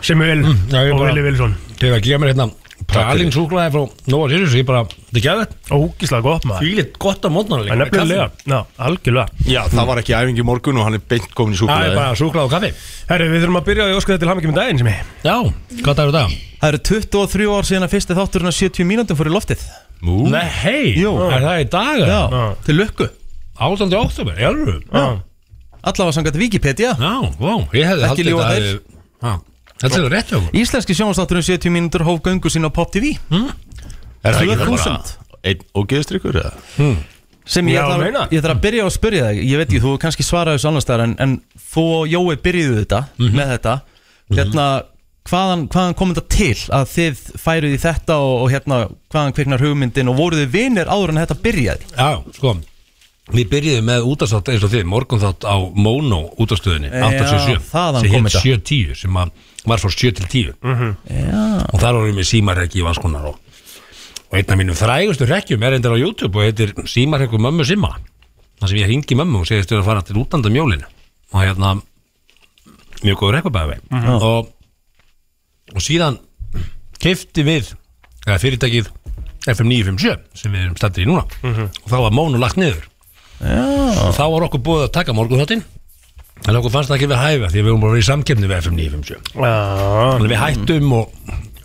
S3: sem vil mm,
S8: já, ég
S3: og
S8: bara-
S3: Vili Vilsson
S8: Þegar það gefa mér hérna Pralin súklaði frá Nóa Sirius Ég bara, þetta gæði þetta
S3: Ógíslega gott maður
S8: Því litt gott á mótnar
S3: En nefnilega, já, algjörlega
S24: Já, það var ekki æfingi í morgun og hann er beint komin í súklaði
S3: Það er bara súklaði og kaffi Herru, við þurfum að byrja á því óskuð til hamingjum með daginn sem ég
S8: Já, hvað dagur dag?
S1: Það eru 23 ár síðan að fyrsti þátturinn að 70 mínútum fór í loftið
S8: Ú. Nei, hei,
S1: Jú.
S8: er það í dag? eða?
S1: Já, til lukku
S8: 18. oktober, ég alveg
S1: Allavega samkvæmt Wikipedia
S8: Já, vá, ég hefði
S1: Ekki
S8: haldið
S1: ljúga
S8: þetta
S1: þeir.
S8: hafi- Já, Þetta er rétt hjá okkur
S1: Íslenski sjónastátturinn 70 mínútur hóf göngu sín á Pop TV mm?
S24: Hmm? Er það ekki bara
S1: 2000
S24: einn ógeðstrykkur eða?
S1: hmm. Sem ég
S24: Já,
S1: ætla,
S24: meina.
S1: ég ætla að byrja á að spyrja þig Ég veit ekki, þú hefur kannski svaraði þessu annars þar en, en þú og Jói byrjuðu þetta
S24: Mhm.
S1: með þetta Hérna, hvaðan, hvaðan kom þetta til að þið færuð í þetta og, og hérna, hvaðan kviknar hugmyndin og voruð þið vinir áður en þetta byrjaði
S8: Já, sko Við byrjuðum með útastátt eins og þið Morgun þátt á Mono útastöðinni
S1: Já,
S8: 877
S1: þaðan
S8: sem
S1: kom
S8: hét
S1: þetta. Mhm.
S8: 710 sem að var frá 7 til 10 og þar vorum við símarrekki í vanskonar og, og einn af mínum þrægustu rekkjum er endur á YouTube og heitir símarrekku mömmu simma þar sem ég hringi mömmu og segist þér að fara til útlanda um jólin og hérna mjög góður rekkubæði
S1: Mhm.
S8: og, og síðan keifti við eða fyrirtækið FM 957 sem við erum stættir í núna
S12: Mhm.
S8: og þá var mónu lagt niður
S1: Já.
S8: og þá var okkur búið að taka morgunþáttinn en okkur fannst það ekki við hæfa því að við vorum bara verið í samkefni við FM 957
S12: Mhm.
S8: Þannig við hættum og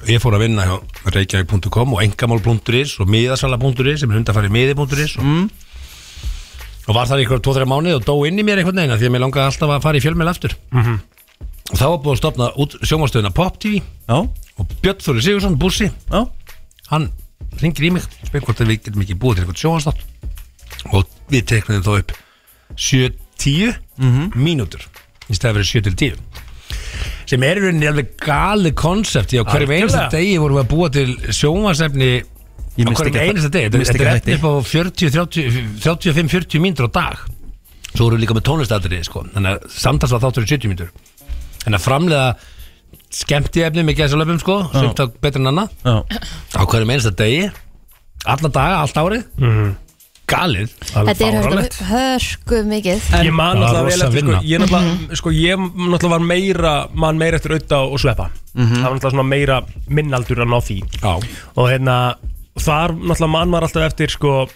S8: ég fór að vinna hjá reykjavík.com og engamál.is og miðasala.is sem er hundafarið miði.is og, og var þar ykkur 2-3 mánuð og dó inn í mér einhvern veginn af því að mér langaði alltaf að fara í fjölmjöl aftur og þá var búið að stopna út sjónvastöðuna Pop TV
S1: Já.
S8: og Björn Þóri Sigursson, Bussi
S1: Já.
S8: hann ringir í mig spyr hvort að við getum ekki búið til eitthvað sjónvastátt og við teknaðum þá upp 7-10 mínútur í stæði fyrir 7-10 sem er í rauninni alveg gali konsept á hverjum
S3: Algjörlega.
S8: einasta degi vorum við að búa til sjónvasefni á
S1: misti
S8: hverjum
S1: ekki að-
S8: einasta degi
S1: misti
S8: þetta
S1: ekki
S8: er
S1: að
S8: eftir upp á 40, 30, 35-40 mínútur á dag
S12: svo eru líka með tónlistatrið sko. þannig að samtals var þáttur í 70 mínútur þannig að framlega skemmti efni með gæsalöfum sko,
S1: Já.
S12: sem tók betur en annað á hverjum einasta degi alla daga, allt árið galið
S4: Þetta er hörku, hörku mikið
S3: Ég man
S12: Það var
S3: náttúrulega vel
S12: rosa
S3: eftir sko,
S12: vinna.
S3: ég, náttúrulega, sko, ég náttúrulega var meira man meira eftir auða og sveppa það var náttúrulega svona meira minnaldur að ná því
S12: Já.
S3: og hérna þar náttúrulega man var alltaf eftir sko,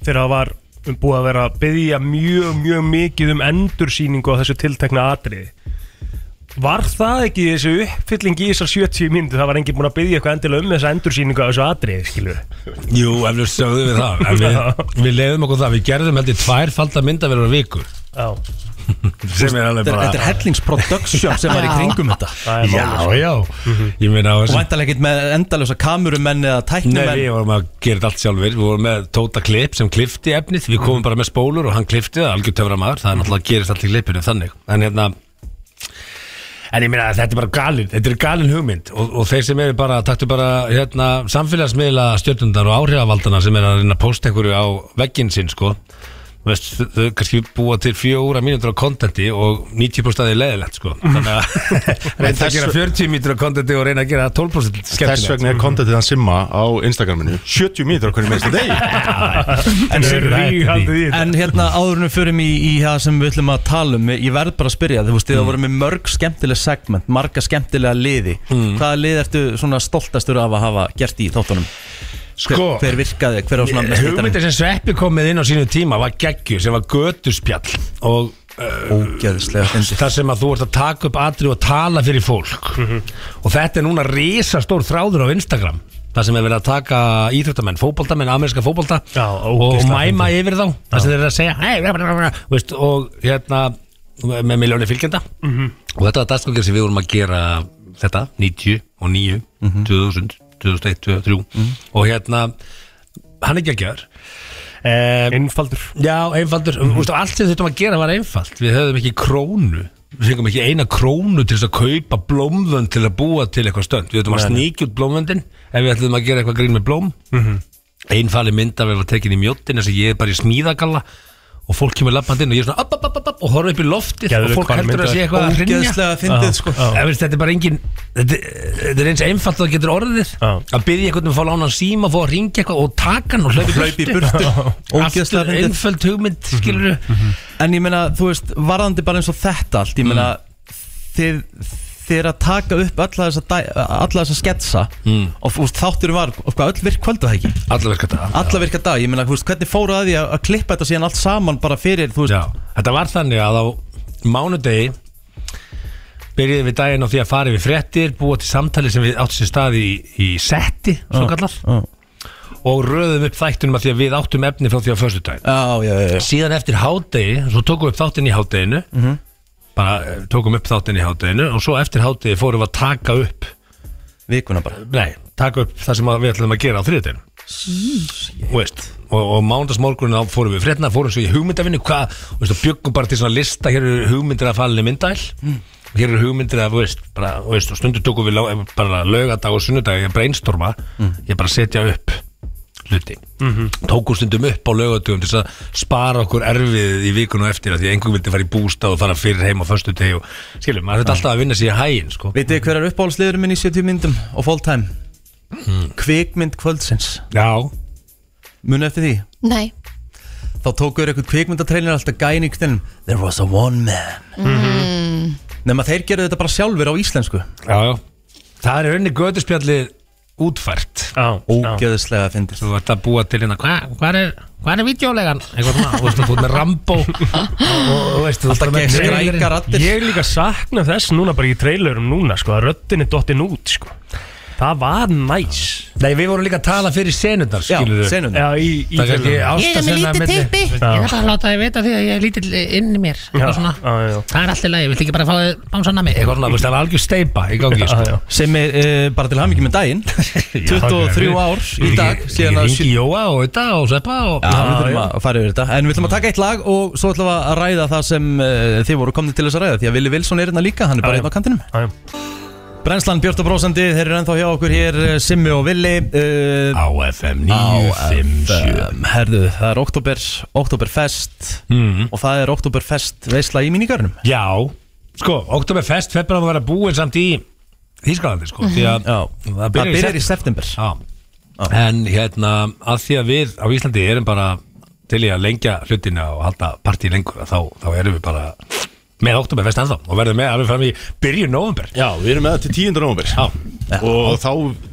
S3: þegar það var um búið að vera að byggja mjög mjög mikið um endursýningu á þessu tiltekna atriði Var það ekki þessu uppfylling í þessar 70 mínútu? Það var enginn búin að byggja eitthvað endilega um þessa endursýningu á þessu atriði, skilur
S12: Jú, ef við sögðum við það
S8: [laughs]
S12: ef við, við leiðum okkur það, við gerðum heldur tvær falda myndavelar á viku
S3: Já
S12: sem er alveg bara
S1: Þetta er hellingsproduction sem var í
S12: Já.
S1: kringum þetta
S12: Það er málið, sko. Ég meina á
S1: Og
S12: þessu
S1: væntalega ekkert með endalösa kamerumenn eða
S12: Nei,
S1: tæknumenn
S12: við vorum að gera þetta allt sjálfur Við vorum með Tóta Klipp sem klifti efnið Við komum bara með spólur og hann klifti það Algjör töfra maður, það er náttúrulega gerist allt í klippinu þannig En hérna En ég meina að þetta er bara galin, þetta er galin hugmynd og, og þeir sem eru bara, taktu bara hérna, samfélagsmiðla stjórnundar og áhrifavaldana sem eru að reyna að posta einhverju á vegginn sinn sko Þú Veist, þau- þau kannski búa til fjóra mínútur á kontenti og 90% af því er leðilegt sko þannig [laughs] að reyna að gera 40 mínútur á kontenti og reyna að gera 12% skemmtilegt
S8: Þess vegna er kontentið hann simma á Instagraminu 70 mínútur á hvernig minnst að
S3: [laughs]
S8: degi
S1: En,
S8: haldið í þetta.
S1: en hérna áðurinnum förum í, í það sem við ætlum að tala um Ég verð bara að spyrja, þú veist, þið mm. voru með mörg skemmtileg segment Marga skemmtilega liði Hvaða lið ertu svona stoltastur af að hafa gert í þáttunum? Sko, hver, hver virkaði, hver á svona mest
S12: hugmyndin sem Sveppi kom með inn á sínu tíma var geggju sem var götuspjall og
S1: Ógeðslega fyndið
S12: Það sem að þú ert að taka upp atri og tala fyrir fólk
S3: Mhm.
S12: Og þetta er núna risastór þráður á Instagram Það sem er verið að taka íþjóttamenn, fótboltamenn, ameríska fótbolta Já, Og
S3: ógeðslega
S12: mæma
S3: fyndið.
S12: yfir þá
S3: Já.
S12: Það sem þeir eru að segja hey, bla, bla, bla, veist, Og hérna með miljóni fylgjenda
S3: Mhm.
S12: Og þetta var dagskókir sem við vorum að gera þetta 90 og 9,
S3: Mhm.
S12: 2000, 2001, 2003 Og hérna, hann er geggjaður um,
S3: Einfaldur
S12: Já, einfaldur mm -hmm. Allt sem þurftum að gera var einfalt Við höfðum ekki krónu Við fengum ekki eina krónu til þess að kaupa blómvönd til að búa til eitthvað stönd Við höfðum að
S3: Nei, nei.
S12: sníkja út blómvöndin Ef við ætlum að gera eitthvað grín með blóm
S3: Mhm.
S12: einfali mynd af ef að tekin í mjóttin þess að ég er bara í smíðagalla og fólk kemur lappand inn og ég er svona upp, upp, upp, upp, upp, og horfa upp í loftið
S3: Geðveik
S12: og fólk
S3: hvar
S12: heldur
S3: mynd
S12: að sé
S3: er.
S12: eitthvað að hrynja
S3: Ógeðslega fyndið, sko.
S12: Já, já. Ég veist, þetta er bara engin þetta, þetta er eins einfalt og það getur orðið að byggja einhvern um að fá lána síma fá að ringja eitthvað og taka hann og
S1: Hlaupa
S12: hlaupi
S1: í burtu. Ógeðslega
S12: [laughs] aftur
S1: fyndið. Mhm.
S12: einföld hugmynd skilur
S1: En ég meina, þú veist, varðandi bara eins og þetta allt Ég meina, þið, þið er að taka upp alla þessa, dæ- alla þessa sketsa mm. Og þú veist, þáttur var, og hvað, öll virk kvöldu það ekki?
S12: Alla virka dag
S1: Alla virka dag, ég meina, þú veist, hvernig fóru að því að, að klippa þetta síðan allt saman bara fyrir, þú veist
S12: Já, þetta var þannig að á mánudegi byrjuði við daginn á því að fara við fréttir búa til samtali sem við áttum sér stað í, í setti, svo
S1: Já,
S12: kallar og röðum upp þættunum að því að við áttum efni frá því á föstudaginn
S1: já, já, já.
S12: síðan eftir hádegi, svo tókum við upp þáttinn í hádeginu bara eh, tókum upp þáttinn í hádeginu og svo eftir hádegi fórum við að taka upp
S1: vikuna bara
S12: nei, taka upp það sem að við ætlum að gera á þriðdeginu Þú veist, og, og mándagsmorgunin þá fórum við frétna, fórum svo í hugmyndavinnu hvað, þú veist, og bjöggum bara til svona lista hér eru hugmyndir að falinni myndæl
S1: Mm.
S12: og hér eru hugmyndir að, þú veist, bara, þú veist og stundu tókum við lá, eh, bara lögadag og sunnudag ég brainstorma,
S3: Mm.
S12: ég bara setja upp hluti
S3: Mhm.
S12: tókum stundum upp á lögadagum til þess að spara okkur erfið í vikun og eftir að því að einhver vildi fara í bústa og fara fyrir heim á föstu deg og skiljum, maður þetta alltaf að vinna sér í hægin sko.
S1: Vitið þið hver er uppáhaldsliðurinn minn í 70 myndum og full time?
S12: Hmm.
S1: Kvikmynd kvöldsins
S12: Já
S1: Munu eftir því?
S4: Nei
S1: Þá tókuður eitthvað kvikmyndatrailer alltaf gæin í kvinnum There was a one man
S4: mm.
S1: Nefn að þeir gerðu þetta bara sjálfur á íslensku
S12: Já, já Það er unni göduspjallið útfært
S3: Já,
S1: Ógeðislega að fyndist
S12: Þú ert að búa til hérna Hvað hva er, hva er videólegan? Eitthvað svona, þú veist, þú ert með [laughs] Rambo Þú veist, þú ert með trailerinn.
S3: Ég líka sakna þess núna bara í trailerum núna sko, að röddin er dottin út sko. Það var næs
S12: Nei, við vorum líka að tala fyrir senundar skilurðu.
S3: Já, í, í
S12: Hérna. Það er ekki
S3: trailerunum.
S12: ást- Ég er með lítið typpi.
S3: Já.
S12: Ég
S25: ætla að láta þið vita því að ég er lítill inn í mér
S12: Já,
S25: Eitthvað svona.
S3: já, já.
S25: Það er alltaf lægi, viltu ekki bara fá þið bánsanna mig
S12: Eitthvað svona, þú veist, það var algjör steipa í gangi sko.
S1: Sem er e, bara til hamingi með daginn 23 ár í dag
S12: Ég
S1: síðan að
S12: ringi Jóa og þetta og Sveppa og
S1: Já, við þurfum að fara yfir þetta En við ætlum að taka eitt lag og svo ætlum við eh, að ræða það sem uh, þið voru komni til þess að ræða Því að Vili Vilsson er hérna líka, hann er bara hérna á kantinum
S3: Já, já
S1: Brennslan Björn og Brósandi, þeir eru ennþá hjá okkur hér eh, Simmi og Villi uh,
S12: Á FM 957.
S1: Herðu, það er Oktober, Oktoberfest og það er Oktoberfest veisla í mínigarnum
S12: Mhm. Já, sko, Oktoberfest fer bara að vera búin samt í Þískalandi sko, því að
S1: Já, það byrjar í
S12: september Já. En hérna, að því að við á Íslandi erum bara til í að lengja hlutina og halda partí lengur þá, þá erum við bara með Oktoberfest ennþá og verðum með alveg fram í byrjun november
S8: Já, við erum með það til 10. november Já. Og þá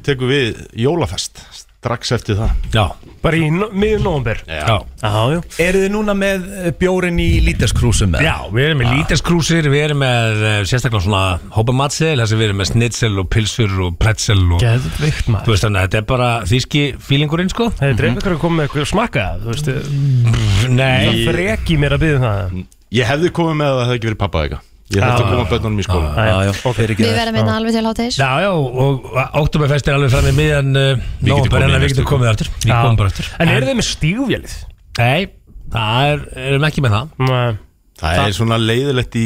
S8: tekum við jólafest strax eftir það
S12: Já,
S3: Bara í no miður nóvumber
S8: Já.
S1: já Eru þið núna með eh, bjórin í lítaskrúsum?
S12: Já, við erum með lítaskrúsir, við erum með uh, sérstaklega svona hópamatseðil, þess að við erum með snitsel og pilsur og pretzel og
S3: Geðvikt maður
S12: Þú veist þannig að þetta er bara þíski fílingurinn sko
S3: Það er dreifur að koma með eitthvað smaka Þú veist
S12: Nei
S3: Það freki mér að byggja það
S8: Ég hefði komið með að það hefði ekki verið pappa eða Ég
S3: Já,
S8: þurfti
S3: já,
S8: að koma bönnunum í skóla
S3: Já,
S8: já,
S12: fyrir
S2: Við verðum
S4: hérna
S2: einna alveg til hátegis
S12: Já, já, og Oktoberfest er alveg fram í miðan uh, Nómbar, en
S8: komið í
S12: við
S8: næstu
S12: getum komið aftur Við
S3: Já.
S12: komum bara aftur
S3: En eru þið með stígvélið?
S12: Nei, það er, erum ekki með það
S3: Nei
S8: Það er svona leiðilegt í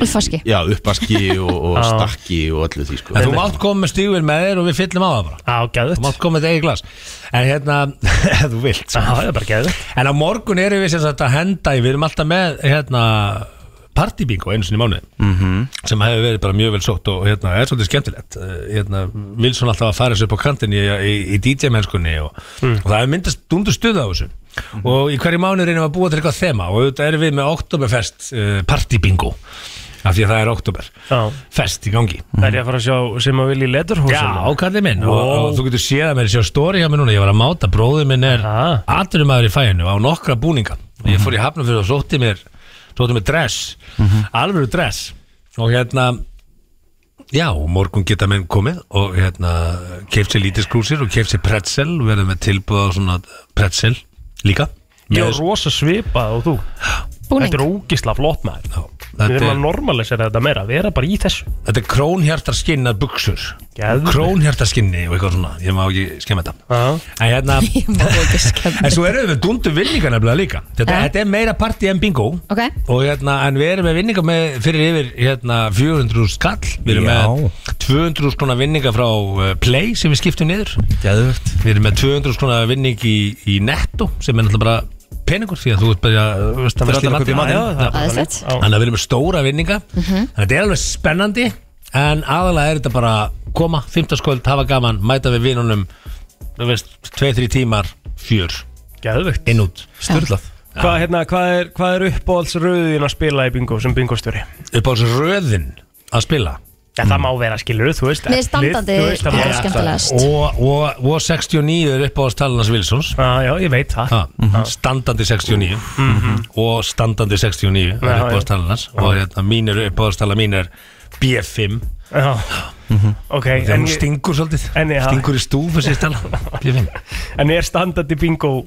S2: Uppvaski.
S8: Já, uppaski og, og
S12: Já.
S8: stakki og öllu því sko
S12: En þú mátt koma með stígvél með þér og við fyllum á það bara
S3: Já, gæðut
S12: Þú mátt koma með þetta eigið glas En hérna, [laughs] ef þú vilt Já,
S3: það er bara gæðut
S12: En á morgun erum við sem sagt að henda í Við erum alltaf með, hérna partybingo einu sinni í mánuði
S1: Mhm.
S12: sem hefur verið bara mjög vel sótt og hérna, er svolítið skemmtilegt Eh, hérna, Wilson alltaf að fara þessu upp á kantin í, í, í DJ-mennskunni og, og það hefur myndast dundu stuða á þessu og í hverju mánu reynum við að búa til eitthvað þema og auðvitað erum við með Oktoberfest uh, partybingo af því að það er Oktober fest í gangi
S3: Það er Mm. ég að fara að sjá sem að vilja í leturhúsum
S12: Já, kallið minn og, og þú getur séð að mér séu stóri hjá mér núna Ég var að máta, bróður minn er atvinnumæður í fæinu á nokkra búninga og Ég fór í hafnum fyrir og sótti mér sótti mér dress, alvöru dress og hérna Já, og morgun geta menn komið og hérna, keift sér lítið skrúsir og keift sér pretzel, við erum með tilbúð á svona pretzel líka
S3: Ég er rosa svipað og þú
S2: Búning.
S3: Þetta er ógisla flott maður
S12: þetta
S3: Við erum
S12: er-
S3: að normalisera þetta meira Vera bara í þessu
S12: Þetta er krónhjartarskinnar buksur Krónhjartarskinni og eitthvað svona Ég má ekki skemma þetta En hérna En svo erum við með dundu vinningar nefnilega líka Þetta,
S2: Já.
S12: þetta er meira partí en bingo
S2: Ok,
S12: Og hérna, en við erum með vinningar með, fyrir yfir hérna, 400 skall Við erum með 200 skona vinningar frá uh, Play sem við skiptum niður Geðvögt. Við erum með 200 skona vinning í, í Netto sem er náttúrulega bara peningur því að þú ert bara að þú veist, að
S1: Fyrir
S12: versla
S1: að kaupa í matinn.
S12: Já, já, það er bara
S2: Aðeinslegt.
S12: þannig. Þannig að við erum með stóra vinninga Þannig að þetta er alveg spennandi En aðalega er þetta bara koma, fimmtaskvöld, hafa gaman, mæta við vinunum Þú veist, 2-3 tímar, fjör
S3: Geðvögt
S12: Inn út Sturlað
S3: Hvað hérna, hvað er, hvað er uppáhaldsröðin að spila í bingo sem bingostjóri?
S12: Uppáhaldsröðin að spila?
S3: Já,
S12: Mm.
S3: það má vera skilur, þú veist
S2: Mér
S3: eflið,
S2: standandi
S3: þú veist, það
S2: er
S3: má-
S2: skemmtilegast.
S12: og, og, og 69 er upp á Stallinas Wilsons
S3: ah, Já, ég veit það
S12: Standandi 69 Og standandi 69
S3: Mhm. Já,
S12: er upp á
S3: já.
S12: Stallinas Og hérna, mín er upp á Stalla mín er B5
S3: Já, ok
S12: Mhm. Þegar hún
S3: ég-
S12: stingur svolítið
S3: en, já,
S12: Stingur í stúfu sér Stalla B5
S3: En er standandi bingo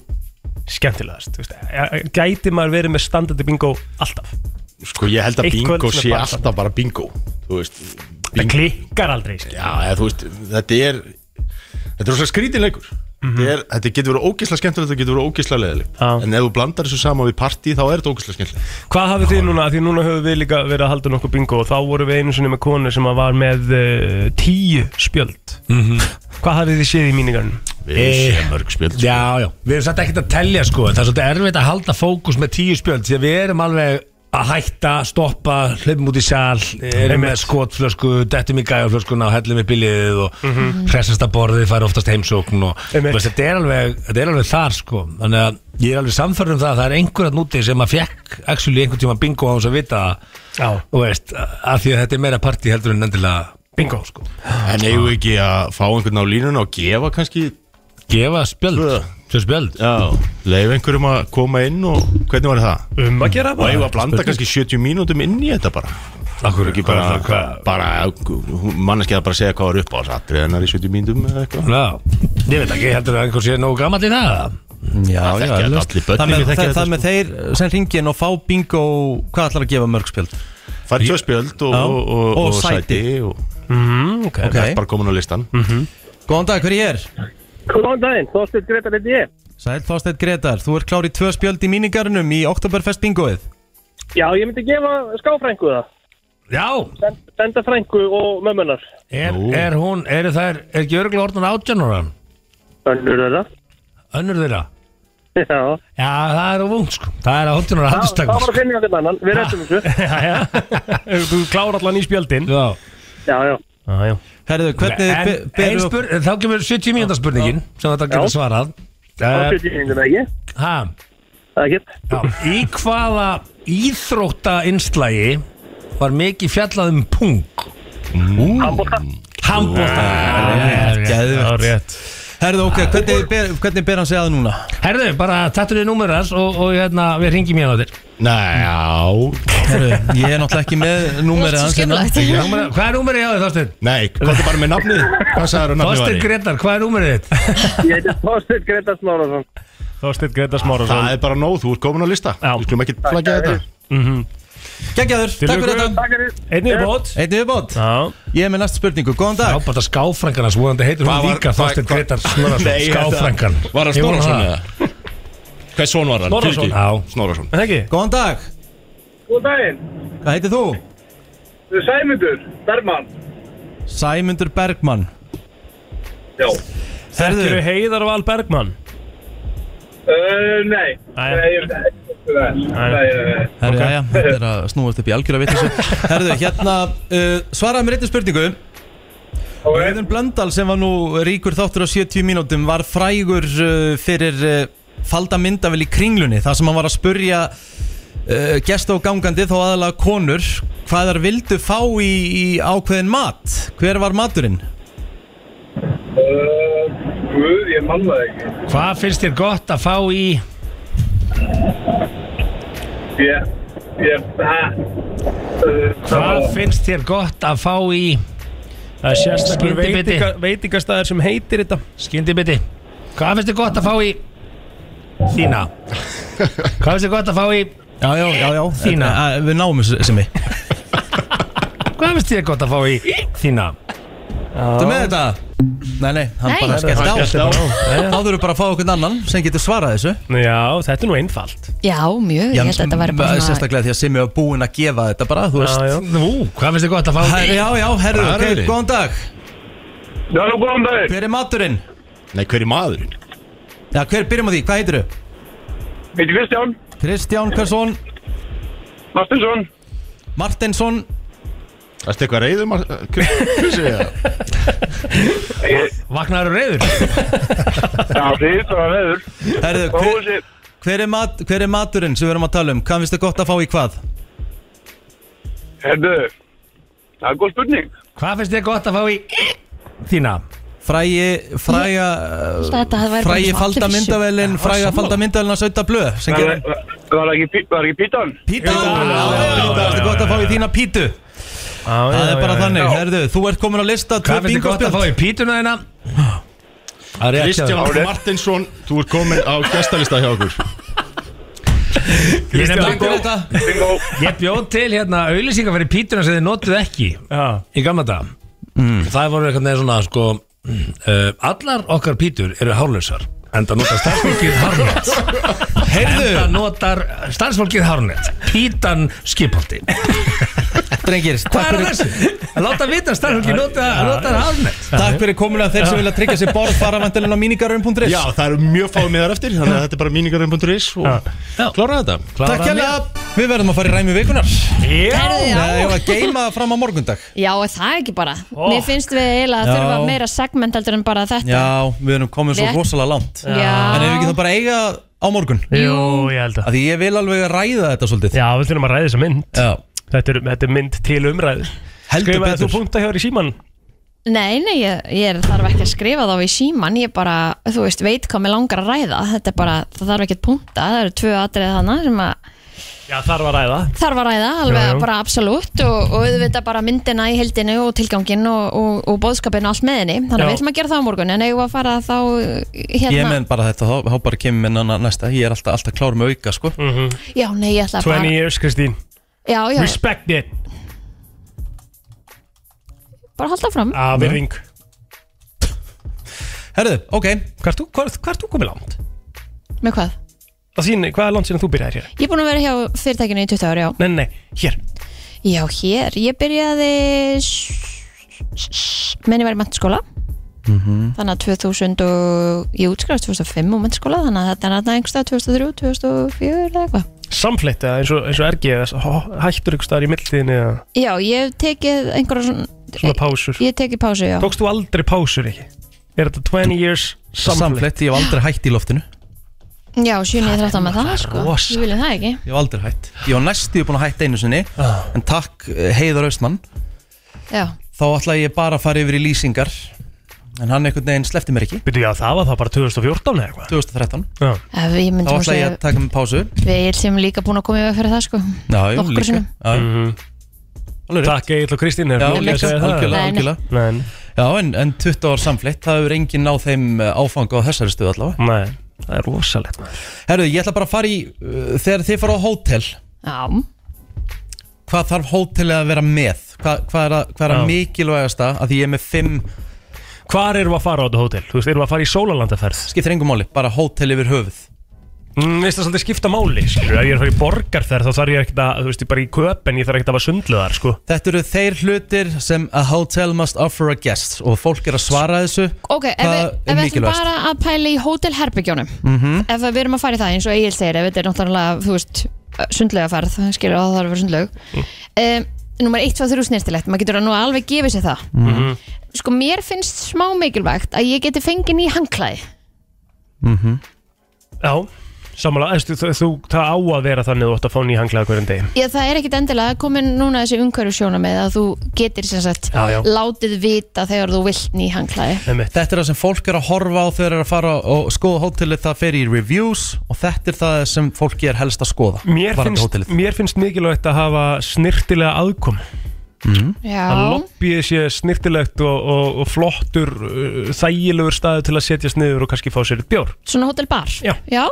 S3: skemmtilegast? þú Veist, E, gæti maður verið með standandi bingo alltaf?
S8: Sko ég held að
S3: Eitt
S8: bingo
S3: kvöld sem er
S8: sé
S3: bara
S8: alltaf bara bingo Þú veist
S3: Það klikkar aldrei skil.
S8: Já, eða, þú veist, þetta er Þetta er rosa skrítinleikur
S12: Mhm.
S8: mm er, Þetta getur verið ógisla skemmtilegt Þetta getur verið ógisla leðilegt En ef þú blandar þessu saman við partí Þá er þetta ógisla skemmtilegt
S3: Hvað hafið þið núna? Því núna höfum við líka verið að halda nokkuð bingo og þá vorum við einu sinni með konu sem að var með uh, tíu spjöld Hvað hafið þið séð í mínigarnum?
S8: mörg spjöld
S12: Eh, Já, já, við erum satt ekkert að telja sko en Það er svolítið erfitt að halda fókus með tíu spjöld Því að við erum alveg að hætta, stoppa, hlöfum út í sal Erum með
S3: sko-
S12: skotflösku, dettum í gæjarflöskuna og hellum í bilið Og
S3: Mhm.
S12: hressasta borðið fær oftast heimsókn og, þú veist, þetta, er alveg, þetta er alveg þar sko Þannig að ég er alveg samferður um það að það er einhverjarn úti sem að fekk Actually einhvern tíma bingo á hans að vita
S3: Já
S12: Þú veist, af því að þetta er meira partí heldur en endilega
S3: Bingo sko
S8: En eigum við ekki að fá einhvern á línuna og gefa kannski
S12: Gefa spjöld, tvö spjöld
S8: Já, leif einhverjum að koma inn og hvernig var það?
S3: Um að gera
S8: Og
S3: bara.
S8: eigum við að blanda
S3: Spurning.
S8: kannski 70 mínútum inn í þetta bara
S12: Akkur
S8: ekki bara, bara manneskið að bara segja hvað var upp á þess aðrið hennar í 70 mínútum eða eitthvað
S12: Já, ég veit ekki, heldur það einhver sé nógu gamall í það
S1: Já,
S8: Það
S1: já,
S8: þekkja
S1: alveg.
S8: allir börnin,
S1: það
S8: ég
S1: með,
S8: þekki
S1: það,
S8: þetta, sko.
S1: það með þeir sem ringin og fá bingo hvað ætlar að gefa mörg spjöld?
S8: Fær tvö spjöld og,
S1: Já.
S8: og, og,
S1: Og sæti. Mhm,
S8: og,
S3: mm, ok,
S1: Ok. Mhm.
S8: Það er bara komin á listan
S1: Góðan dag, hver er ég?
S26: Góðan daginn, Þorsteinn Gretar heiti ég.
S1: Sæl Þorsteinn Gretar, þú er klár í tvö spjöld í míningarnum í Oktoberfest bingoið
S26: Já, ég myndi gefa skáfrængu það.
S3: Já
S12: Senda frængu og mömmunar
S3: Er, er hún, eru þær, er ekki örgulega orðin átján ára?
S12: Önnur þeirra [laughs]
S3: Önnur þeirra?
S12: Já
S3: Já, það er of ung sko Það er átján ára
S12: Það
S3: handistakar
S12: var að finna þetta mannan, við
S3: [laughs]
S12: rettum þessu [laughs]
S4: Þú klára allan í spjöldin Já,
S12: já, já
S4: Já, já
S1: Herðu, hvernig
S3: En
S1: be- berum
S3: ein
S1: við-
S3: spur, þá kemur 70 mínúta spurningin sem þetta
S1: Já.
S3: getur svarað Eh,
S1: Það er 70
S12: mínútur ekki
S3: Hæ? Ekkert Í hvaða íþrótta innslægi var mikið fjallað um pung? Hambólta Hambólta
S1: Geðvett Herðu, ok, hvernig ber, hvernig ber hann sig að núna?
S3: Herðu, bara tattur þið númerið hans og, og hérna, við ringjum hérna á þér Næjá
S1: Herðu, ég er náttúrulega ekki með númerið hans hérna.
S3: Hvað er númerið hjá þér, Þorstein?
S8: Nei, hvað er bara með nafnið? Hvað sagður nafnið var
S3: Þorstein Gretar, hvað er númerið þitt?
S12: [laughs] Ég heiti Þorstein Greta Smárason
S4: Þorstein Greta Smárasson
S8: Það er bara nóð, þú ert komin á lista Við skulum ekki flagja þetta
S1: Gægjaður,
S8: Til
S1: takk fyrir
S8: lukku.
S1: þetta
S4: Einni viðbót.
S1: Einni viðbót
S12: Eh.
S1: Ég er með næstu spurningu, góðan dag
S3: Já, bara skáfrængan hans, vonandi heitir hún líka Þorstein Gretar Snorrason, skáfrængan
S8: Var það
S3: Ég vona
S8: Snorrason eða? Hvað son var hann?
S3: Snorrason.
S8: Fyrirgefðu.
S3: Já.
S8: Snorrason
S1: Góðan dag,
S12: Góð daginn,
S1: hvað heitir þú?
S12: þau Sæmundur, Bergman
S1: Sæmundur Bergmann
S12: Já
S4: Þetta eru Heiðar Val Bergmann
S12: Uh, nei,
S4: Jæja.
S12: nei, ég- nei, nei, nei,
S1: Herðu, okay. þetta er að snúast upp í algjörða [laughs] vitlissu Herðu, hérna, uh, svaraði mér einnig spurningu Rauðun Blöndal sem var nú ríkur þáttur á 70 mínútum var frægur uh, fyrir uh, falda myndavel í kringlunni þar sem hann var að spurja uh, gesta og gangandi þá aðalega konur hvað þar vildu fá í, í ákveðin mat hver var maturinn?
S12: Uh, Guð, ég mann það ekki
S3: Hvað finnst þér gott að fá í
S12: Ég, ég, hæ
S3: Hvað finnst þér gott að fá í
S4: Það er sérstakur
S3: Skyndibiti.
S4: veitinga, veitingastæðir sem heitir þetta
S3: Skyndibiti Hvað finnst þér gott að fá í Þína Hvað finnst þér gott að fá í
S1: Já, já, já, já
S3: Þína.
S1: Eh, eh, Við náum þessu sem við
S3: Hvað finnst þér gott að fá í Þína
S1: Þú með þetta? Nei, nei, hann
S3: Nei.
S1: bara
S3: Hann
S1: skellt á
S3: skellti bara á. Jæja.
S1: Þá þurfum við bara að fá okkur annan sem getur svarað þessu
S4: Já, þetta er nú einfalt
S2: Já, mjög, ég held að þetta væri bara svona
S1: Sérstaklega því að Simmi var búinn að gefa þetta bara, þú veist
S3: Nú, hvað finnst þér gott að fá
S1: Her, Já, já, herðu,
S8: Það er
S1: ok,
S8: öðru.
S1: góðan dag
S12: Já, góðan dag
S1: Hver er maturinn?
S8: Nei, hver er maðurinn?
S1: Já, hver, byrjum á því, hvað heitir þau?
S12: Heitir Kristján
S1: Kristján Karlsson
S12: Martinsson
S1: Martinsson
S8: Það er eitthvað reyðum að Hversu ég það?
S3: Vaknaður reyður
S12: Já, þið bara veður
S1: Herðu, hver, hver, er mat, hver er maturinn sem við erum að tala um? Hvað finnst þið gott að fá í hvað?
S12: Herðu, það er góð spurning
S3: Hvað finnst þér gott að fá í Þína
S1: Frægi, fræga
S2: Alltaf þetta hafði væri bara
S1: Frægi
S2: svo
S1: uh, falda
S2: allir vissu.
S1: myndavælin Fræga falda myndavælin að sauta blöð sem
S12: Var
S1: gerir
S12: var það ekki, pí- var það ekki pítan?
S1: Pítan, Það er gott að fá í þína pítu Það er bara þannig, herðu, þú ert komin á lista tvö
S3: Hvað finnst þér gott að fá
S1: bingospjöld.
S3: í pítuna þína
S8: Kristján Ári Martinsson, þú ert komin á gestalista hjá okkur
S3: Ég nefndi-
S1: Takk fyrir þetta
S3: Ég bjóð til hérna auðlýsingar fyrir pítuna sem þið notuð ekki
S4: Já.
S3: í gamla dag mm. Það voru eitthvað neður svona sko, uh, Allar okkar pítur eru hárlausar Enda notar starfsfólkið hárnet
S1: Heyrðu.
S3: Enda notar starfsfólkið hárnet Pítan skipolti
S1: Drengir, takk
S3: Hvað er
S1: fyrir
S3: þessi? Að láta vita að starfsfólkið nota, notar hárnet
S1: Takk fyrir komuna þeir sem vilja tryggja sér borð fara vantilinn á mínigarum.is
S8: Já, það eru mjög fáið miðar eftir Þannig að þetta er bara míningarinn.is
S3: sko.
S8: og klára þetta
S1: Takk hérna, við verðum að fara í ræmi vikunar
S2: Herðu, já.
S1: Nei, ég var að geima það fram á morgundag
S2: Já, er það ekki bara Mér finnst við eiginlega að
S1: Oh. Já.
S2: þurfa meira segment heldur en bara þetta
S1: Já, við erum komin svo
S2: Rétt.
S1: rosalega langt
S2: Já.
S1: En ef við getum bara eiga á morgun
S4: Jú, ég held að
S1: Af Því ég vil alveg ræða þetta svolítið
S4: Já, við þurfum að ræða þessa mynd
S1: Já.
S4: þetta, er, þetta er mynd til umræðu
S1: Heldur
S4: Skrifaði þú
S1: betur.
S4: punkt að hjá þér í síman
S2: Nei, nei, ég, ég þarf ekki að skrifa þá í síman Ég bara, þú veist, veit hvað mér langar að ræða Þetta er bara, það þarf ekki að punta Það eru tvö atrið þannig sem að
S4: Já, þar var ræða
S2: þarf að ræða alveg
S4: Já, já.
S2: bara absolutt og, og auðvitað bara myndina í heldinu og tilgangin og, og, og bóðskapin og allt með henni
S1: Já.
S2: þannig að við ætlum að gera það á morgun en eigum við að fara þá uh, hérna
S1: Ég menn bara þetta, þá, þá bara kemur minn annað næsta Ég er alltaf, alltaf klár með auka, sko
S4: Mm.
S2: já, nei, ég ætla að
S4: 20
S2: bara
S4: years, Kristín
S2: já, já,
S4: Respect it
S2: bara halda fram
S4: Að við ring
S1: Herðu, ok
S4: Hvað ert þú- hvað- hvað ert þú komið langt?
S2: með hvað?
S4: Það sín, hvað er langt síðan þú byrjaðir hér?
S2: Ég er búin að vera hjá fyrirtækinu í 20 ári, já
S4: Nei, nei, nei, hér
S2: Já, hér, ég byrjaði s- s- s- menn ég var í mentaskóla þannig að 2000 og ég útskrifast 2005 úr mentaskóla þannig að þetta er nættan einhverstað 2003, 2004 eða eitthvað
S3: Samfleitt eða eins og, eins og ergi eða s- hó- hættur ykkur staðar í millitíðinni eða
S2: Já, ég hef tekið einhverja svona
S3: svona pásur
S2: ég hef tekið pásu, já
S3: Tókst þú aldrei pásur ekki? Er þetta 20 years samfleitt?
S1: Samflett, ég hef aldrei hætt í loftinu
S2: Já, 7.13 með það, sko
S1: rosa.
S2: Við viljum það ekki
S1: Ég hef aldrei hætt Ég var næstu búin að hætta einu sinni
S3: Ah.
S1: En takk eh, Heiðar Austmann
S2: Já,
S1: Þá ætla ég bara að fara yfir í lýsingar En hann einhvern veginn slefti mér ekki
S3: Byrju, já, það var það bara 2014 eða eitthvað
S1: 2013
S3: Já.
S2: ef
S1: Þá
S2: ég myndi
S1: ætla ég að taka mig pásu
S2: Við sem líka búin að koma í veg fyrir það, sko
S1: Já, jú,
S2: Nokkrum
S1: líka
S2: sinnum.
S1: Já, jú. Alveg rétt.
S3: Takk Egil og Kristín er
S1: Já,
S3: hún að
S1: líka,
S3: Mhm. segja það.
S1: algjörlega,
S3: Nei, nei.
S1: algjörlega
S3: Nein.
S1: Já, en, en 20 ár samflitt, það hefur enginn náð þeim eh, áfanga á þessari stöðu allavega
S3: Nei, það er rosalegt
S1: Herðu, ég ætla bara að fara í, uh, þegar þið fara á hótel
S2: Já
S1: Hvað þarf hótelið að vera með? Hvað, hvað er, að, hvað er
S3: Já.
S1: að mikilvægasta að því ég er með 5
S3: Hvar erum við að fara á þetta hótel? Þú veist, erum við að fara í sólalandaferð?
S1: Skiptir engum máli, bara hótel yfir höfuð
S3: Mm, veist það svolítið skipta máli, skilur Ef ég er að fara í borgarferð þá þarf ég ekkert að, þú veist, ég bara í köpen Ég þarf ekkert að hafa sundluðar, sko
S1: Þetta eru þeir hlutir sem a hotel must offer a guest og fólk er að svara þessu
S2: Ok, ef,
S1: Hvað
S2: við,
S1: er
S2: ef við ætlum
S1: mikilvægast?
S2: bara að pæla í hótelherbygjónum
S1: Mhm.
S2: ef við erum að fara í það eins og Egil segir ef þetta er náttúrulega, þú veist, sundlaugaferð skilur að það þarf að vera sundlaug um, Númer 1, 2, 3 snirtilegt, maður getur að nú alveg gefið sér það
S1: Mhm.
S2: Sko, mér finnst smá mikilvægt að ég geti fengið ný hangklæði
S1: Mhm.
S3: Já, samanlega, þú, þú, þú, það á að vera þannig að þú ætti að fá nýja hanglaða hverjum degi
S2: Já, það er ekkit endilega komin núna þessi umhverju með að þú getir sem sagt
S1: Já, já.
S2: látið vita þegar þú vilt ný hangklæði
S1: Þetta er það sem fólk er að horfa á þegar þeir eru að fara og skoða hótelið, það fer í reviews og þetta er það sem fólki er helst að skoða
S3: Mér
S1: varðandi
S3: finnst,
S1: hótelið.
S3: mér finnst mikilvægt að hafa snirtilega aðkom
S2: Já.
S3: að lobbyið sé snirtilegt og, og, og flottur uh, þægilegur staðu til að setjast niður og kannski fá sér eitt bjór
S2: Svona hótelbar? Já, já?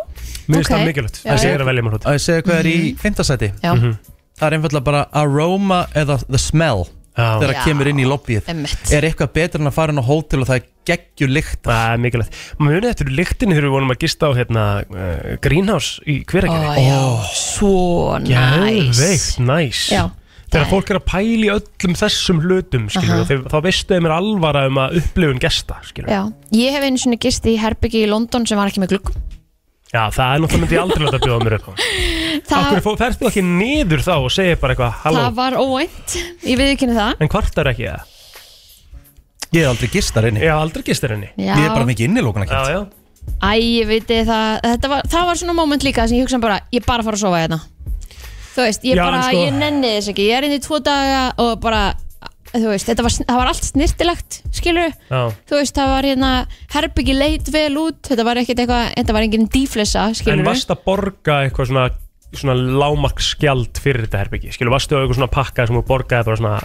S3: Mér finnst
S2: ok.
S3: það mikilvægt,
S2: Já,
S3: það
S2: já.
S3: segir að velja mér hótt
S1: Að ég segja hvað er í fymtasæti
S2: Já. Mhm.
S1: Það er einfallega bara aroma eða the smell
S3: Já.
S1: þegar
S3: Já.
S1: það kemur inn í lobbyið
S2: Einmitt.
S1: Er eitthvað betur en að fara inn á hótel og það er geggju lykt
S3: Það er mikilvægt Mjög eftir lyktinni þegar við vonum að gista á hérna, uh, Greenhouse í
S2: Ó,
S3: hveragerði
S2: já, svo næs
S3: Geðveikt, næs
S2: Já, Eh.
S3: Þegar fólk er að pæli öllum þessum hlutum skilur,
S2: Aha.
S3: uh -huh. þá veistu þeim er alvara um að upplifun gesta skilur.
S2: Já, ég hef einu sinni gist í herbyggi í London sem var ekki með glugg
S3: Já, það er náttúrulega myndi ég aldrei láta bjóða mér upp
S2: [laughs]
S3: á
S2: Það,
S3: Akkur ferst þú ekki niður þá og segir bara eitthvað Halló,
S2: það var óvænt, ég við ekki það
S3: en kvartar ekki það?
S1: Ég er aldrei gistar inni
S3: Ég er aldrei gistar inni
S2: Já. Ég er bara
S1: mikið innilókun
S3: Já, já
S2: Æ, ég veit það, þetta var, það var svona moment líka sem ég hugsa bara, ég er bara að fara að sofa hérna Þú veist, ég
S3: Já,
S2: bara,
S3: en sko-
S2: ég nenni þess ekki, ég er inn í tvo daga og bara, þú veist, þetta var, það var allt snirtilegt, skilur
S3: Já.
S2: Þú veist, það var hérna, herbyggi leit vel út, þetta var ekkert eitthvað, þetta var engin díflessa, skilur
S3: En varst að borga eitthvað svona, svona lámaksgjald fyrir þetta herbyggi? Skilur, varstu á eitthvað svona pakka sem þú borgaði bara svona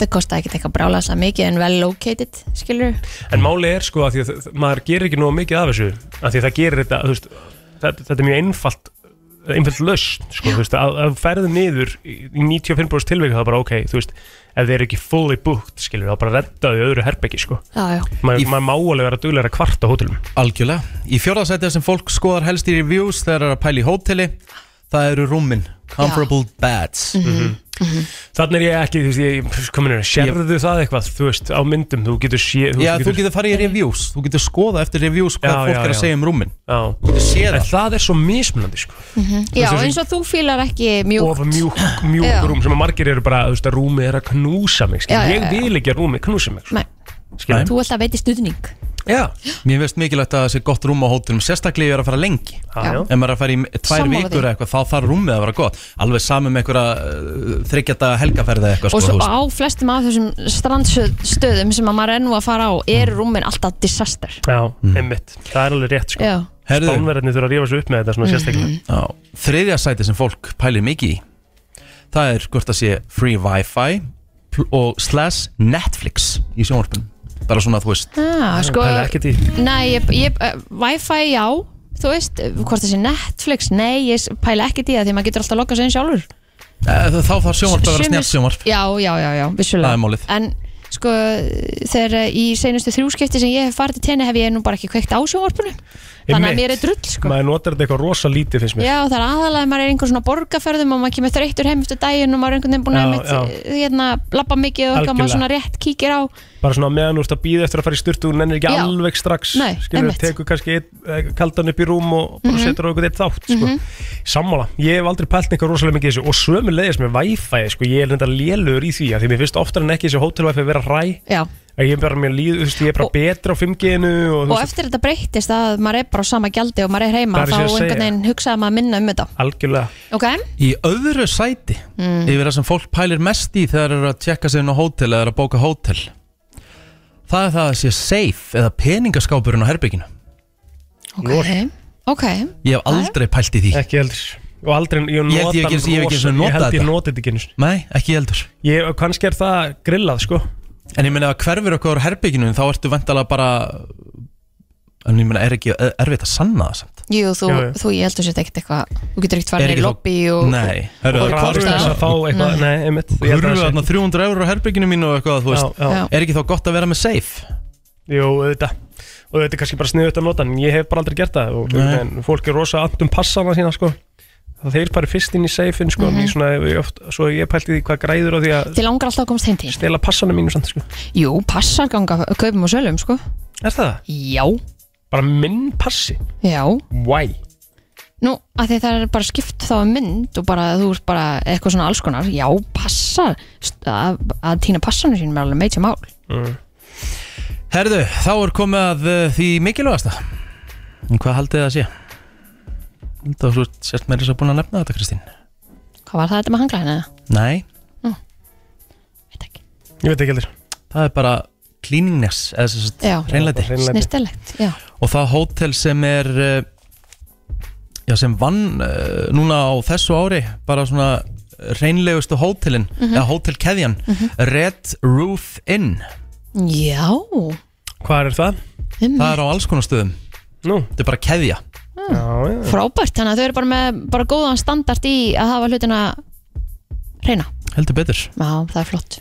S2: Það kostaði ekkert eitthvað brálaðslega mikið en well located, skilur
S3: En máli er sko að því að þ- maður gerir ekki nóg mikið af þessu að því að það gerir þetta, þú veist þetta, þetta er mjög einfalt einfalt löst, sko, þú veist, að, að ferðum niður í í 95% tilvík þá bara ok, þú veist, ef þið eru ekki fully booked skilur, þá bara reddaðu öðru herbyggi, sko
S2: Já, já
S3: maður maður má alveg vera duglega að kvarta á hótelum
S1: Algjörlega Í fjórðasæti sem fólk skoðar helst í reviews þegar það er að pæla í hóteli Það eru rúmin Comparable beds
S3: Mhm. Þannig er ég ekki, þú veist, ég, komin er, sérðu það eitthvað, þú veist, á myndum, þú getur sé,
S1: Já, þú getur farið í reviews Þú getur skoða eftir reviews hvað
S3: Já,
S1: fólk
S3: já,
S1: er að
S3: já.
S1: segja um rúmin
S3: Já, en það er svo mismunandi, sko
S2: Já,
S3: Þú veist,
S2: eins og þú fílar ekki
S3: og
S2: mjúkt
S3: það mjúk,
S2: Já.
S3: mjúk rúm sem að margir eru bara, þú veist, að rúmi er að knúsa mig skilur.
S2: Já, já,
S3: ég
S2: já.
S3: vil ekki að rúmi knúsa mig sko.
S2: Nei,
S3: skilur.
S2: þú ætla að veiti stuðning
S3: Já
S1: Mér finnst mikilvægt að það sé gott rúm á hótelum Sérstaklega ef ég er að fara lengi
S2: Já. já.
S1: Ef maður er að fara í tvær
S2: Sammála
S1: vikur
S2: því.
S1: eða eitthvað Þá þarf rúmið að vera gott Alveg saman með einhverja uh, þryggjata helgaferði eitthvað
S2: Og
S1: sko,
S2: svo
S1: þú veist.
S2: á flestum af þessum strandstöðum sem að maður er nú að fara á
S1: Mm.
S2: er rúmin alltaf disaster
S3: Já, einmitt, það er alveg rétt sko.
S2: Já. Mhm.
S1: Herðu.
S3: Spánverðarnir þurfa að rífa svo upp með þetta svona sérstaklega
S1: Já, þriðja sæti sem fólk pælir mikið í Það er hvort að sé free wifi pl- og slash Netflix í sjónvarpunum Bara svona þú veist
S2: ah, sko,
S3: í
S2: Nei, ég, ég, uh, Wi-Fi já Þú veist, eh, hvort þessi Netflix Nei, ég s- pæla ekki í það því að maður getur alltaf að lokka sig inn sjálfur
S1: Eh, Þá þarf sjónvarp að vera
S2: Sumir-
S1: snett sjónvarp
S2: Já, já, já, já, vissulega
S1: Það er málið
S2: En sko, þegar eh, í seinustu þrjúskipti sem ég hef farið til tenni hef ég nú bara ekki kveikt á sjónvarpinu Þannig að mér er drull sko
S3: Maður notar þetta eitthvað rosa lítið finnst mér
S2: Já, það er aðalega að maður er einhver svona borgarferðum og maður kemur þreyttur heim eftir daginn og maður er einhvern veginn búin
S3: Já,
S2: að einmitt, hérna, labba mikið og eitthvað maður
S3: Algjörlega.
S2: svona rétt kíkir á
S3: Bara svona á meðan úr þetta býði eftir að fara í styrtu og nennir ekki
S2: Já.
S3: alveg strax
S2: Nei,
S3: Skilur,
S2: einmitt.
S3: tekur kannski einn, eh, kaldan upp í rúm og bara
S2: Mhm.
S3: setur á eitthvað eitt þátt sko.
S2: Mhm.
S3: Sammála, ég hef aldrei pælt neitt rosalega mikið í þessu og sömu leiðis með Wi-Fi sko. Ég er reyndar lélugur í því af því mér finnst oftar en ekki þessi hótel-Wi-Fi vera ræ
S2: Já,
S3: Ég er bara, mér líð, þú veist, ég er bara betra á 5G-inu og, þú
S2: og
S3: veist,
S2: eftir þetta breyttist að maður er bara á sama gjaldi og maður er heima
S3: Það er
S2: þá
S3: sem ég
S2: einhvern
S3: segi.
S2: veginn hugsaði maður minna um þetta
S3: Algjörlega
S2: Ok?
S1: Í öðru sæti
S2: Mm.
S1: yfir það sem fólk pælir mest í þegar það eru að tjekka sig inn á hótel eða eru að bóka hótel Það er það að sé safe eða peningaskápurinn á herbygginu
S2: Ok, ok
S1: Ég hef aldrei pælt í því
S3: Ekki heldur og aldrei, ég,
S1: Ég held ég
S3: nota
S1: ekki- ég hef ekki
S3: rosa-
S1: einu sinni
S3: ég
S1: notað
S3: held ég
S1: þetta.
S3: notið þetta ekki einu sinni.
S1: Nei, ekki heldur
S3: ég, Kannski er það grillað sko
S1: En ég meina að hverfur okkur á herbygginu þá ertu vendalega bara En ég meina er ekki er- erfitt að sanna það samt
S2: Jú, þú,
S1: Já, já.
S2: þú ég heldur sér ekkert eitthvað Þú getur ekkert
S1: Er
S2: farið
S1: ekki
S2: í
S1: þá-
S2: lobby og
S1: Nei, herru,
S2: og
S1: það er
S2: komst
S1: klárlega
S2: að-
S1: að fá eitthvað-
S2: Nei.
S3: Nei, einmitt ég held að
S1: Hurru
S3: það sé-
S1: þarna 300 eurur á herbygginu mínu og eitthvað þú veist
S3: Já, já.
S1: Er ekki þá gott að vera með safe?
S3: Jú, auðvitað Og þetta er kannski bara sniðut að nota En ég hef bara aldrei gert það og,
S1: Nei.
S3: En fólk er rosa andum passana sína sko Það þeir fari fyrst inn í seifin sko mm
S2: Mhm.
S3: svona, ég oft, Svo ég pælti því hvað græður á því að
S2: Þið langar alltaf að komast heim til
S3: Stela passanum mínu samt sko
S2: Jú, passar ganga kaupum og sölum sko
S3: Er það?
S2: Já
S3: Bara minn passi
S2: Já
S3: Why?
S2: Nú, að því það er bara skipt þá um mynd og bara þú ert bara eitthvað svona alls konar Já, passar St- að, að týna passanum sínum er alveg meitja mál
S3: Mm.
S1: Herðu, þá er komið að uh, því mikilvægasta En Hvað haldið þið að sé? Það var svo sérst meira svo búin að nefna þetta Kristín
S2: Hvað var það þetta með hangla hérna?
S1: Nei
S2: Mm.
S3: Ég veit ekki heldur
S1: Það er bara cleanliness eða sem sagt
S2: Já,
S1: hreinlæti
S2: snirtilegt Já,
S1: Og það hótel sem er uh, já sem vann uh, núna á þessu ári bara svona hreinlegustu hótelin
S2: Mhm.
S1: eða hótelkeðjan
S2: Mhm.
S1: Red Roof Inn
S2: Já.
S3: Hvað er það?
S2: Einmitt.
S1: Það er á alls konar stöðum
S3: Nú.
S1: Þetta er bara keðja
S3: já, já.
S2: frábært Þannig að þau eru bara með bara góðan standard í að hafa hlutina reyna
S1: Heldur betur
S2: Já, það er flott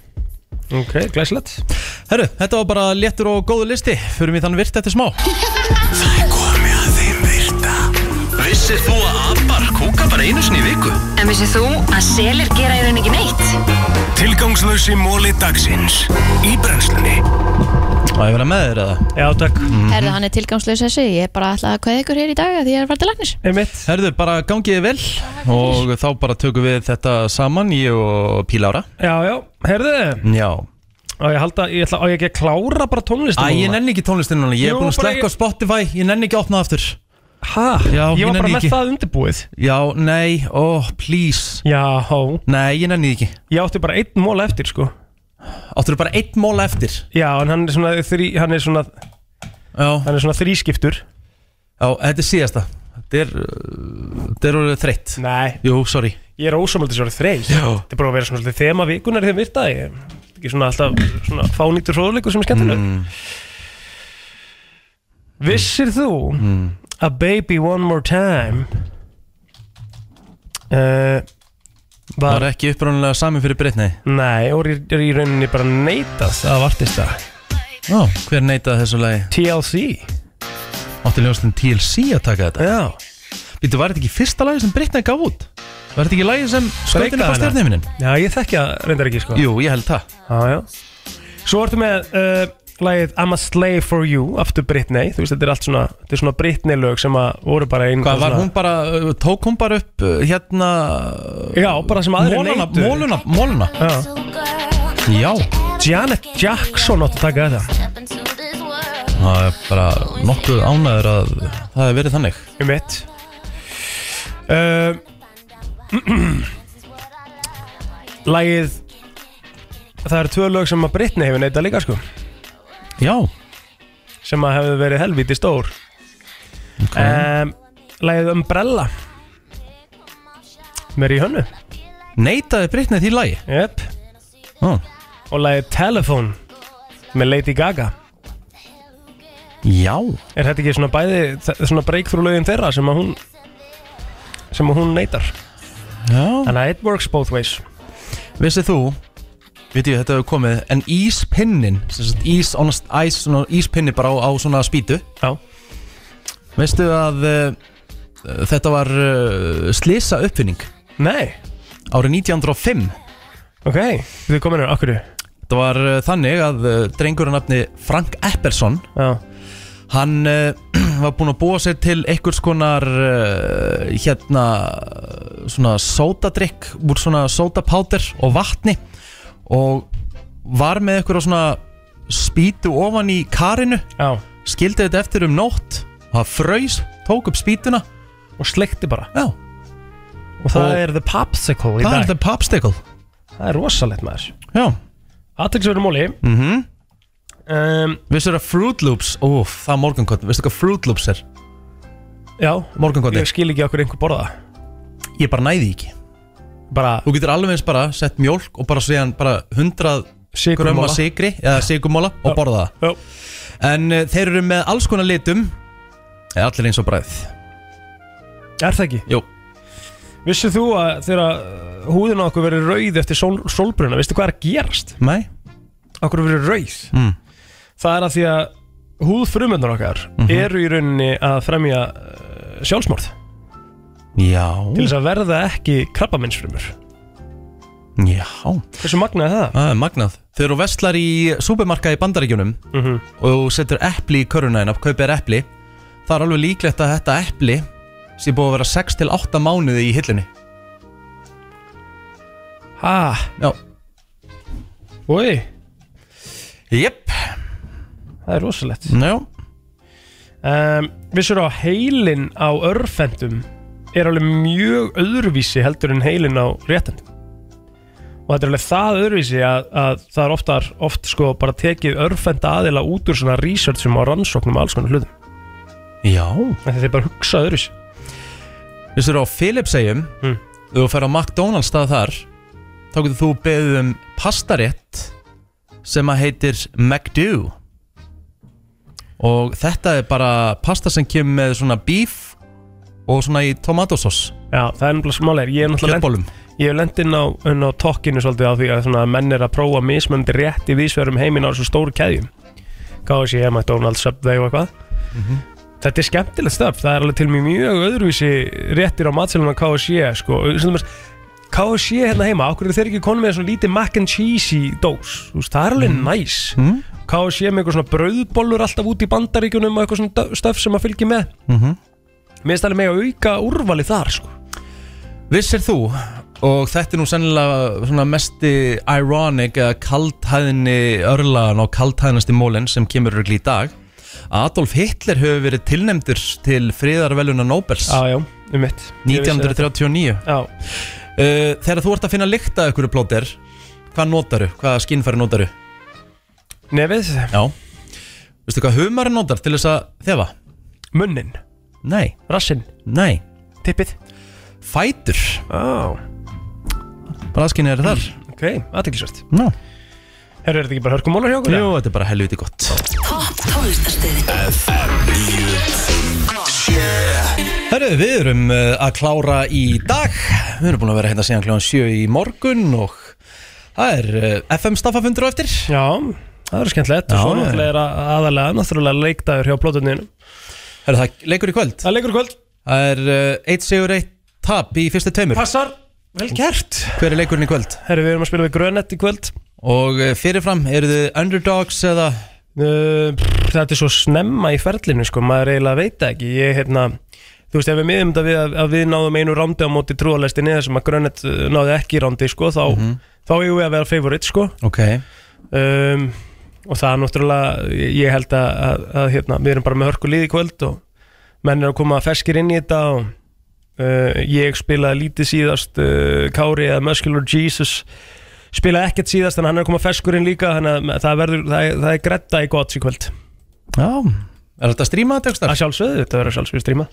S3: Ok, glæsilegt
S1: Herru, þetta var bara léttur og góðu listi Fyrir mig þann virt eftir smá
S27: Vissir þú að abar kúka bara einu sinni í viku?
S28: En vissið þú að selir gera í rauninni ekki neitt?
S8: Tilgangslösi móli dagsins Í brennslunni
S1: Má ég vera með þér eða?
S3: Já, takk
S1: Mhm.
S2: mm Herðu, hann er tilgangslega þessi Ég er bara alltaf að kveða ykkur hér í dag af Því ég er að fara til lagnis
S3: Einmitt
S1: Herðu, bara gangiði vel Og þá bara tökum við þetta saman Ég og Pílára
S3: Já, já, herðu
S1: Já
S3: Á ég, að halda, ég, ætla, á ég ekki að klára bara tónlistin
S1: Æ, ég nenni ekki tónlistinu núna Ég er
S3: Jú,
S1: búin að
S3: bara
S1: slekka
S3: ég-
S1: á Spotify Ég nenni ekki að opna það aftur
S3: Hæ?
S1: Já,
S3: Ég var
S1: nenni
S3: bara með
S1: ekki.
S3: það undirbúið
S1: Já, nei, ó, please
S3: Já
S1: Nei, ég nenni því ekki
S3: Ég átti bara einn mól eftir sko
S1: Áttur bara einn mól eftir
S3: Já, en hann er svona þrý, hann er svona
S1: Já
S3: Hann er svona þrískiptur
S1: Já, þetta er síðasta Þetta er, uh, þetta er orðið þreytt
S3: Nei
S1: Jú, sorry
S3: Ég er ósamaldið svo þreil
S1: Já.
S3: Þetta er bara að vera svona svolítið þema vikunar þegar virta Ég ekki svona alltaf svona fánýttur fróðleikur sem er skemmtileg
S1: Mm.
S3: Vissir þú
S1: Mm.
S3: A Baby One More Time uh,
S1: Það er ekki upprónulega sami fyrir Britney
S3: Nei, og er, er í rauninni bara neitað af artista
S1: Já, hver neitaði þessu lagi?
S3: TLC
S1: Átti ljóðastinn TLC að taka þetta?
S3: Já
S1: Býttu, var þetta ekki fyrsta lagi sem Britney gaf út? Var þetta ekki lagi sem skautinu
S3: Breikaði
S1: á
S3: hana.
S1: stjórnheiminin?
S3: Já, ég þekki að reyndar ekki sko
S1: Jú, ég held það
S3: Já, já Svo ertu með uh, lagið I'm a Slave for You aftur Britney Þú veist, þetta er allt svona, þetta er svona Britney lög sem að voru bara einn
S1: Hvað var
S3: svona-
S1: hún bara, uh, tók hún bara upp uh, hérna
S3: Já, bara sem aðrir
S1: Móluna,
S3: neytu.
S1: móluna, móluna Já
S3: Ah. Janet Jackson átti að taka þetta [clears throat]
S1: Það er bara nokkuð ánæður að það hefur verið þannig
S3: Um eitt uh, Lagið Það eru tvö lög sem að Britney hefur neitað líka sko
S1: Já
S3: Sem að hefur verið helviti stór okay. Lagið Umbrella Mér í hönnu
S1: Neitaði Britney því lagi?
S3: Jöp
S1: oh.
S3: Og lagið Telephone Með Lady Gaga
S1: Já
S3: Er þetta ekki svona bæði þ- Svona breakthrough lögin þeirra sem að hún Sem að hún neytar
S1: Já
S3: Þannig að it works both ways
S1: Vissið þú, veit ég þetta hefur komið En íspinnin, sem sagt ís, honest, ís, svona, íspinni bara á, á svona spýtu
S3: Já
S1: Veistu að uh, þetta var uh, slisa uppfinning
S3: Nei
S1: Árið 1905
S3: Ok, þið komin hér, okkur
S1: Þetta var uh, þannig að uh, drengur að nafni Frank Epperson
S3: Já
S1: Hann uh, [clears throat] var búinn að búa sér til einhvers konar uh, hérna svona sódadrykk úr svona sódapáter og vatni og var með eitthvað svona spýtu ofan í karinu
S3: Já.
S1: skildi þetta eftir um nótt og það fröys, tók upp spýtuna
S3: og sleikti bara
S1: Já.
S3: Og það er The Popsicle í
S1: Það
S3: dag
S1: er The Popsicle
S3: Það er rosalegt maður
S1: Já
S3: Aðtilsverður móli
S1: mm
S3: Mhm.
S1: -hmm.
S3: um,
S1: Vissur að Fruit Loops, óf, það er morgunkotn Vissur hvað Fruit Loops er?
S3: Já,
S1: morgunkotn
S3: Ég skil ekki okkur einhver borða
S1: Ég bara næði ekki
S3: bara,
S1: Þú getur alveg eins bara sett mjólk og bara segja hann bara 100
S3: Sykurmola.
S1: grömma sigri eða sigurmóla og borða
S3: það
S1: En uh, þeir eru með alls konar litum eða allir eins og bræð
S3: Er það ekki?
S1: Jú
S3: Vissið þú að þegar húðin á okkur verið rauð eftir sól, sólbruna, veistu hvað er að gerast?
S1: Nei
S3: Okkur verið rauð
S1: mm.
S3: Það er að því að húðfrumöndar okkar
S1: Mhm.
S3: eru í rauninni að fremja uh, sjálfsmorð
S1: Já
S3: til þess að verða ekki krabbaminsfrumur
S1: Já
S3: Hversu magnað er það?
S1: Það er magnað Þegar þú vestlar í supermarka í bandaríkjunum
S3: Mhm.
S1: og þú setur epli í köruna en kaupir þér epli það er alveg líklegt að þetta epli sé búið að vera 6-8 mánuði í hillinni
S3: Ha?
S1: Já
S3: Oi
S1: Jep
S3: Það er rosalegt
S1: Já
S3: um, Vissur á heilin á örfendum er alveg mjög öðruvísi heldur en heilin á réttendum og þetta er alveg það öðruvísi að, að það er oftar, oft sko bara tekið örfenda aðila út úr svona researchum og rannsóknum og alls konar hlutum
S1: Já
S3: Þetta er bara að hugsa öðruvísi
S1: Vissur á Philipseyjum mm. Þú fer á McDonalds stað þar Þá getur þú beðið um pastarétt Sem að heitir McDo Og þetta er bara pasta sem kemur með svona beef Og svona í tomatosós
S3: Já, það er náttúrulega smáleir Ég hef náttúrulega
S1: Kjötbollum.
S3: lent- Ég hef lent inn á, inn á tokkinu svolítið á því að svona, menn er að prófa mismöndi rétt í vísverðum heiminn á þessu stóru keðjum KFC, McDonalds, Subway og eitthvað
S1: Mhm.
S3: Þetta er skemmtilegt stöf Það er alveg til mjög mjög öðruvísi réttir á matselum að KFC sko. Sem þess- KFC hérna heima, okkur eru þeir ekki konum með svona lítið mac and cheese í dós Þú veist, Það er alveg næs
S1: Mm.
S3: KFC E með eitthvað svona brauðbollur alltaf út í bandaríkjunum og eitthvað svona stöf sem að fylgja með
S1: mm -hmm.
S3: Mér finnst alveg með að auka úrvali þar sko.
S1: Vissir þú Og þetta er nú sennilega svona mesti ironic eða kaldhæðinni örlagan og kaldhæðinasti mólinn sem kemur rögl í dag Adolf Hitler hefur verið tilnefndur til friðarveluna Nobels
S3: Já, já, um mitt
S1: 1939
S3: Já
S1: Uh, Þegar þú ert að finna lykta ykkur plóter Hvað notaru? Hvaða skinnfæri notaru?
S3: Nefið
S1: Já Veistu hvað humari notar til þess að þefa?
S3: Munnin
S1: Nei
S3: Rassinn
S1: Nei
S3: Tippið
S1: Fætur
S3: Ó
S1: Braskinni er þar
S3: Ok, aðteklisvært
S1: Ná
S3: Herru, er þetta ekki bara hörkumólar hjá okkur?
S1: Jú, þetta er bara helviti gott
S7: Topp tónlistarstöðin FM 957
S1: Herru, við erum uh, að klára í dag Við erum búin að vera hérna síðan kljóðan 7 í morgun og það er uh, FM staffafundur á eftir
S3: Já, það er skemmtilegt Og svo náttúrulega er að- aðalega náttúrulega leikdagur hjá plótuninu
S1: Herru, það leikur í kvöld
S3: Það leikur í kvöld
S1: Það er uh, 1 sigur 1 tap í fyrstu tveimur
S3: Passar, vel gert
S1: Hver er leikurinn í kvöld?
S3: Herru, við erum að spila við Grönett í kvöld
S1: Og uh, fyrirfram, eru þið underdogs eða
S3: Uh, pff, þetta er svo snemma í ferlinu sko, maður eiginlega veit það ekki ég, hérna, þú veist, ef við miðum þetta við að, að við náðum einu rándi á móti trúalestinni þar sem að Grönnet náði ekki rándi sko, þá, þá eigum við að vera favorite sko.
S1: Ok
S3: um, og það er náttúrulega ég- ég held að, að, að hérna, við erum bara með hörku liði kvöld og menn er að koma ferskir inn í þetta og uh, ég spilaði lítið síðast uh, Kári eða Muscular Jesus spilaði ekkert síðast en hann er að koma ferskur inn líka þannig að það, verður, það, er- það er gretta í gott í kvöld
S1: Já, er Eh. þetta að stríma þetta?
S3: Að sjálfsögðu, þetta verður að sjálfsögðu stríma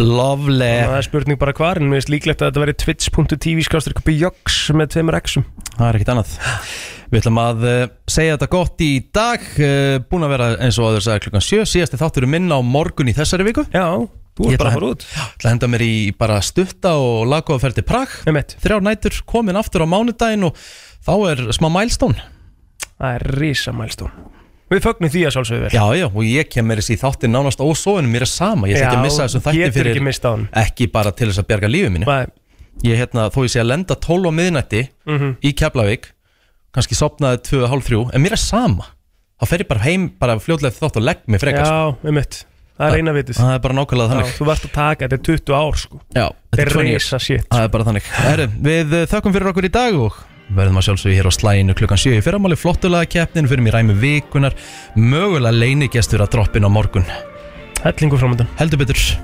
S1: Lovely
S3: Það er spurning bara hvar, en mér finnst líklegt að þetta verður twitch.tv skástur ykkur bjöks með tveimur x-um
S1: Það er ekkert annað Við ætlum að eh, segja þetta gott í dag eh, Búin að vera eins og aður sagði klukkan 7 Síðasti þáttur er minn á morgun í þessari viku
S3: Já, þú ert bara að fara út
S1: Ég ætla að henda mér í bara stutta og laga og ferði Prag Þrjár nætur komin aftur á mánudaginn og þá er smá milestone
S3: Það er risa mælstón Við fögnum því að sjálfsögðu vel
S1: Já, já, og ég kem meira þessi í þáttin nánast ósóðunum Mér er sama, ég ætla ekki að
S3: Já,
S1: missa þessum þætti
S3: getur
S1: fyrir
S3: ekki misst á honum.
S1: Ekki bara til þess að bjarga lífið mínu
S3: Nei.
S1: Ég, hérna, þó ég sé að lenda 12 á miðnætti
S3: Mhm.
S1: Í Keflavík kannski sopnaði 2.30 En mér er sama Þá fer ég bara heim, bara fljótlega eftir þátt og legg mig frekar sko.
S3: Já, um mitt Það er eina vitið
S1: Það er bara nákvæmlega Ah, þannig
S3: Já, Þú varst að taka, þetta er 20 ár sko
S1: Já,
S3: Þetta er
S1: 20 years.
S3: reysa shit
S1: Það er bara þannig Heru, Við eh, þökkum fyrir okkur í dag og verðum að sjálfsögja hér á slæginu klukkan 7 í fyrramáli flottulega keppnin, fyrir mér ræmi vikunar mögulega leinigestur að droppin á morgun
S3: Hellingu framöndan
S1: Heldur betur